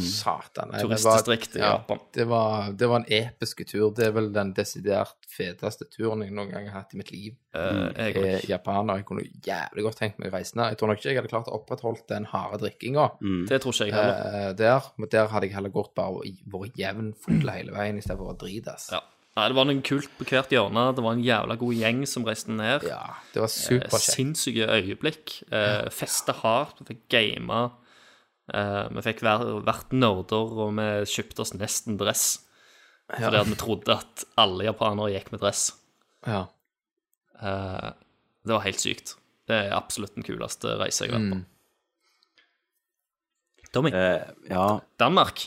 S1: Satan. Nei, det var-
S3: Mm. Turistdistrikt i
S1: ja,
S3: Japan.
S1: Det var, det var en episk tur. Det er vel den desidert feteste turen jeg noen gang har hatt i mitt liv.
S3: Eh, jeg
S1: er
S3: òg.
S1: japaner. Jeg kunne jævlig godt tenkt meg å reise ned. Jeg tror nok ikke jeg hadde klart å opprettholde den harde drikkinga.
S3: Det tror ikke jeg heller.
S1: eh, der, men der hadde jeg heller gått bare og i- vært jevn full hele veien i stedet for å drite. ass.
S3: Ja. Nei, det var noe kult på hvert hjørne. Det var en jævla god gjeng som reiste ned.
S1: Ja, det var
S3: Eh,
S1: superkjekt.
S3: Sinnssyke øyeblikk. Eh, feste hardt, vi fikk game. Eh, vi fikk hver- vært nerder, og vi kjøpte oss nesten dress. Fordi at vi trodde at alle japanere gikk med dress.
S1: Ja.
S3: Eh, det var helt sykt. Det er absolutt den kuleste reisen jeg har vært på. Mm. Tommy,
S4: Eh, ja,
S3: Danmark.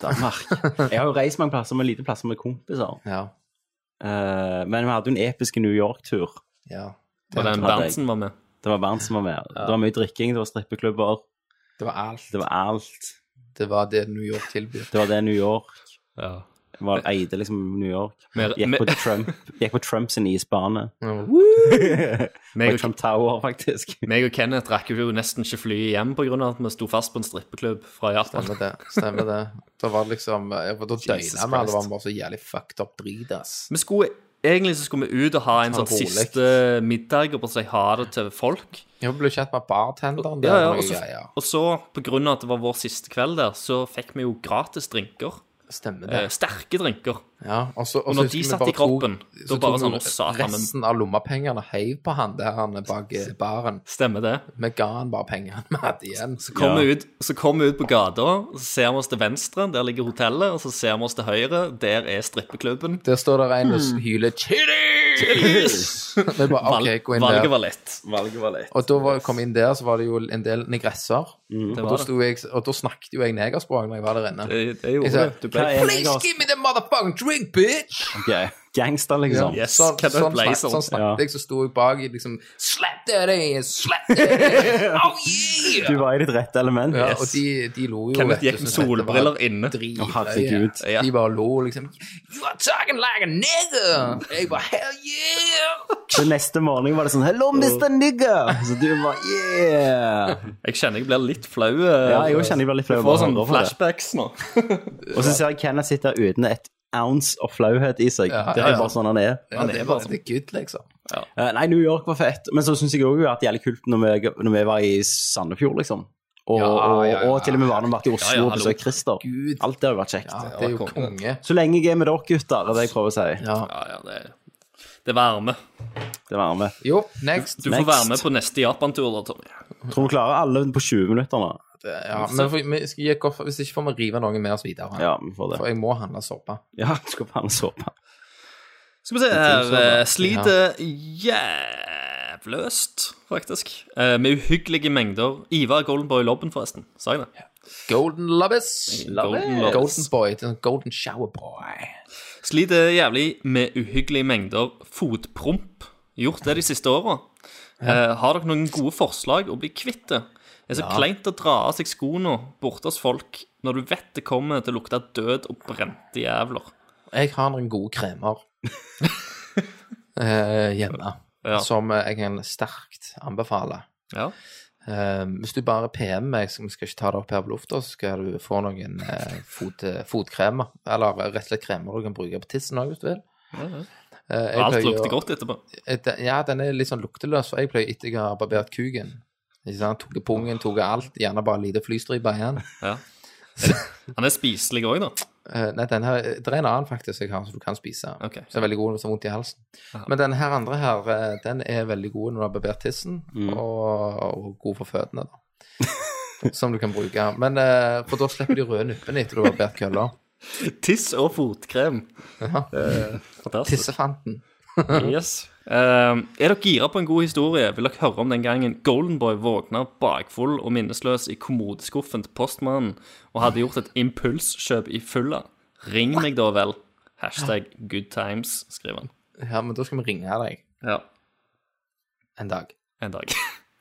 S4: Danmark. Jeg har jo reist mange plasser, men lite plasser med kompiser.
S1: Ja.
S4: Eh, men vi hadde jo en episk New York-tur.
S1: ja.
S3: Og den
S4: hadde jeg.
S3: Berntsen var med.
S4: Det var band som var med. Det var mye drikking, det var strippeklubber,
S1: Det var alt.
S4: det var alt.
S1: Det var det New York tilbyr.
S4: Det var det New York
S3: Ja.
S4: var, eide liksom New York.
S3: Mer-
S4: Gikk på
S3: mer-
S4: Trump, gikk på Trump sin isbane.
S3: Meg
S4: På
S3: og,
S4: Trump Tower, faktisk.
S3: meg og Kenneth rakk jo nesten ikke flyet hjem pga. at vi sto fast på en strippeklubb fra Japan.
S1: Stemmer det. Stemmer det. Da var det liksom ja, for Da
S3: Jesus
S1: døgna vi alle
S3: Christ.
S1: var bare så jævlig fucked up drit, ass.
S3: Vi skulle, egentlig så skulle vi ut og ha en
S1: Ta
S3: sånn
S1: det rolig.
S3: siste middag og bare si ha det til folk.
S1: Jeg ble kjent med bartenderen der.
S3: Ja, ja,
S1: og
S3: og,
S1: noe
S3: så,
S1: greier.
S3: og så, på grunn av at det var vår siste kveld der, så fikk vi jo gratis drinker.
S1: Stemmer det.
S3: Eh, sterke drinker.
S1: Ja, og så, og
S3: Og
S1: så
S3: når
S1: husker
S3: de
S1: vi
S3: satt
S1: bare
S3: i kroppen,
S1: tok-
S3: da
S1: så
S3: bare
S1: tok vi
S3: sånn, å, satan, men-
S1: Resten av lommepengene heiv på han der han bak eh, baren.
S3: Stemmer det?
S1: Vi ga han bare pengene vi hadde igjen.
S3: Så kommer
S4: Ja.
S3: vi ut, så kom vi ut på gata, og så ser vi oss til venstre, der ligger hotellet, og så ser vi oss til høyre, der er strippeklubben.
S1: Der står det en og
S3: Hmm.
S1: hyler 'Chitties!' Vi bare OK, gå inn
S3: Valget
S1: der.
S3: var lett.
S4: Valget var lett.
S1: Og da var, kom jeg inn der, så var det jo en del negresser.
S3: Det
S1: Og da,
S3: var det.
S1: sto jeg, og da snakket jo jeg negerspråk når jeg var der inne.
S3: Det, det gjorde
S1: Jeg sa,
S3: det. Du
S4: Hva
S3: ble
S4: er
S1: Please give me the motherfucking ring, bitch!
S4: Okay. Gangster, liksom.
S3: Yes,
S1: Sånn,
S3: Kenneth
S1: sånn, snak,
S3: Blazer.
S4: Ja.
S1: sånn snakket jeg, så sto jeg bak i liksom Slap that ass! Slap that ass! Oh yeah!
S4: Du var i ditt rette element.
S1: Ja,
S4: Yes.
S1: og de, de lo jo. vet
S3: Kenneth
S1: du,
S3: gikk med
S1: så dette var
S3: solbriller inne.
S1: dritfløye.
S4: Å, herregud.
S3: Ja.
S1: De bare lo liksom. You are talking like a nigger! Jeg bare hell yeah!
S4: Så neste morgen var det sånn Hello, Mr. Nigger! Så du var Yeah!
S3: Jeg kjenner jeg blir litt flau. eh, altså.
S4: Ja, jeg også kjenner jeg blir litt flau.
S3: Jeg får
S4: bare
S3: sånne
S4: over det.
S3: flashbacks nå.
S4: Og så ser jeg Kenneth sitter uten et ounce av flauhet i seg.
S1: Ja,
S4: det er
S3: ja, ja.
S4: bare sånn han er.
S1: Ja, det er bare det er good, liksom.
S4: Eh, nei, New York var fett, men så syns jeg òg at det er jævlig kult når vi, når vi var i Sandefjord, liksom. Og,
S1: Ja,
S4: og,
S1: ja, ja.
S4: og til og med var når vi vært i
S3: Ja,
S4: Oslo
S3: ja,
S4: og besøkt Christer.
S1: Gud.
S4: Alt det har vært kjekt.
S1: Ja, det er jo konge.
S4: Så lenge jeg er med dere, gutter, er det jeg prøver å si.
S1: Ja.
S3: Ja, ja, det, det varme.
S4: Det var med.
S1: Jo, next.
S3: Du får
S4: Next.
S3: være med på neste Japan-tur, da, Tommy.
S4: Tror vi klarer alle på 20 minutter nå.
S1: Ja, men for, vi skal gi et koffer, hvis ikke får vi rive noen med oss videre.
S4: Ja, vi får
S1: For
S4: det.
S1: jeg må handle såpe.
S4: Ja, du skal bare såpe.
S3: Skal vi se her.
S1: da.
S3: eh, Sliter jævløst, faktisk. Eh, Med uhyggelige mengder. Ivar Goldenboy Lobben, forresten. Sa jeg det?
S1: Golden Lobbes.
S3: Golden Lobbes.
S1: Golden Boy. det er sånn Golden Shower Boy.
S3: Sliter jævlig med uhyggelige mengder fotpromp. Gjort det de siste åra. Eh, har dere noen gode forslag å bli kvitt det? Det er så kleint å dra av seg skoene borte hos folk når du vet det kommer til å lukte død og brente jævler.
S1: Jeg har noen gode kremer eh, hjemme
S3: Ja.
S1: som eh, jeg kan sterkt anbefale.
S3: Ja.
S1: Eh, hvis du bare PM meg, så vi skal ikke ta det opp her på lufta, så skal du få noen eh, fot, fotkremer. Eller rett og slett kremer du kan bruke på tissen òg, hvis du vil. Eh, jeg
S3: Alt
S1: pleier å-
S3: lukter godt etterpå.
S1: Et- Ja, den er litt sånn lukteløs, for jeg pleier etter jeg har barbert kuken. Ikke sant? Tok jeg pungen, tok jeg alt, gjerne bare en liten flystripe igjen.
S3: Ja. Han er spiselig òg, da.
S1: Eh, nei, den her, det er en annen faktisk jeg har som du kan spise,
S3: Ok.
S1: som er veldig god hvis du har vondt i halsen. Men den her andre her, eh, den er veldig god når du har barbert tissen, og, og god for føttene, da. som du kan bruke. Men eh, For da slipper de røde nuppene etter du har barbert kølla.
S3: Tiss og fotkrem. Eh,
S1: Ja.
S3: Fantastisk.
S1: Tissefanten.
S3: Yes. Eh, er dere gira på en god historie, vil dere høre om den gangen Goldenboy våkna bakfull og minnesløs i kommodeskuffen til postmannen og hadde gjort et impulskjøp i fylla. Ring meg da vel. Hashtag good times, skriver han.
S1: Ja, men da skal vi ringe deg
S3: Ja.
S1: en dag.
S3: En dag.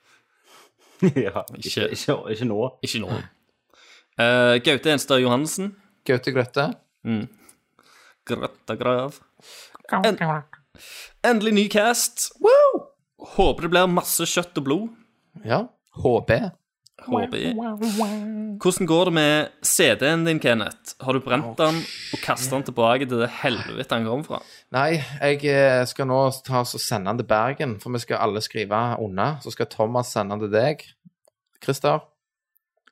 S4: ja, ikke, ikke, ikke nå.
S3: Ikke nå. Eh, Gaute Enstad Johansen.
S1: Gaute Grøtte.
S3: Grøtta grav. En, endelig ny cast. Håper det blir masse kjøtt og blod.
S1: Ja. HB.
S3: Håper jeg. Hvordan går det med CD-en din, Kenneth? Har du brent den og kastet den tilbake til det helvete han kom fra?
S1: Nei, jeg eh, skal nå ta oss og sende den til Bergen, for vi skal alle skrive unna. Så skal Thomas sende den til deg, Christer.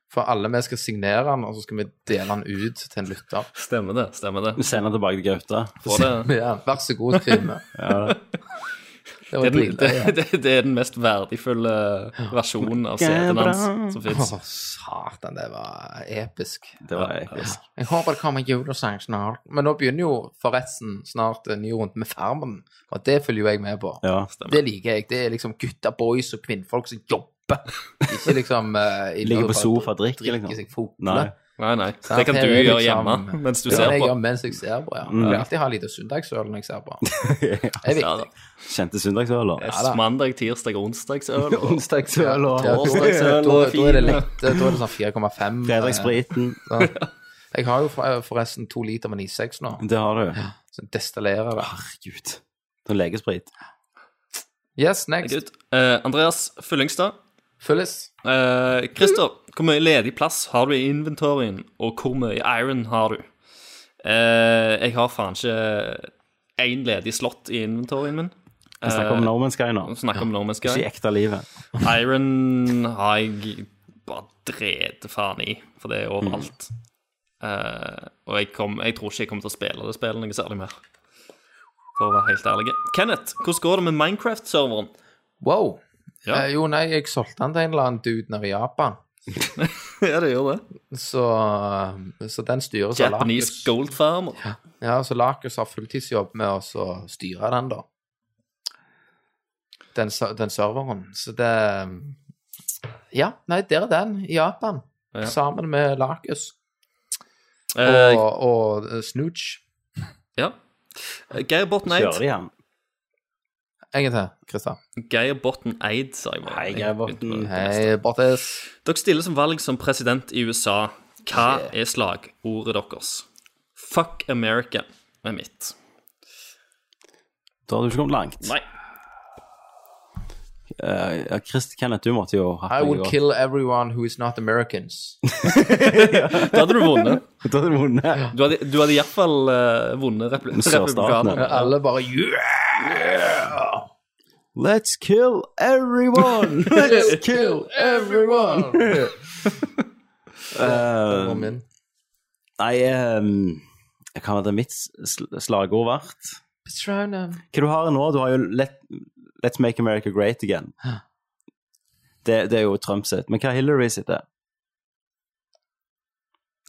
S1: For alle vi skal signere den, og så skal vi dele den ut til en lytter.
S3: Stemmer det. stemmer det.
S4: Vi sender tilbake til Gaute.
S3: Får det.
S1: Ja, vær så god, skriv med. Det
S3: Det,
S1: var
S3: er den,
S1: dritlig.
S3: det, det, det er den mest verdifulle versjonen av CD-en hans som
S1: Å,
S3: fins.
S1: satan, det var episk.
S4: Det var episk.
S1: Jeg håper det kommer en julesang snart. Men nå begynner jo forresten snart en ny runde med Farmen, og det følger jo jeg med på.
S4: Ja.
S1: Det liker jeg. Det er liksom gutta boys og kvinnfolk som jobber. Ikke liksom eh, i
S4: Ligger
S1: løpet
S4: på
S1: av-
S4: sofa og drikker,
S1: drikker
S4: liksom.
S1: seg fotene.
S4: Nei.
S3: Nei, nei.
S1: Sant?
S3: Det kan
S1: Her
S3: du
S1: er
S3: gjøre
S1: liksom-
S3: hjemme mens du
S1: det
S3: ser
S1: kan jeg
S3: på.
S1: gjør mens jeg ser på, ja. Jeg vil alltid ha en liten søndagsøl når jeg ser på. Det er
S3: Ja, da.
S1: viktig.
S4: Kjente søndagsøler.
S1: da.
S3: Mandag, tirsdag, onsdagsøl. og-
S4: Onsdagsøl og
S1: Ja, da,
S3: Torsdagsøl
S1: da, da
S3: og
S1: er det
S3: fine.
S1: lett. Da er det sånn 4,5.
S4: Fredagsspriten.
S1: eh, sånn. Jeg har jo for- forresten to liter med 96 nå,
S4: Det har du.
S1: så jeg destillerer det.
S4: Herregud. Det er legesprit.
S1: Yes, next.
S3: Good. Eh, Andreas Fyllingstad.
S1: Fyllis.
S3: Eh, Christer, hvor mye ledig plass har du i inventoryen, og hvor mye iron har du? Eh, jeg har faen ikke én ledig slott i inventoryen min.
S1: Eh,
S4: Vi snakker om No Man's Sky nå.
S3: Nå snakker om Norman
S4: Ikke i
S3: Sky.
S4: ekte livet.
S3: Iron har jeg bare drevet faen i, for det er overalt. Eh, og jeg, kom, jeg tror ikke jeg kommer til å spille det spillet noe særlig mer. For å være helt ærlig. Kenneth, hvordan går det med Minecraft-serveren?
S1: Wow.
S3: Ja.
S1: Eh, jo, nei, jeg solgte den til en eller annen dude nede i Japan.
S3: ja, det gjør det.
S1: Så, så den styres av
S3: Japanese
S1: Lakus.
S3: gold farmer.
S1: Ja, så Lakus har fulltidsjobb med å så styre den, da. Den, ser- den serveren. Så det Ja, nei, der er den, i Japan.
S3: Ja.
S1: Sammen med Lakus
S3: Eh,
S1: og, og Snooch.
S3: Ja. Eh, Geir Botten
S4: Kjører
S3: Eid.
S4: de han?
S1: En gang til, Christer.
S3: Geir Botten Eid, sa jeg bare.
S4: Hei, Geir Botten.
S1: Hei, Bortes.
S3: Dere stiller som valg som president i USA. Hva er slagordet deres? Fuck America er mitt.
S4: Da har du ikke kommet langt.
S3: Nei.
S4: Eh, ja, Chris Kenneth, du måtte jo hatt
S1: I
S4: noe
S1: would
S4: godt.
S1: kill everyone who is not Americans.
S3: Da hadde du vunnet.
S4: Da hadde du vunnet.
S3: Du hadde, du hadde iallfall uh, vunnet repl
S4: Sørstatene.
S3: republikanerne.
S1: Alle bare yeah!
S4: Let's kill everyone! Let's kill
S1: everyone!
S4: Eh,
S1: Kom inn.
S4: Nei, ehm, hva hadde mitt sl- slagord vært?
S1: Patronen.
S4: Hva du har nå? Du har jo let, Let's make America great again. Det, det er jo Trump sitt. Men hva er Hillary sitt? er?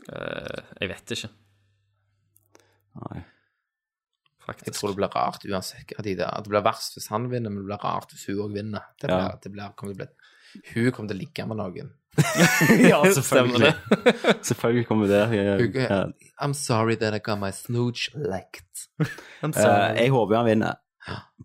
S3: Eh, jeg vet ikke,
S4: Nei.
S1: Jeg
S3: faktisk.
S1: tror det blir rart uansett hva de der. At det blir verst hvis han vinner, men det blir rart hvis hun òg vinner. Det blir,
S4: Ja.
S1: det blir, kommer til å bli, hun kommer til å ligge med noen.
S4: ja,
S3: Stemmer det.
S4: selvfølgelig kommer det.
S1: Hun-
S4: eh, ja.
S1: I'm sorry that I got my snooch licked.
S4: Eh, jeg håper han vinner.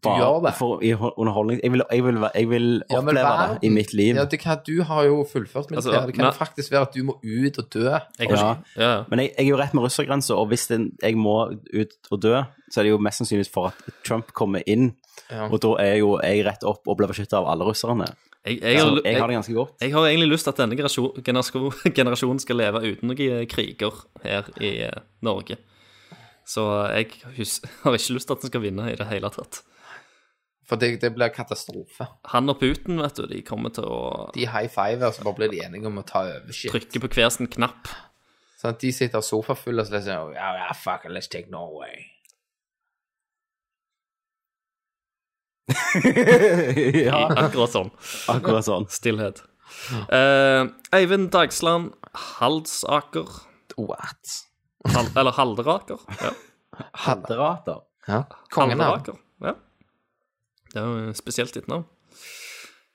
S1: gjør det.
S4: For, i ho- underholdning. Jeg vil, jeg vil, være- jeg vil
S1: Ja, men
S4: oppleve
S1: verden-
S4: det i mitt liv.
S1: Ja, det kan, du har jo fullført militæret.
S3: Altså,
S1: det kan jo
S3: men-
S1: faktisk være at du må ut og dø.
S3: Jeg kan
S4: Ja.
S3: ikke- ja.
S4: Men jeg, jeg er jo rett med russergrensa, og hvis den, jeg må ut og dø, så er det jo mest sannsynlig for at Trump kommer inn,
S1: Ja.
S4: og da er jo jeg rett opp og blir beskytta av alle russerne.
S3: Jeg,
S4: Jeg,
S3: jeg,
S4: så
S3: har-
S4: jeg har
S3: jeg,
S4: det ganske godt.
S3: jeg har egentlig lyst til at denne generasjon- generasjon- generasjonen skal leve uten noen eh, kriger her i eh, Norge. Så eh, jeg hus har ikke lyst til at den skal vinne i det hele tatt.
S1: For det, det blir katastrofe.
S3: Han og Putin, vet du, de kommer til å
S1: De high fiver, så bare blir de enige om å ta over shit.
S3: trykke på hver sin knapp.
S1: Sånn at de sitter sofafulle og så leser oh, yeah, yeah, fuck it, let's take Norway.
S4: ja,
S3: Akkurat sånn.
S4: akkurat sånn.
S3: Stillhet. Eh, Eivind Dagsland Halsaker.
S1: What?
S3: Hal eller Halderaker. Ja.
S4: Hadderater.
S1: Ja. Kongenavn.
S3: Halderaker. Ja. Det er jo et spesielt ditt navn.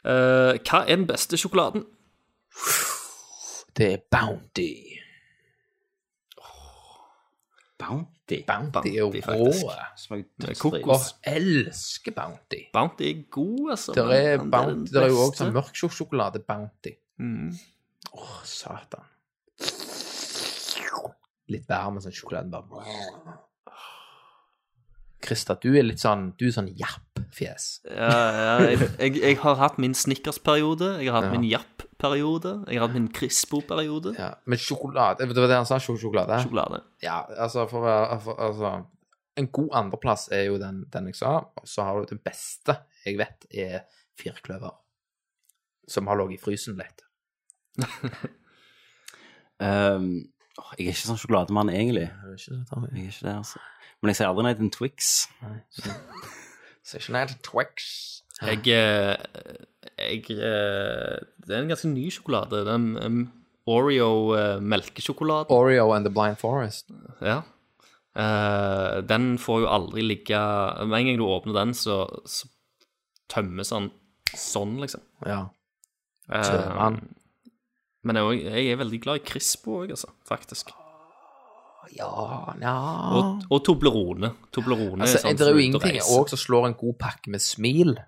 S3: Eh, hva er den beste sjokoladen?
S1: Det er Bounty.
S4: Bounty.
S1: Bounty er jo
S3: Bounty, faktisk.
S1: rå.
S4: Smaker
S3: Det er
S4: dødsdrit.
S1: Og elsker Bounty.
S3: Bounty er god, altså.
S1: Der
S3: men
S1: er,
S3: den
S1: bounty,
S3: den
S1: der er jo
S3: beste.
S1: òg sånn mørk sjok- sjokolade Bounty.
S3: Mm.
S1: Åh, satan. Litt varm og sånn sjokoladen bare Krista, du er litt sånn Du er sånn japp-fjes.
S3: Ja, ja, jeg, jeg, jeg har hatt min Snickers-periode, jeg har hatt
S1: Ja.
S3: min Japp-periode, jeg har hatt min Crispo-periode.
S1: Ja. Men sjokolade Det var det han sa, sjok- sjokolade?
S3: Sjokolade.
S1: Ja, altså for å være for- Altså En god andreplass er jo den, den jeg sa, og så har du den beste jeg vet er firkløver. Som har ligget i frysen litt.
S4: Ehm, åh, jeg er ikke sånn sjokolademann, egentlig.
S1: Er det ikke det, Tommy?
S4: Jeg er ikke det, altså. Men jeg sier aldri nei til en Twix.
S1: Så ikke nei til Twix.
S3: Jeg, eh, jeg eh, Det er en ganske ny sjokolade. Den em, Oreo-melkesjokoladen.
S1: Oreo and the Blind Forest.
S3: Ja. Eh, den får jo aldri ligge Med en gang du åpner den, så, så tømmes den sånn, liksom.
S1: Ja.
S3: Eh,
S1: Tømmer den.
S3: men jeg, er også- jeg er veldig glad i Crispo òg, altså. Faktisk.
S1: Ja, ja.
S3: Og, og Toblerone. Toblerone
S1: Altså,
S3: sånn
S1: det er jo
S3: som ut og
S1: ingenting
S3: reiser.
S1: òg som slår en god pakke med smil.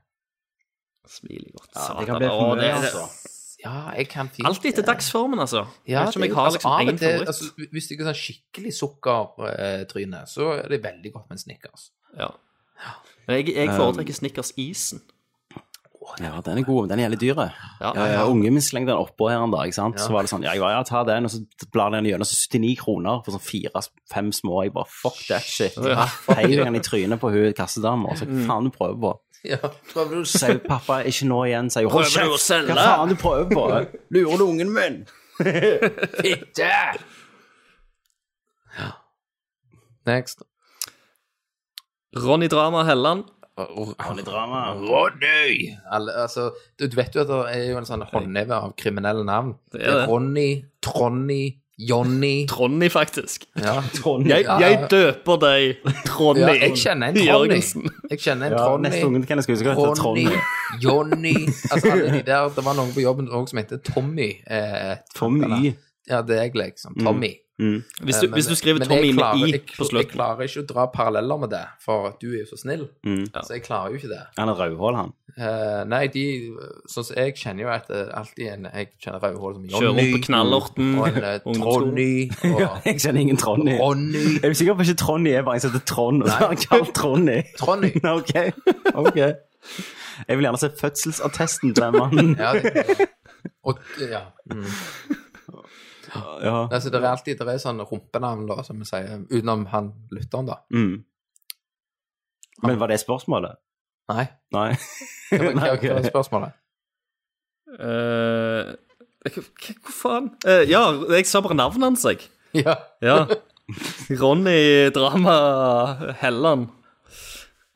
S3: Smiler godt.
S4: Ja,
S3: Satan.
S4: det kan bli
S3: Å,
S4: for
S3: det
S4: mye,
S3: er-
S4: altså.
S1: Ja, jeg kan fint
S3: Alt etter dagsformen, altså.
S1: Ja,
S3: jeg vet ikke om
S1: det-
S3: jeg har
S1: altså,
S3: liksom
S1: av og til-
S3: én favoritt.
S1: altså, hvis det ikke er sånn skikkelig sukkertryne, så er det veldig godt med en Snickers.
S3: Ja. Men jeg,
S1: Um,
S3: jeg foretrekker Snickers-isen.
S4: Ja, den er god, men den er jævlig dyr.
S3: Ja.
S4: Ja, ja, ungen min slengte den oppå her en dag, ikke sant? Så var det sånn, ja, jeg bare, ja, ta den, og så blar den gjennom, så 79 kroner for sånn fire-fem små, jeg bare, fuck that shit.
S3: Ja.
S4: Heier den i trynet på hun kassedamen, og så, hva faen du prøver på?
S1: Ja, prøver du
S4: Så sier hun, pappa, ikke nå igjen, sier hun, hold
S3: Prøver du å
S4: kjeft,
S3: selge?
S4: hva faen du prøver på? Lurer du ungen min?
S1: Next.
S3: Ronny Drama Helland.
S4: Litt drama.
S1: Ronny! Alle, altså, du, du vet jo at det er jo en sånn håndheve av kriminelle navn.
S3: Det
S1: Det
S3: er
S1: er
S3: det.
S1: Ronny, Tronny, Johnny
S3: Ronny, faktisk.
S1: ja.
S3: Jeg,
S1: Ja,
S3: jeg
S1: ja.
S3: døper deg Tronny
S1: ja, jeg kjenner en Tronny.
S3: Jørgensen.
S1: Jeg kjenner en
S4: Ja, neste
S1: Tronny.
S4: ungen kan jeg skal huske hva heter
S1: Ronny,
S4: Trond.
S1: Johnny altså, alle de der, Det var noen på jobben også som het Tommy. Eh,
S4: Tommy. Mm.
S1: Ja, det er jeg, liksom. Tommy.
S3: Hvis du, hvis du skriver
S1: Men
S3: Tommy
S1: jeg klarer,
S3: med i
S1: jeg,
S3: på
S1: jeg
S3: slutten
S1: klarer ikke å dra paralleller med det, for du er jo så snill.
S4: Mm.
S1: Så jeg klarer jo ikke det.
S4: Han er rødhål, han.
S1: Eh, nei, de Sånn som jeg kjenner jo at det er alltid en Jeg kjenner Rauhål som
S3: Kjører
S1: Jonny
S3: rundt på knallorten.
S1: og en eh,
S3: ungdomsskolen.
S1: Tronny og
S4: Jeg kjenner ingen Tronny.
S1: Ronny
S4: Er du sikker på at ikke Tronny er bare en som heter Trond, og så har han kalt Tronny?
S1: Tronny.
S4: Nei, ok. ok. Jeg vil gjerne se fødselsattesten til den mannen.
S1: Ja, det, og, ja. Mm.
S4: Ja.
S1: Altså, det er alltid det er sånn rumpenavn, da, som vi sier, utenom han lytteren, da.
S4: Mm. Men var det spørsmålet?
S1: Nei.
S4: Nei.
S1: Hva, hva,
S4: Nei,
S1: hva
S4: ok.
S1: er spørsmålet?
S3: Eh, hva- hva hva faen? Eh, ja, jeg sa bare navnet hans, jeg.
S1: Ja.
S3: Ja. Ronny Drama Helland.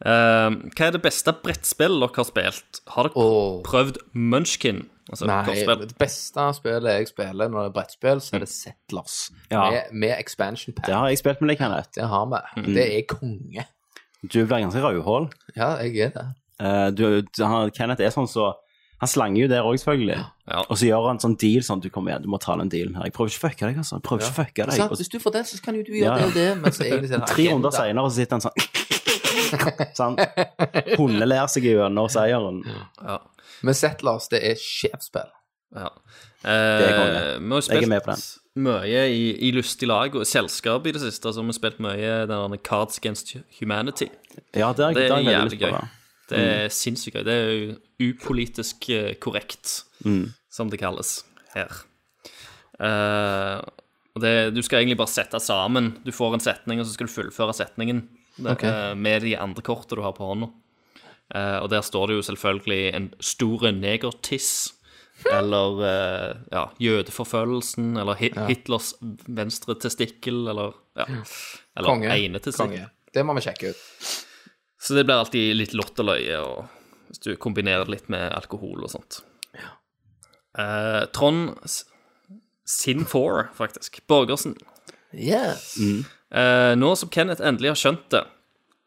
S3: Eh, hva er det beste brettspillet dere har spilt? Har dere
S1: Åh.
S3: prøvd Munchkin? Altså,
S1: Nei,
S3: kortspill.
S1: det beste spillet jeg spiller når det er brettspill, så er det Settlers.
S4: Ja.
S1: Med, med expansion pack.
S4: Det har jeg spilt med deg, Kenneth.
S1: Det har vi.
S4: Mm.
S1: Det er konge.
S4: Du blir ganske rødhål.
S1: Ja, jeg er det.
S4: Eh, du, du- han, Kenneth er sånn så Han slanger jo der òg, selvfølgelig.
S3: Ja.
S4: Og så gjør han sånn deal sånn du kommer igjen, du må ta den dealen her. Jeg prøver ikke å fucke deg, altså. Jeg prøver ikke å fucke deg.
S1: Sant?
S4: Og
S1: Hvis du får den, så kan jo du
S4: Ja, ja.
S1: gjøre det og det. Men så er egentlig sånn
S4: tre runder senere så sitter han sånn Sånn. Hundeler seg gjennom seieren.
S3: Ja.
S1: Men Settlers, det er sjefsspill.
S3: Ja.
S4: er konge.
S3: Eh, vi har
S4: Jeg
S3: jo
S4: er
S3: spilt
S4: med på den.
S3: mye i, i lystig lag og selskap i det siste. Så har vi spilt mye den der Cards Against Humanity.
S4: Ja, det er,
S3: Det
S4: det
S3: er
S4: har jeg veldig lyst
S3: jævlig
S4: på.
S3: gøy.
S4: da.
S3: Det er sinnssykt gøy. Det er jo upolitisk eh, korrekt, som det kalles her. Eh, og det, du skal egentlig bare sette sammen. Du får en setning, og så skal du fullføre setningen det,
S1: Ok.
S3: eh, med de andre kortene du har på hånda. Eh, og der står det jo selvfølgelig en stor negertiss. Eller eh, ja, jødeforfølgelsen, eller Hi- Hitlers venstre testikkel, eller ja, Eller
S1: Konge.
S3: ene testikkel.
S1: Konge. Det må vi sjekke ut.
S3: Så det blir alltid litt lotteløye, og hvis du kombinerer det litt med alkohol og sånt. Eh, Trond S- Sin4, faktisk. Borgersen.
S1: Yes.
S3: Eh, nå som Kenneth endelig har skjønt det,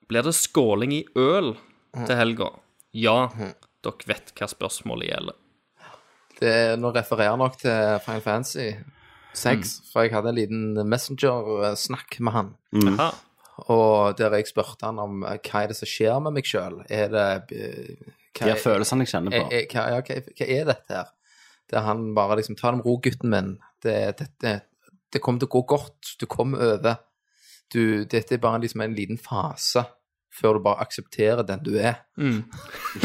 S3: blir det skåling i øl
S1: Mm.
S3: til helga. Ja, dere vet hva spørsmålet gjelder.
S1: Det, nå refererer jeg nok til Final Fantasy 6, for jeg hadde en liten Messenger-snakk med han.
S3: Aha.
S1: Og der jeg spurte han om eh, hva er det som skjer med meg sjøl. Er det eh, hva,
S4: De har følelsene jeg kjenner
S1: er,
S4: på.
S1: er, hva, ja, hva, hva er dette her? Der han bare liksom Ta det med ro, gutten min. Det, det, det, det kommer til å gå godt. Du kommer over. Du, dette er bare liksom en liten fase før du bare aksepterer den du er.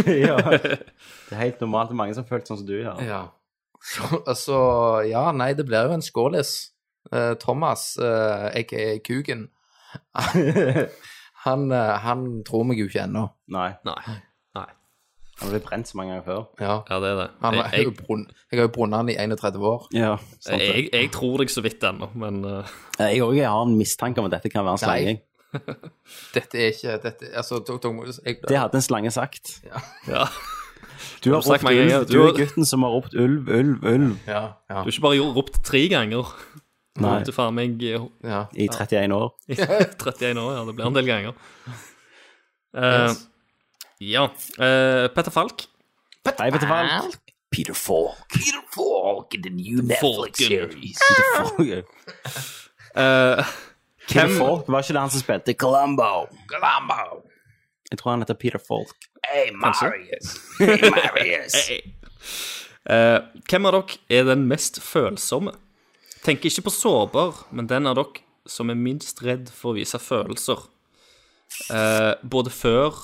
S4: ja. Det er helt normalt. Det er mange som føler sånn som du gjør.
S1: Ja. Så altså, ja, nei, det blir jo en skålis. Eh, Thomas, eh, aka Kugen, han, eh, han tror meg jo ikke ennå.
S4: Nei.
S3: Nei. Nei.
S4: Han ble brent så mange ganger før.
S1: Ja.
S3: Ja, det er det.
S1: Han,
S3: Jeg,
S1: er jo
S3: jeg,
S1: brun- jeg har jo brunnet han i 31 år.
S4: Ja, sant det.
S3: jeg, jeg tror deg så vidt ennå, men eh,
S4: Jeg òg har en mistanke om at dette kan være en
S1: Nei.
S4: slanging.
S1: Dette er ikke dette, altså, dere- dere må- jeg,
S4: Det hadde en slange sagt.
S3: ja.
S4: Du har
S3: du
S4: ropt
S3: sagt meg en gang,
S4: ulv. Du
S3: du-
S4: er gutten som har ropt ulv, ulv, ulv
S1: ja, ja,
S3: Du har ikke bare gjort- ropt tre ganger. Du
S4: Nei.
S3: ropte faen meg eh,
S1: ja.
S4: i 31 år.
S3: I 31 år, ja. Det blir en del ganger. Eh, Ja. eh, Petter Falk.
S4: Hei, vet du hva? Peter Falk.
S3: Falken. Eh,
S4: Peter Falk var ikke det han som spilte Columbo. Jeg tror han heter Peter Falk.
S3: eh, eh, hvem av dere er den mest følsomme? Tenker ikke på sårbar, men den av dere som er minst redd for å vise følelser. Eh, både før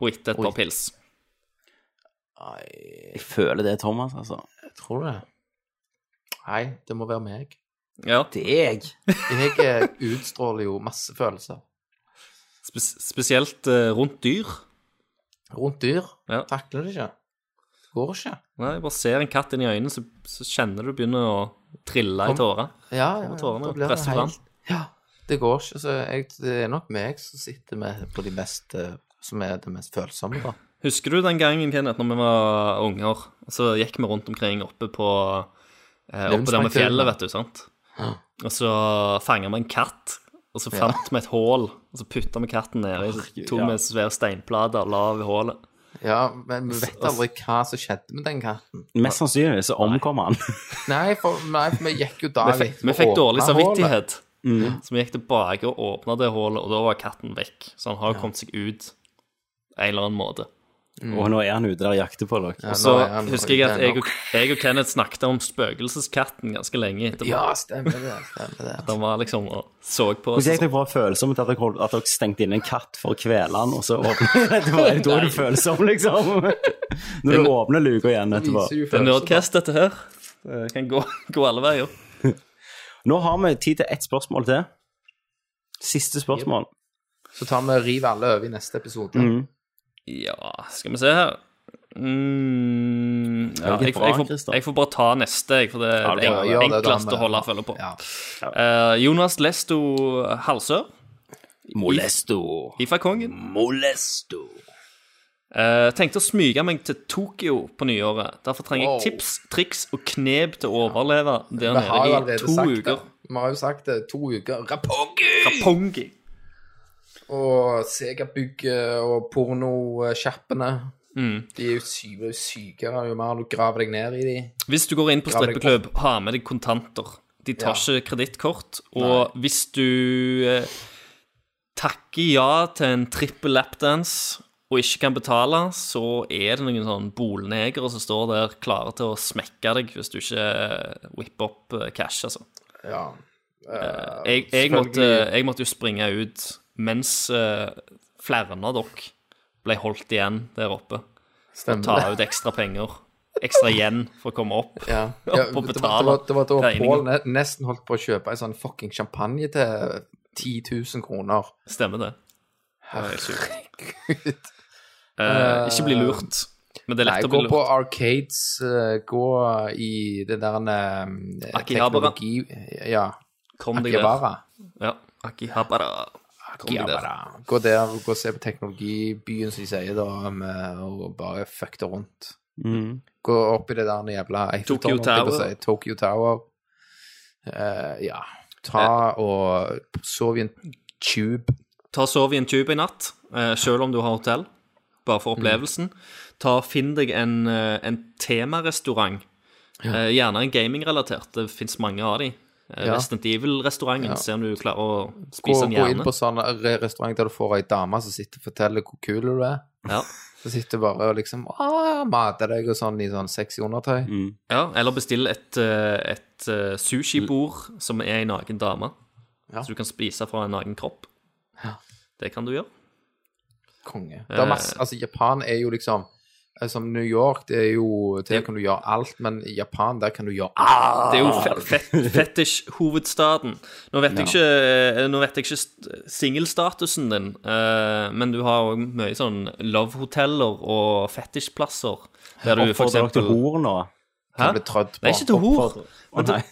S3: og etter et par pils.
S4: Jeg føler det er Thomas, altså.
S1: Tror du det? Nei, det må være meg.
S3: Ja,
S4: Deg?
S1: Jeg eh, utstråler jo masse følelser.
S3: spes Spesielt eh, rundt dyr.
S1: Rundt dyr
S3: Ja.
S1: takler det ikke. Går ikke.
S3: Nei, bare ser en katt inn i øynene, så, så kjenner du begynner å trille i tårer.
S1: Ja, ja, ja.
S3: tårene
S1: da blir det
S3: presser
S1: helt-
S3: fram.
S1: Ja, det går ikke. Så jeg, det er nok meg som sitter med på de mest eh, som er det mest følsomme, da.
S3: Husker du den gangen, Kenneth, når vi var unger, og så gikk vi rundt omkring oppe på eh, Oppe der med fjellet, vet du, sant? Og så fanga vi en katt, og så fant vi et hull, og så putta vi katten nedi, så tok vi
S4: ja.
S3: en svær steinplate og la over hullet.
S1: Ja, men vi vet aldri hva som skjedde med den katten.
S4: Mest sannsynlig så omkommer han.
S1: Nei, for, nei, for vi gikk jo da
S3: Vi fikk, vi fikk dårlig samvittighet. Så vi gikk tilbake og åpna det hullet, og da var katten vekk. Så han har jo kommet seg ut en eller annen måte.
S4: Og nå er han ute der og jakter på dere.
S3: Så husker jeg at jeg og, jeg og Kenneth snakket om spøkelseskatten ganske lenge etterpå.
S1: Ja, stemmer det. stemmer det.
S3: Han var liksom og så på oss.
S4: Hvordan gikk dere fra følsomt at dere, holdt, at dere stengte inn en katt for å kvele han, og så åpner det var det da er du følsom, liksom? Når du åpner luka igjen etterpå.
S1: Viser jo
S3: Det er
S1: følelser.
S3: Nerdcast, dette her. Det kan gå, gå alle veier.
S4: Nå har vi tid til ett spørsmål til. Siste spørsmål.
S1: Så tar vi og river alle over i neste episode.
S3: Mm. Ja, skal vi se her mm, ja,
S4: Det gikk
S3: jeg,
S4: bra,
S3: jeg, får,
S4: Christer.
S3: jeg får bare ta neste, jeg, for det er det
S1: Ja, gjør det, da,
S3: enkleste
S1: men-
S3: å holde følge på.
S1: Ja.
S3: Eh, Jonas Lesto Halsør
S4: Molesto.
S3: ifra Kongen
S4: Molesto.
S3: eh, tenkte å smyge meg til Tokyo på nyåret. Derfor trenger
S1: Wow.
S3: jeg tips, triks og knep til å overleve der
S1: Vi har jo
S3: nede i
S1: allerede
S3: to
S1: sagt
S3: uker.
S1: det. Vi har jo sagt det. To uker. Rapongi!
S3: Pongi.
S1: Og Sega-bygget og pornosjappene.
S3: Mm.
S1: De er jo syke, sykere jo mer du graver deg ned i de.
S3: Hvis du går inn på
S1: Grav deg
S3: strippeklubb, ha med deg kontanter. De tar ikke kredittkort. Og hvis du eh, takker ja til en trippel lapdance og ikke kan betale, så er det noen sånn bolnegere som står der klare til å smekke deg hvis du ikke eh, whipper opp eh, cash, altså.
S1: Ja.
S3: Jeg, jeg, måtte,
S1: selvfølgelig.
S3: jeg måtte jo springe ut mens eh, flere av dere ble holdt igjen der oppe. Ta
S1: Stemmer det.
S3: ut ekstra penger. Ekstra igjen for å komme opp.
S1: Ja.
S3: opp
S1: Ja,
S3: og
S1: det, var- det,
S3: betale
S1: var, det var da
S3: regningen.
S1: Pål ne- nesten holdt på å kjøpe en sånn fucking champagne til 10 000 kroner.
S3: Stemmer det.
S1: Herregud.
S3: Eh, ikke bli lurt. Men det er
S1: Nei,
S3: lett å
S1: gå
S3: bli lurt.
S1: på arcades, eh, gå i det der eh,
S3: Akihabara.
S1: teknologi... Ja,
S3: Kom deg der.
S1: Akihabara.
S3: Ja. Akihabara. Kom deg der.
S1: Akihabara. Gå der, gå og se på teknologibyen, som de sier, da, med, og bare fuck det rundt. Gå opp i det der jævla Eiffeltårnet,
S3: Tokyo
S1: holdt jeg på å
S3: Tower.
S1: si. Tokyo Tower. Eh, ja.
S3: Eh.
S1: Ta og sov i en tube.
S3: Ta og sov i en tube i natt, eh, selv om du har hotell. Bare
S1: Mm.
S3: for opplevelsen. Ta og Finn deg en, eh, en temarestaurant. Eh, gjerne en gamingrelatert. Det fins mange av de. Eh,
S1: Ja.
S3: Resident Evil-restauranten. Se om du klarer å
S1: Gå,
S3: spise en
S1: gå inn
S3: hjerne.
S1: på sånn re- restaurant der du får ei dame som sitter og forteller hvor kul du er.
S3: Ja.
S1: Så sitter du bare og liksom «Åh, mater deg og sånn i sånn sexy undertøy.
S3: Ja, eller bestill et, eh, et eh, sushibord som er en naken dame.
S1: Ja.
S3: Så du kan spise fra en naken kropp. Det kan du gjøre.
S1: Konge. Det er
S3: Eh.
S1: masse, altså, Japan er jo liksom eh, Som New York, det er jo Der kan du gjøre alt, men i Japan, der kan du gjøre alt.
S3: Ah, Det er jo fe- fet fetisj-hovedstaden. Nå vet jeg ikke, eh, nå vet jeg ikke st- singelstatusen din, eh, men du har òg mye sånn love-hoteller og fetisjplasser. Der du for
S4: Oppfordrer dere til
S3: eksempel
S4: hor nå?
S3: Hæ?
S1: Blir trødd på.
S3: Nei, ikke til hor.
S4: Oppfordrer- Å, nei.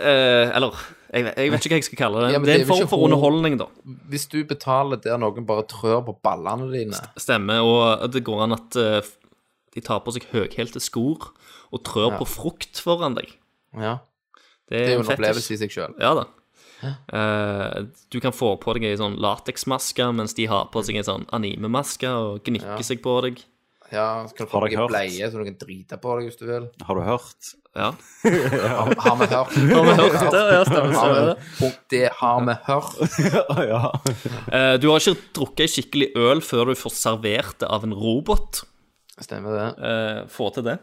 S3: Eh, Eller jeg, vet- jeg vet ikke hva jeg skal kalle det.
S1: Ja, men
S3: det er en
S1: det er jo
S3: form
S1: ikke
S3: for
S1: hor.
S3: underholdning, da.
S1: Hvis du betaler der noen bare trør på ballene dine
S3: Stemmer. Og det går an at eh, de tar på seg høyhælte skor og trør på frukt foran deg.
S1: ja,
S3: Det er,
S1: Det er jo
S3: en
S1: en opplevelse
S3: fetisj.
S1: i seg sjøl.
S3: Ja da. Eh, du kan få på deg ei sånn lateksmaske mens de har på seg en sånn animemaske og gnikker seg på deg.
S1: Ja, så kan du
S4: Har
S1: få
S4: dere
S1: deg
S4: hørt?
S1: bleie så du kan drite på deg hvis du vil.
S4: Har du hørt?
S3: Ja.
S1: Har, har vi hørt?
S3: Har vi hørt det? Ja,
S1: Har
S3: stemmer. stemmer
S1: vi,
S3: det.
S1: punkt, det har vi hørt.
S4: Å, ja.
S3: Eh, du har ikke drukket ei skikkelig øl før du får servert det av en robot.
S1: Stemmer det.
S3: Eh, få til det.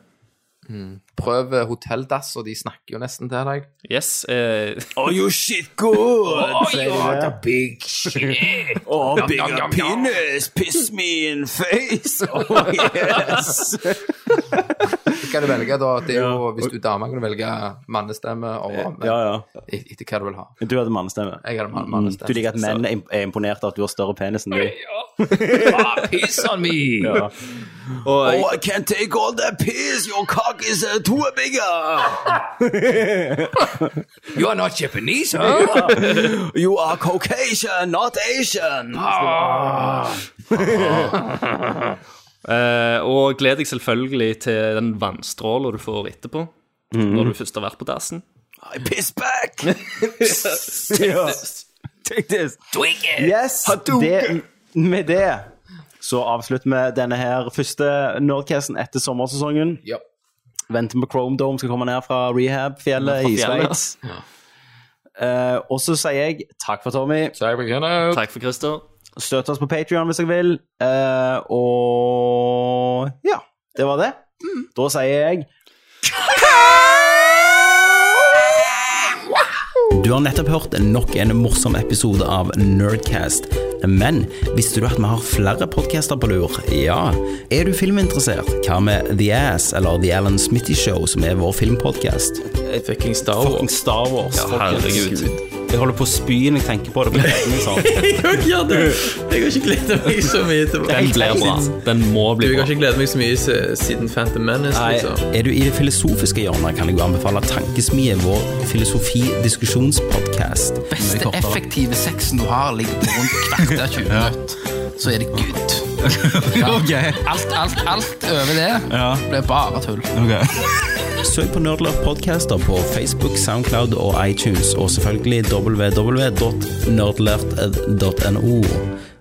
S1: Prøv eh, hotelldass, og de snakker jo nesten til deg.
S3: Yes. eh,
S4: Oh, you shit good!
S1: big shit.
S4: Oh,
S1: Nom, nom, nom, nom.
S4: Piss me in face! Oh, yes!
S1: kan du velge, da? Det er jo, Hvis du er dame, kan du velge mannestemme og
S4: ja, ja.
S1: et- etter hva du vil ha.
S4: Du hadde mannestemme.
S1: Jeg hadde mann-
S4: Mm.
S1: mannestemme.
S4: Du liker at menn er imp- er imponert av at du har større penis enn de.
S1: Piss on me!
S4: Ja.
S3: og jeg,
S4: I can't take all that piss! Your cock is uh, too bigger!
S1: You are not Japanese, huh?
S4: You are Caucasian, not Asian!
S3: eh, og gled deg selvfølgelig til den vannstråla du får etterpå, når du først har vært på dassen.
S4: I piss back! Take this! Yes, det, med det
S8: så avslutter vi denne her første Nerdcasten etter sommersesongen.
S1: Ja.
S8: Venter på Chrome Dome skal komme ned fra rehab-fjellet i
S3: fjellet.
S8: Sveits. Eh, og så sier jeg takk for Tommy.
S3: Takk for Christer.
S8: Støtt oss på Patreon hvis dere vil. Eh, og ja, det var det. Da sier jeg
S4: Du har nettopp hørt nok en morsom episode av Nerdcast. Men visste du at vi har flere podcaster på lur? Ja. Er du filminteressert? Hva med The Ass eller The Alan Smitty Show, som er vår filmpodcast?
S9: Fucking Star Wars.
S4: Fucking Star Wars.
S3: Ja, herregud.
S4: Jeg holder på å spy når jeg tenker på det. men det er ikke sånn.
S9: Ja, du, jeg har ikke gledet meg så mye til
S3: Den blir bra. Den må
S9: Du,
S3: bli
S9: jeg
S3: bra.
S9: har ikke gledet meg så mye se- siden Phantom Menace, liksom.
S4: Er du i det filosofiske hjørnet, kan jeg jo anbefale Tankesmie, vår filosofi-diskusjonspodcast.
S1: Beste effektive sexen du har, ligger på rundt kvarter 20 minutter. Så er det good. Alt, alt, alt over det blir bare tull.
S4: Søk på Nerdlert Podcaster på Facebook, Soundcloud og iTunes, og selvfølgelig www.nerdlert.no.